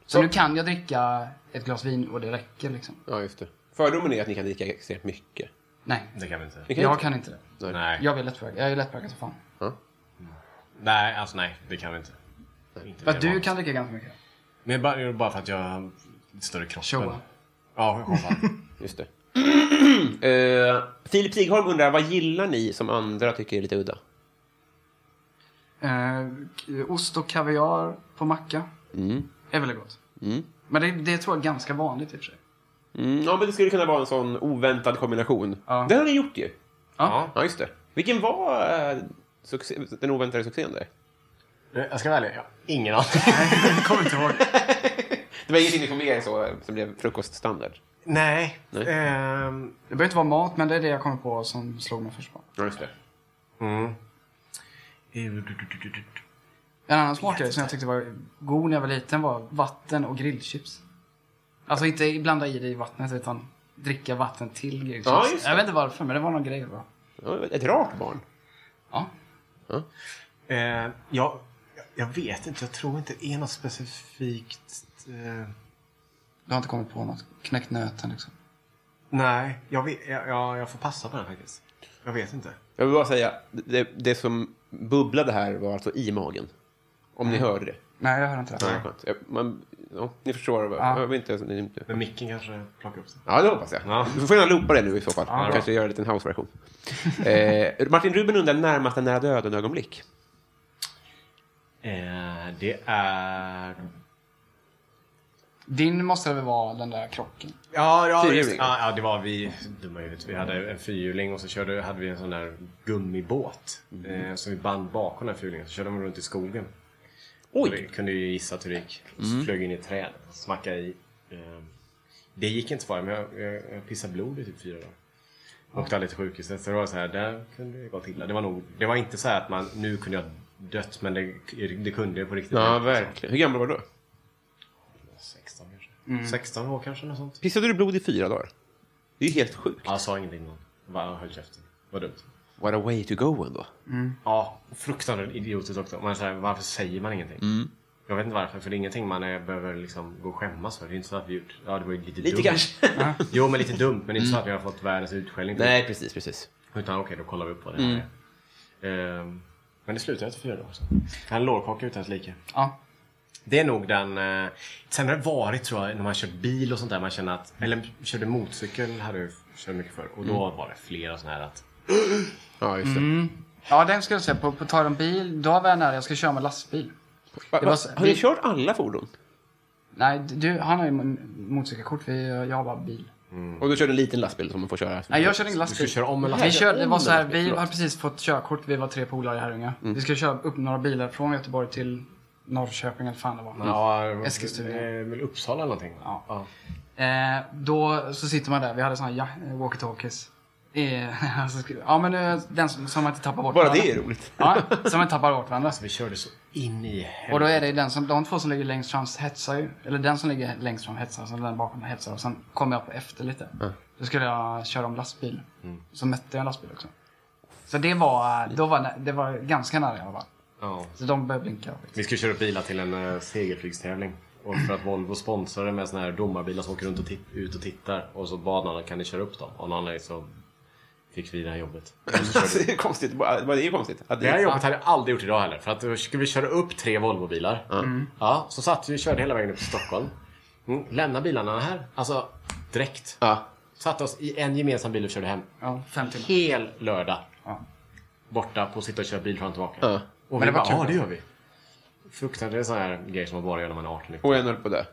S3: Så, nu kan jag dricka ett glas vin och det räcker liksom.
S2: Ja, just det. Fördomen är att ni kan dricka extremt mycket.
S3: Nej,
S4: det kan vi inte.
S2: Ni kan
S3: jag
S2: inte.
S3: kan inte det.
S4: Nej.
S3: Jag blir lättpåverkad. Jag är lättpåverkad som fan.
S4: nej, alltså nej, det kan vi inte. Inte
S3: För att
S4: mer
S3: du
S4: mat.
S3: kan dricka ganska mycket.
S4: Men bara, bara för att jag har lite större kroppen.
S3: Showa.
S4: Ja,
S3: <laughs>
S4: showa.
S2: Just det. <clears throat> Eh, Filip Sigholm undrar, vad gillar ni som andra tycker är lite udda?
S3: Eh, k- ost och kaviar på macka. Är väldigt gott. Men det, det tror jag är ganska vanligt i och för sig.
S2: Mm, ja, men det skulle kunna vara en sån oväntad kombination.
S3: Ja.
S2: Den har ni gjort ju.
S4: ja.
S2: Ja, just det. Vilken var eh, succé, den oväntade succén där?
S4: Jag ska välja. Ja. Ingen aning.
S3: Jag kommer inte ihåg.
S2: Det var ingenting ni kom med er så, eh, som blev frukoststandard.
S4: Nej.
S2: Nej.
S4: Ehm,
S3: Det behöver inte vara mat, men det är det jag kommer på som slog mig först på.
S2: Ja, just det.
S3: En annan smak som jag tyckte var god när jag var liten var vatten och grillchips. Alltså inte blanda i det i vattnet utan dricka vatten till grillchips.
S2: Ja, just det.
S3: jag vet inte varför men det var någon grej bara.
S2: Ja, ett rakt barn.
S3: Ja.
S4: eh, jag, jag vet inte. Jag tror inte det är något specifikt. Eh,
S3: Du har inte kommit på något? Knäckt nöten liksom.
S4: nej, jag, vet, jag, jag, jag får passa på den faktiskt. Jag vet inte.
S2: Jag vill bara säga, det, det som bubblade här var alltså i magen. Om ni hörde det.
S3: Nej jag hör inte det.
S2: Ja, skönt. Jag- Man, ja, ni förstår. vad-
S3: Ja.
S2: Jag vill inte, ni, inte.
S4: Men micken kanske plockar upp sig.
S2: Ja, det hoppas jag.
S4: Ja.
S2: Du får gärna loopa det nu i så fall.
S3: bra.
S2: Kanske göra en liten house-version. eh, Martin Ruben undrar närmaste nära döden-ögonblick.
S4: Eh, det är...
S3: Din måste det väl vara den där krocken?
S4: Ja, ja, just,
S2: Fyrhjuling.
S4: ja, ja, det var vi. Dumma huvudet. Vi hade en fyrhjuling och så körde, hade vi en sån där gummibåt.
S2: Mhm.
S4: Eh, som vi band bakom den här fyrhjulingen. Så körde man runt i skogen. Och Vi
S2: Oj! Mm.
S4: kunde ju gissa att det gick. Och så flög in i ett träd. Smackade i. Eh, det gick inte för mig, men jag, jag, jag pissade blod i typ fyra dagar. Åkte aldrig till sjukhuset. Så det var så här, där kunde det gått illa. Det var, nog, det var inte så här att man, nu kunde jag dött. Men det, det kunde jag på riktigt.
S2: Ja, verkligen. Hur gammal var du då?
S4: 16 kanske.
S2: Mm.
S4: 16 år kanske, något sånt.
S2: Pissade du blod i fyra dagar? Det är ju helt sjukt.
S4: Ja, Jag sa ingenting då. Jag Bara höll käften. Vad dumt.
S2: What a way to go ändå.
S4: Ja, fruktansvärt idiotiskt också. Man är så här, varför säger man ingenting?
S2: Mm.
S4: Jag vet inte varför, för det är ingenting man är, behöver liksom gå och skämmas för. Det är inte så att vi gjort... Ja, det var ju lite,
S2: Lite
S4: dumt.
S2: kanske.
S4: Jo, men lite dumt. Men det är inte så att vi har fått världens utskällning. typ.
S2: Nej, precis, Mm. precis.
S4: Utan okej, då kollar vi upp vad det här är. Ehm, Men det slutade efter fyra dagar också. Han lårkaka utan dess like.
S3: Ja.
S4: Det är nog den... Eh, sen har det varit tror jag när man kört bil och sånt där. Man känner att... Eller körde motorcykel hade jag kört mycket för Och då
S2: Mm.
S4: var det flera sådana här att...
S2: Ja, just det.
S3: Mm. Ja, den skulle jag säga. På, på tal om bil, då var jag nära. Jag ska köra med lastbil.
S2: Va,
S3: Det
S2: va,
S3: var så-
S2: har ni
S3: vi-
S2: kört alla fordon?
S3: Nej, du, han har ju m- motorcykelkort. Vi, jag har bara bil.
S2: Och du körde en liten lastbil som man får köra?
S3: Nej, jag körde ingen
S4: Du
S3: lastbil.
S4: ska köra om
S3: Vi
S4: en lastbil.
S3: körde, det var så här,
S2: lastbil,
S3: vi
S2: förlåt.
S3: hade precis fått körkort, vi var tre polare i Herrljunga. Vi skulle köra upp några bilar från Göteborg till Norrköping eller fan det var.
S4: Ja,
S3: Eskilstuna.
S4: eh, väl Uppsala eller någonting.
S3: Ja.
S4: Mm. ja.
S3: Eh, då så sitter man där, vi hade såna här ja, walkie-talkies. Eh, <laughs> alltså, skulle- ja men eh, den som, som man inte tappar bort
S2: Bara det är roligt.
S3: Ja, som man inte tappar bort varandra.
S4: Vi körde så in i
S3: Och
S4: helvete.
S3: då är det den som, de två som ligger längst fram hetsar ju. Eller den som ligger längst fram hetsar, sen den bakom hetsar. Och sen kom jag på efter lite. Då skulle jag köra om lastbil.
S4: Mm.
S3: Så mötte jag en lastbil också. Så det var, då var, nä- det var ganska nära i alla fall.
S4: Ja.
S3: Så de började blinka.
S4: Vi skulle köra upp bilar till en eh, segelflygstävling. Och för att Volvo sponsrade med såna här domarbilar som åker runt och tit- ut och tittar. Och så bad någon kan ni köra upp dem? Av någon anledning så fick vi det här jobbet.
S2: Alltså, <laughs> det är konstigt. Bara- bara Det är ju konstigt. Att
S4: Det här jobbet hade jag aldrig gjort idag heller. För att då skulle vi köra upp tre Volvobilar. Ja, Mm. så satt vi och körde hela vägen upp till Stockholm. Mm. Lämna bilarna här. Alltså direkt.
S2: Ja.
S4: Satt oss i en gemensam bil och körde hem.
S3: Ja, fem timmar.
S4: Hel lördag.
S3: Ja.
S4: Borta på att sitta och köra bil fram och tillbaka.
S2: Ja.
S4: Och vi
S3: Men det var
S4: bara,
S3: kul.
S4: ja det gör vi. Fruktansvärt sådana här grejer som man bara gör när man är 18. Liksom.
S2: Och en höll på att dö.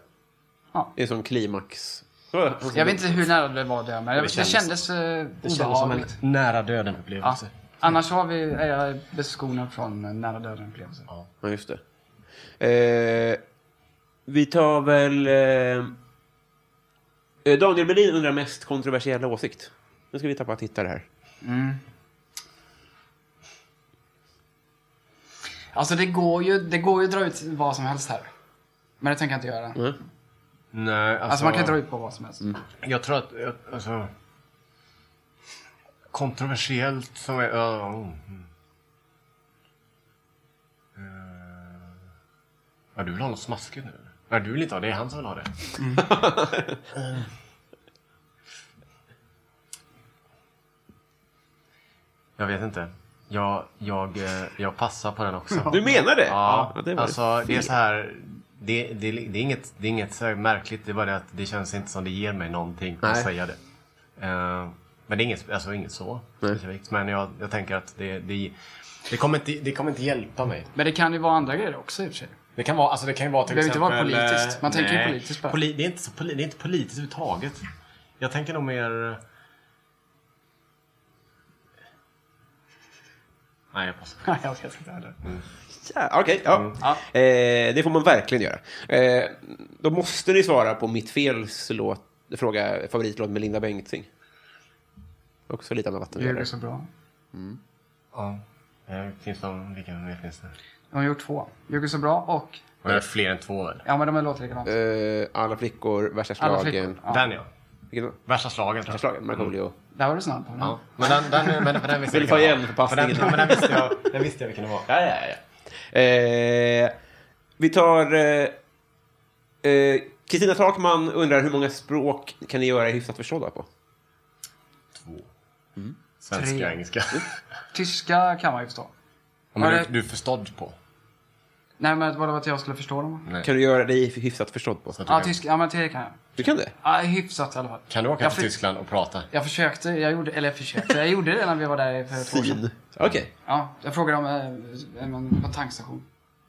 S3: Ja.
S2: Det är en sån klimax. Ja, alltså,
S3: Jag vet inte hur nära det var det, men det, det kändes,
S4: kändes-
S3: eh,
S4: Det kändes som en
S3: obehagligt.
S4: nära döden
S3: Ja.
S4: upplevelse.
S3: Annars har vi, är jag beskonad från eh, nära döden upplevelser.
S2: Ja, just det. Eh, vi tar väl... Eh, eh, Daniel Melin undrar mest kontroversiella åsikt. Nu ska vi tappa tittare här.
S3: Alltså det går, ju, det går ju att dra ut vad som helst här. Men det tänker jag inte göra. Alltså,
S4: Nej, Mm. alltså,
S3: man kan dra ut på vad som helst.
S4: Jag tror att... jag- Alltså, kontroversiellt som är... ja, mm. Eh, Ja, du vill ha något smaskigt nu? eller? Nej, du vill inte ha det. Det är han som vill ha det. Eh. Jag vet inte. Jag, jag, eh, jag passar på den också.
S2: Du menar det?
S4: Ja,
S2: det var
S4: alltså det är
S2: fel.
S4: så här. Det, det, det, är inget, det är inget så här märkligt, det är bara det att det känns inte som det ger mig någonting
S2: Nej.
S4: att säga det. Eh, men det är inget, alltså, inget så specifikt. Men jag, jag tänker att det, det, det, kommer inte, det kommer inte hjälpa mig.
S3: Men det kan ju vara andra grejer också i och för sig.
S4: Det kan vara, alltså, det kan ju vara till
S3: Det behöver
S4: exempel...
S3: inte vara politiskt. Man
S4: eh,
S3: tänker ju politiskt bara.
S4: Poli, det, är inte så, poli, det är inte politiskt överhuvudtaget. Jag tänker nog mer... eh, Nej, jag passar.
S3: Nej, jag vet inte heller.
S2: Ja, Okej,
S4: Mm.
S2: ja. Eh, det får man verkligen göra. Eh, då måste ni svara på mitt fels låt, fråga, favoritlåt med Linda Bengtzing. Också lite annan
S3: Du gjorde det
S2: vattendelare.
S3: så bra.
S4: Ja. Eh, Finns det någon, vilken mer finns det?
S3: De har gjort två. Gjorde det så bra och...
S4: Och det är fler än två väl?
S3: Ja, men de låter likadant.
S2: Eh, alla flickor, värsta
S3: Alla
S2: slagen.
S3: flickor. Ja.
S4: Den ja.
S2: Vilken då?
S4: Värsta slagen tror
S2: Värsta
S4: jag.
S2: slagen? Markoolio.
S3: Där var du snabb på den.
S4: Ja. Men den, den, men, för den visste
S2: Vill
S4: vilken
S2: få
S4: det
S2: igen
S4: var.
S2: förpassningen.
S4: För Den, men den visste jag, den visste jag vilken det var.
S2: Ja, ja, ja. ja. Eh, vi tar... eh, eh, Kristina Takman undrar hur många språk kan ni göra er hyfsat förstådda på?
S4: Två. Svenska
S3: Tre.
S4: och engelska.
S3: Tyska kan man ju förstå.
S4: Ja, men du, du är förstådd på.
S3: Nej, men var det att jag skulle förstå dem?
S2: Kan du göra dig hyfsat förstådd på?
S4: Så att du
S3: Ja,
S4: kan,
S3: tyska. Ja, men det kan jag.
S2: Du kan det?
S3: Ja, hyfsat i alla fall.
S4: kan du åka
S3: Jag
S4: till
S3: för-
S4: Tyskland och prata?
S3: Jag försökte, jag gjorde, eller jag försökte, jag gjorde det när vi var där för två år sedan.
S2: Fin. Okej.
S3: Ja, jag frågade om eh, en- på en tankstation.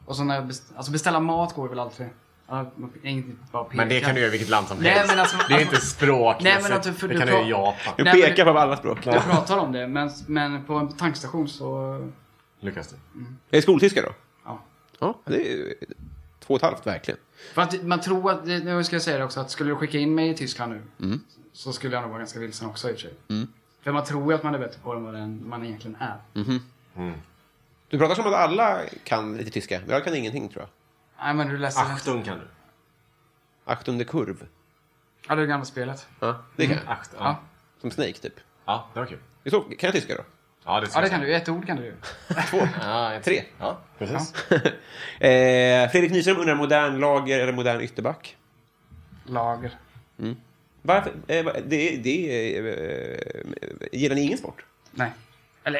S3: Och så när jag best, alltså beställa mat går väl alltid. Ja, man- inget- bara peka.
S4: Men det kan du göra i vilket land som
S3: Nej,
S4: helst.
S3: men alltså-
S4: det är inte språk.
S3: Nej, men att du- för
S4: det
S3: du
S4: kan du göra i
S3: pra-
S4: Japan.
S2: Du
S3: Nej, men-
S2: pekar på alla språk.
S3: Jag pratar om det, men, men på en tankstation så...
S4: Lyckas du?
S2: Är det skoltyska då?
S3: Ja.
S2: Ja, det är ju två och ett halvt verkligen.
S3: För att man tror att, nu ska jag säga det också, att skulle du skicka in mig i Tyskland nu så skulle jag nog vara ganska vilsen också i och för sig. För man tror ju att man är bättre på det än vad den- man egentligen är.
S2: Du pratar som att alla kan lite tyska, men jag kan ingenting tror jag.
S3: Nej men du läser...
S4: Achtung kan du.
S2: Achtung de kurv.
S3: Ja, det är det gamla spelet.
S2: Ja, det
S4: Mm.
S2: kan jag.
S4: Achtung. Ja.
S2: Som Snake typ.
S4: ja, det var kul.
S2: Det är Så, kan jag tyska då?
S4: Ja, det,
S3: Ja, det kan du. Ett ord kan du ju.
S4: Ja, jag-
S2: Tre.
S4: Ja, precis.
S2: eh, Fredrik Nyström undrar modern lager eller modern ytterback.
S3: Lager.
S2: Varför? Eh, va- det, det, eh, eh, gillar ni ingen sport?
S3: Nej. Eller,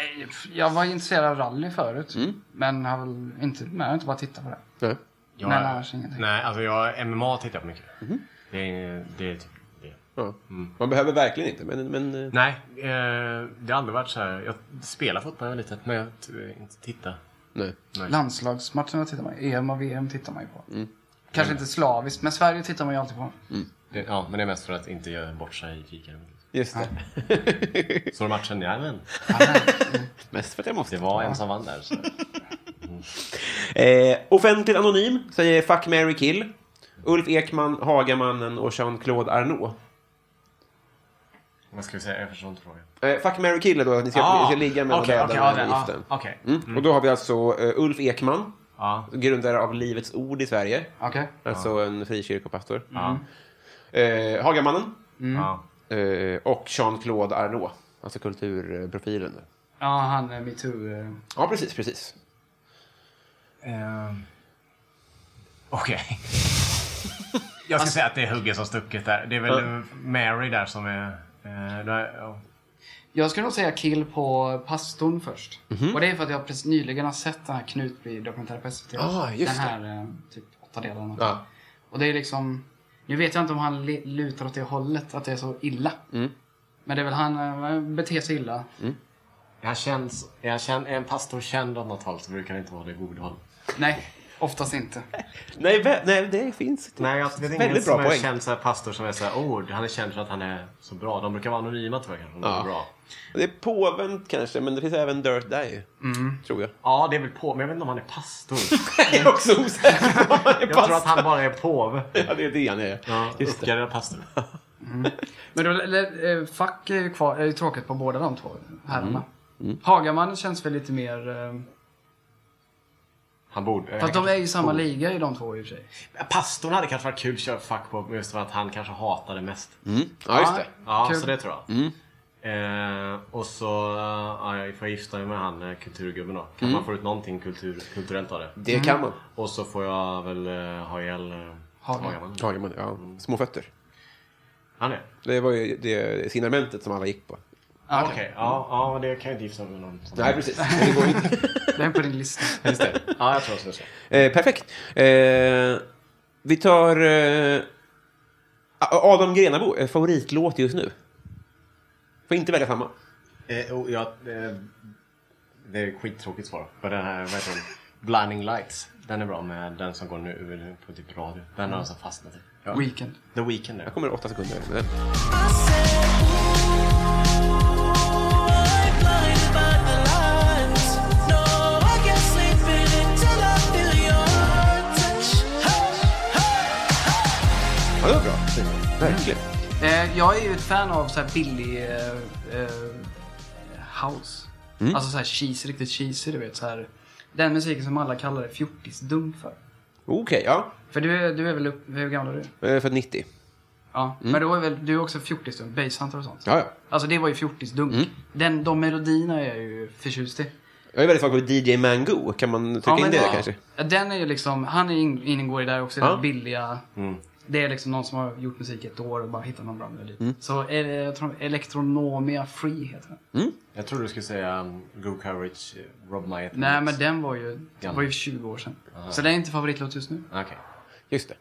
S3: jag var intresserad av rally förut. Men har väl inte, men jag har inte bara tittat på det.
S2: Nej.
S4: Jag,
S3: Men annars ingenting.
S4: Nej, alltså jag MMA tittar jag på mycket.
S2: Mhm.
S4: Det, är, det är typ det.
S2: Ja.
S4: Mm.
S2: Man behöver verkligen inte, men... men eh,
S4: Nej, eh, det har aldrig varit så här. Jag spelade fotboll när jag var liten, men jag t- eh, inte titta.
S2: nej.
S3: Landslagsmatcherna tittar man ju. EM och VM tittar man ju på. Kanske inte slaviskt, men Sverige tittar man ju alltid på.
S4: Det, ja, men det är mest för att inte göra bort sig i kikaren.
S2: Just det.
S4: Så den matchen, ja men.
S2: Mest för att jag
S4: Det
S2: måste.
S4: var en som vann där. Så.
S2: Eh, offentligt anonym säger Fuck, Mary kill. Ulf Ekman, Hagamannen och Jean-Claude Arnault.
S4: Vad ska vi säga? Jag förstår inte frågan.
S2: Eh, fuck, Mary kill är då att ni ska, ni ska ligga med
S4: Ah, okej,
S2: och
S4: okej,
S2: döda
S4: ja,
S2: okay,
S4: det- ja,
S2: giften.
S4: Okej.
S2: Mm. Och då har vi alltså eh, Ulf Ekman,
S4: Ja.
S2: grundare av Livets Ord i Sverige.
S3: Okej.
S2: Alltså en frikyrkopastor.
S4: Ja.
S2: Eh, Hagamannen
S4: Ja.
S2: eh, och Jean-Claude Arnault. Alltså kulturprofilen. där.
S3: Ja, han är metoo... eh,
S2: Ja, precis, precis.
S4: Ehm, Okej. Jag ska säga att det är hugget som stucket där. Det är väl eh, Mary där som är... eh, där, ja.
S3: Jag skulle nog säga kill på pastorn först.
S2: Mhm.
S3: Och det är för att jag precis nyligen har sett den här Knutby-dokumentären på SVT.
S2: Ah, just
S3: den här eh, typ åtta delarna.
S2: Ja.
S3: Och det är liksom... Nu vet jag inte om han le- lutar åt det hållet, att det är så illa.
S2: Mm.
S3: Men det är väl han eh, beter sig illa.
S4: Är han känd, är, han känd, är en pastor känd av något håll så brukar det inte vara det goda håll.
S3: Nej, oftast inte.
S2: Nej, vä- nej, det finns inte.
S4: Nej, jag vet ingen
S2: Väldigt
S4: som
S2: bra
S4: är
S2: poäng.
S4: känd så här pastor som är så här, oh, han är känd för att han är så bra. De brukar vara anonyma tror jag kanske, om de
S2: Ja.
S4: är bra.
S2: Det är påven kanske, men det finns även Dirt Day.
S4: Mm.
S2: Tror jag.
S4: Ja, det är väl på, men jag vet inte om han är pastor.
S2: <laughs> Jag är också osäker på om han är
S4: Jag tror att
S2: pastor.
S4: han bara är påve.
S2: Ja, det är det han är.
S4: Ja,
S2: Just det.
S4: Uppgraderad pastor.
S3: Men då, eller, eh, fuck är ju, kvar, är ju tråkigt på båda de två herrarna.
S2: Mm.
S3: Hagaman känns väl lite mer... eh,
S4: Han borde... Eh,
S3: Fast de är ju samma liga i de två i och för sig.
S4: Pastorn hade kanske varit kul att köra fuck på just för att han kanske hatade mest.
S2: Mm. Ja, just
S3: Ja.
S2: det.
S4: Ja,
S3: Kul.
S4: så det tror jag. Eh, och så eh, ja, jag får jag gifta mig med han eh, kulturgubben då. Kan
S2: Mm.
S4: man få ut någonting kultur, kulturellt av det?
S2: Det kan man.
S4: Och så får jag väl eh, ha ihjäl eh,
S3: Hagen.
S4: Hagaman.
S2: Hagamannen, ja. Små fötter.
S4: Han är?
S2: Det var ju det signamentet som alla gick på.
S3: Ah,
S4: Okej, ja, ja, men det kan jag inte gifta mig med någon. som-
S2: Nej, precis. Det går ju inte.
S4: <laughs>
S3: Den är på din
S2: <laughs>
S3: lista.
S4: Just det. Ja, jag tror så.
S2: Eh, perfekt. Eh, vi tar eh, Adam Grenabo, eh, favoritlåt just nu. Får inte välja samma.
S4: Eh, och jag, eh, det är ett skittråkigt svar. För den här, vad heter den? Blinding Lights. Den är bra med den som går nu på typ radio. Den har jag så fastnat i. Ja.
S3: Weekend.
S4: The Weeknd är
S2: Jag kommer åtta sekunder. med
S6: I
S2: den.
S6: said, I'm blinded by the lights. No, I can't sleep until I feel your touch.
S2: Ja, det var bra. Verkligen.
S3: Eh, jag är ju ett fan av så här billig eh, eh, house.
S2: Mm.
S3: Alltså så här cheesy, riktigt cheesy du vet. Så här, den musiken som alla kallar det fjortisdum för.
S2: Okej, ja.
S3: För du, är- du är väl upp, hur gammal är du?
S2: Eh, För 90.
S3: Ja, men då är väl, du är också fjortisdum, basshunter och sånt.
S2: Mm. Ja, Mm. ja.
S3: Alltså det var ju fjortisdunk. Den, de melodierna är jag ju förtjust i.
S2: Jag är väldigt svag för DJ Mango. Kan man trycka in det där kanske?
S3: Ja, Den är ju liksom, han är in, ingår ju där också i
S2: Ja.
S3: den billiga. Det är liksom någon som har gjort musik i ett år och bara hittat någon bra melodi.
S2: Mm.
S3: Så eh, jag tror Electronomia Free heter den.
S4: Jag tror du skulle säga um, Go Courage, eh, Rob Myatt.
S3: Nej men den var ju,
S4: Gammal.
S3: var ju 20 år sedan. Så det är inte favoritlåt just nu.
S4: Okej.
S2: Just det.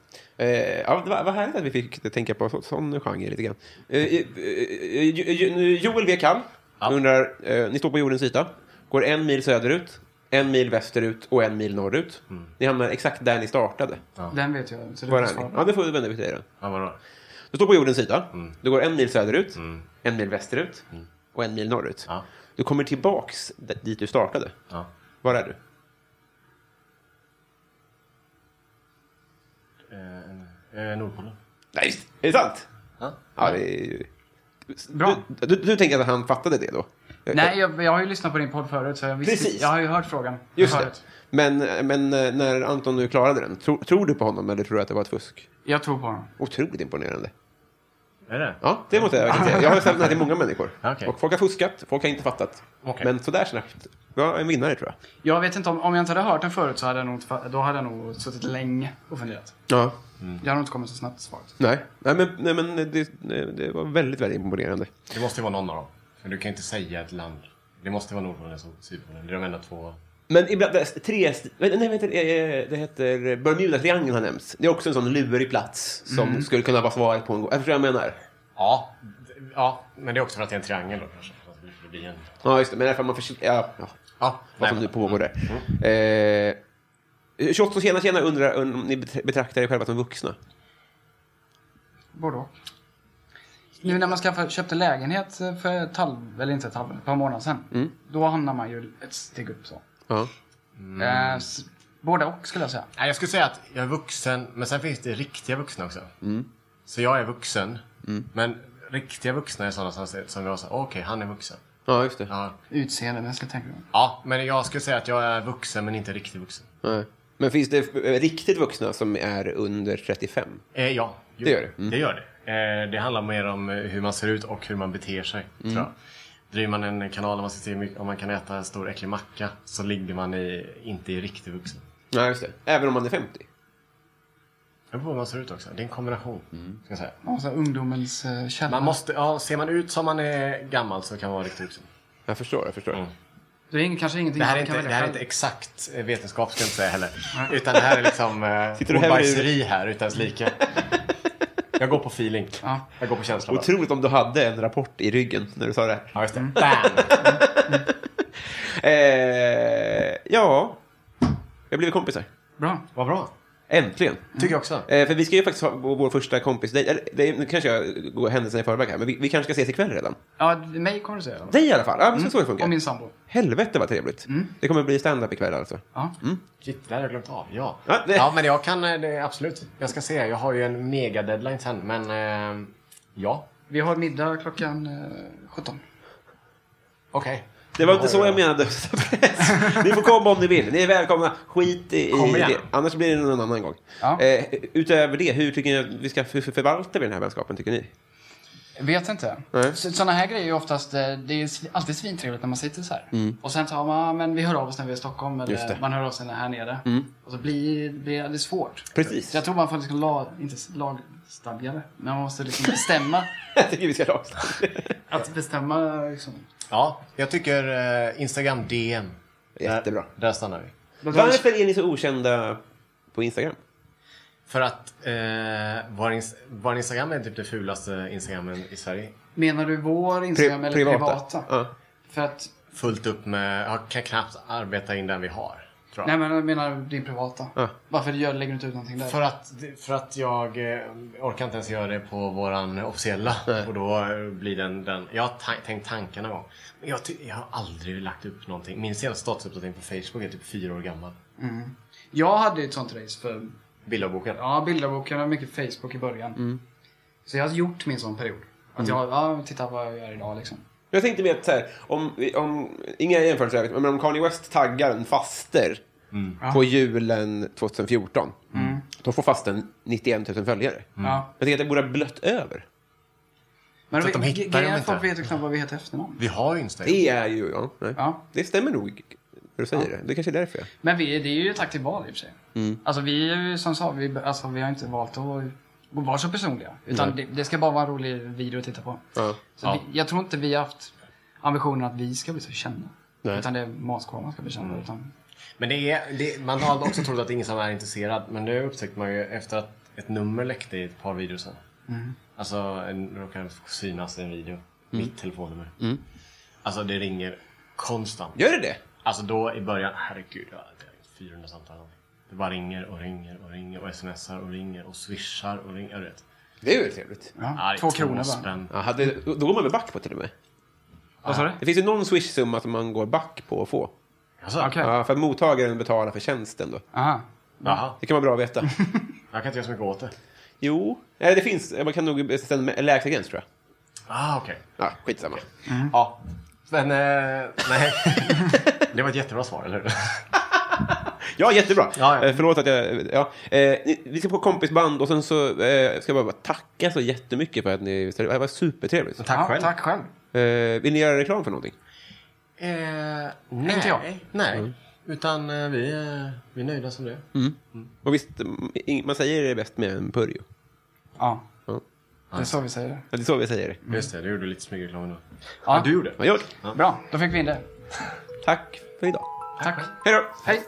S2: Eh, ja, det var, vad härligt att vi fick tänka på så, sån genre lite grann. Eh, eh, eh, Jo- Jo- Joel W. Kall undrar, eh, ni står på jordens yta, går en mil söderut, en mil västerut och en mil norrut. Ni hamnar exakt där ni startade.
S3: Den vet jag. Så det får
S2: Var är
S3: jag
S2: ni?
S3: svara på.
S2: Ja, Mm. det får du vända dig till.
S4: Ja, vadå?
S2: Du står på jordens yta, du går en mil söderut, en mil västerut och en mil norrut.
S4: Ja.
S2: Du kommer tillbaks d- dit du startade.
S4: Ja.
S2: Var är du?
S4: Eh, eh, Nordpolen.
S2: Nej, visst. är det sant?
S4: Ja.
S2: Ja, det är ju...
S3: Bra.
S2: Du, du, du tänker att han fattade det då?
S3: Nej, jag, jag har ju lyssnat på din podd förut så jag visste
S2: Precis.
S3: Jag har ju hört frågan
S2: Just det.
S3: förut.
S2: Men, men eh, när Anton nu klarade den, tro, tror du på honom eller tror du att det var ett fusk?
S3: Jag tror på honom.
S2: Otroligt imponerande.
S4: Är det?
S2: Ja, det måste jag verkligen säga. Jag har ställt den här till många människor.
S4: Okej.
S2: Och folk har fuskat, folk har inte fattat.
S4: Okej.
S2: Men sådär snabbt. Jag är en vinnare tror jag.
S3: Jag vet inte om, om jag inte hade hört den förut så hade jag nog, inte fa- då hade jag nog suttit länge och funderat.
S2: Ja.
S3: Jag hade nog inte kommit så snabbt till svaret.
S2: Nej, nej men, nej, men det, det var väldigt, väldigt imponerande.
S4: Det måste ju vara någon av dem. För du kan ju inte säga ett land. Det måste vara Nordpolen och Sydpolen. Det är de enda två.
S2: Men ibland, tre, nej, vad heter, det? Eh, det heter Bermuda-triangeln har nämnts. Det är också en sån lurig plats som skulle kunna vara svaret på en gång. Jag förstår vad jag menar.
S4: Ja, d- ja, men det är också för att det är en triangel då kanske. För att det skulle bli en-
S2: Ja, just det. Men därför man försvinner... Ja, ja.
S4: Ja,
S2: Vad
S4: nej,
S2: som nu pågår där. Mm. Eh, 28 tjena tjena undrar om ni bet- betraktar er själva som vuxna.
S3: Både och. Nu när man skaffade, köpte lägenhet för ett halv, eller inte ett halv, ett par månader sedan.
S2: Mm.
S3: Då hamnar man ju ett steg upp så.
S2: Ja.
S3: Eh, s- både och skulle jag säga.
S4: Nej, jag skulle säga att jag är vuxen, men sen finns det riktiga vuxna också.
S2: Mm.
S4: Så jag är vuxen, men riktiga vuxna är sådana som, som jag säger, okej, han är vuxen.
S2: Ja, just det.
S4: Ja.
S3: Utseendemässigt tänker jag.
S4: ja, men jag skulle säga att jag är vuxen, men inte riktigt vuxen.
S2: Nej. Men finns det eh, riktigt vuxna som är under 35?
S4: Eh, ja, jo,
S2: Det gör det. Mm.
S4: Det, gör det. Eh, det handlar mer om eh, hur man ser ut och hur man beter sig.
S2: Mm.
S4: Tror jag. Driver man en kanal där man ska se hur mycket- om man kan äta en stor äcklig macka så ligger man i, inte i riktig vuxen.
S2: Ja, just det. Även om man är 50?
S4: Det beror på hur man ser ut också. Det är en kombination.
S2: Mm.
S4: Ska jag säga.
S3: Ja, så här ungdomens eh, källa.
S4: Man måste, ja, ser man ut som man är gammal så kan man vara riktigt vuxen.
S2: Jag förstår, jag förstår.
S4: Mm.
S3: Det är ing- kanske ingenting
S4: Det här är
S3: man kan
S4: inte, det
S3: välja
S4: här är
S3: själv.
S4: inte exakt eh, vetenskap ska jag inte säga heller. Utan det här är liksom
S2: <laughs> Sitter
S4: eh,
S2: du hemma i-
S4: ordbajseri här utan dess like. Jag går på feeling.
S3: Ja.
S4: Jag går på känsla bara.
S2: Otroligt om du hade en rapport i ryggen när du sa det här.
S4: Ja, just det.
S3: Mm.
S4: Bam!
S2: Eh, ja, jag blev kompisar.
S3: Bra.
S4: Vad bra.
S3: Mm.
S2: Äntligen.
S4: Tycker jag också.
S2: Eh, för vi ska ju faktiskt ha vår vår första kompis. Det, eller, det, nu kanske jag går händelsen i förväg här, men vi, vi kanske ska ses ikväll redan.
S3: Ja, mig kommer du säga. i alla fall.
S2: Dig i alla fall. Ja, men så, så det
S3: Och min
S2: funkar.
S3: sambo.
S2: Helvete vad trevligt. Det kommer bli stand-up ikväll alltså.
S3: Ja.
S4: Shit, det hade jag glömt av. Ja.
S2: Ja, det-
S4: ja, men jag kan eh, det, absolut. Jag ska se. Jag har ju en mega deadline sen, men eh, ja.
S3: Vi har middag klockan eh, 17.
S4: Okej.
S2: Det var inte så jag menade. <laughs> ni får komma om ni vill. Ni är välkomna. Skit i, i
S4: Kom igen.
S2: det. Annars blir det någon annan gång.
S3: Ja.
S2: Eh, utöver det, hur tycker ni att vi ska hur förvalta vi den här vänskapen, tycker ni?
S3: Vet inte.
S2: Nej.
S3: Sådana här grejer är ju oftast, eh, det är svi- alltid svintrevligt när man sitter så här. Och sen tar man, "Ah, men vi hör av oss när vi är i Stockholm
S2: Just det.
S3: eller man hör av sig när här nere. Och så blir, blir det svårt.
S2: Precis.
S3: Så jag tror man får liksom lag, inte s- lagstadga det, men man måste liksom bestämma.
S2: <laughs> Jag tycker vi ska avsluta.
S3: att bestämma liksom.
S4: Ja, jag tycker eh, Instagram DM.
S2: Jättebra.
S4: Där, där stannar vi.
S2: Varför är ni så okända på Instagram?
S4: För att eh, vår, ins- vår Instagram är typ det fulaste Instagrammen i Sverige.
S3: Menar du vår
S2: Pri-
S3: Instagram eller privata?
S2: Ja.
S3: För att,
S4: Fullt upp med, jag kan knappt arbeta in den vi har. Tror jag.
S3: nej men jag menar din privata.
S2: Ja.
S3: Varför gör, lägger du inte ut någonting där?
S4: För att, för att jag eh, orkar inte ens göra det på våran officiella. Och då eh, blir den, den jag har ta- tänkt tanken någon gång. Men jag, ty- jag har aldrig lagt upp någonting. Min senaste statusuppdatering på Facebook är typ fyra år gammal.
S3: Jag hade ju ett sånt race för
S4: Bilderboken.
S3: Ja, bilderboken och mycket Facebook i början.
S4: Mm.
S3: Så jag har gjort min sån period. Att jag, ja, titta vad jag gör idag liksom.
S2: Jag tänkte mer att så här, om, om, inga jämförelser, i övrigt, men om Kanye West taggar en faster på julen 2014, då får fasten 91 000 följare.
S3: Ja.
S2: Jag tänker att det borde ha blött över.
S3: Men
S4: Mm. Så att de
S3: vi-
S4: hittar
S3: grejen är
S4: dem
S3: att folk
S4: inte.
S3: vet ju knappt vad vi heter i efternamn.
S4: Vi har ju Instagram.
S2: Det är ju, ja, nej.
S3: Ja.
S2: Det stämmer nog, när du säger det. Det kanske är därför. ja.
S3: Men vi, det är ju ett aktivt val i och för sig.
S4: Mm.
S3: Alltså vi är ju som sa, vi, alltså, vi har inte valt att att vara så personliga. Utan det, det ska bara vara en rolig video att titta på.
S2: Ja.
S3: Så vi, jag tror inte vi har haft ambitionen att vi ska bli så kända. Utan det är maskålarna ska bli kända.
S4: Mm.
S3: Utan,
S4: Men det är, det, man har också trott att ingen som är intresserad. Men det upptäckte man ju efter att ett nummer läckte i ett par videor sen.
S3: Mm.
S4: Alltså, en, råkade synas i en video. Mitt telefonnummer.
S3: Mm.
S4: Alltså, det ringer konstant.
S2: Gör det det?
S4: Alltså då i början, herregud, jag hade 400 samtal. Det bara ringer och ringer och ringer och smsar och ringer och swishar och ringer. Du vet.
S2: Det är väl trevligt?
S4: Ja, det
S3: ja,
S4: är
S3: två kronor bara.
S4: spänn.
S2: Ja, hade, då då går man väl back på till och med?
S3: Vad sa du?
S2: Det finns ju någon swish-summa som man går back på att få.
S4: Alltså,
S3: Okej.
S2: Ja, för att mottagaren betalar för tjänsten då.
S3: Aha.
S4: Jaha,
S2: Det kan vara bra att veta.
S4: jag kan inte göra så mycket åt det.
S2: jo, nej, Eh, det finns. Man kan nog bestämma en lägsta gräns tror jag.
S4: Ah, okej.
S2: Ja, skitsamma.
S3: Mm.
S4: Ja. Men, eh, nej. <laughs> det var ett jättebra svar, eller hur?
S2: Ja, jättebra.
S4: Ja, ja.
S2: Eh, Förlåt att jag... Ja. Eh, ni- vi ska på kompisband och sen så eh, ska jag bara tacka så jättemycket för att ni... Det här var supertrevligt.
S4: Tack
S3: ja,
S4: själv.
S3: Tack själv.
S2: Eh, vill ni göra reklam för någonting?
S4: Eh, nej.
S3: Inte jag.
S4: Nej.
S3: Mm.
S4: Utan eh, vi, eh, vi är nöjda som det är.
S2: Och visst, mm, ing- man säger det bäst med en purjo.
S3: Ja.
S2: Ja.
S3: Det är så vi säger det.
S2: Ja, Det är så vi säger det.
S4: Just det, du gjorde lite smygreklam ändå.
S3: Ja.
S4: Ja, du gjorde.
S2: Ja, jag-
S3: Bra, då fick vi in det.
S2: Tack för idag.
S3: Tack.
S2: Hej då!
S3: Hej.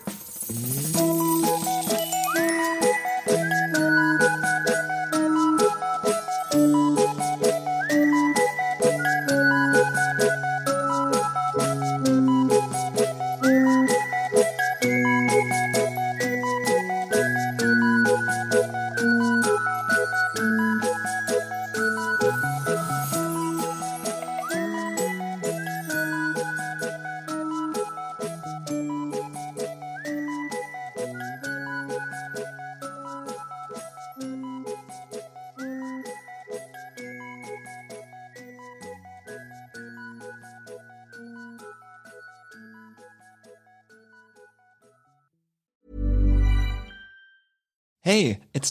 S7: Hey, it's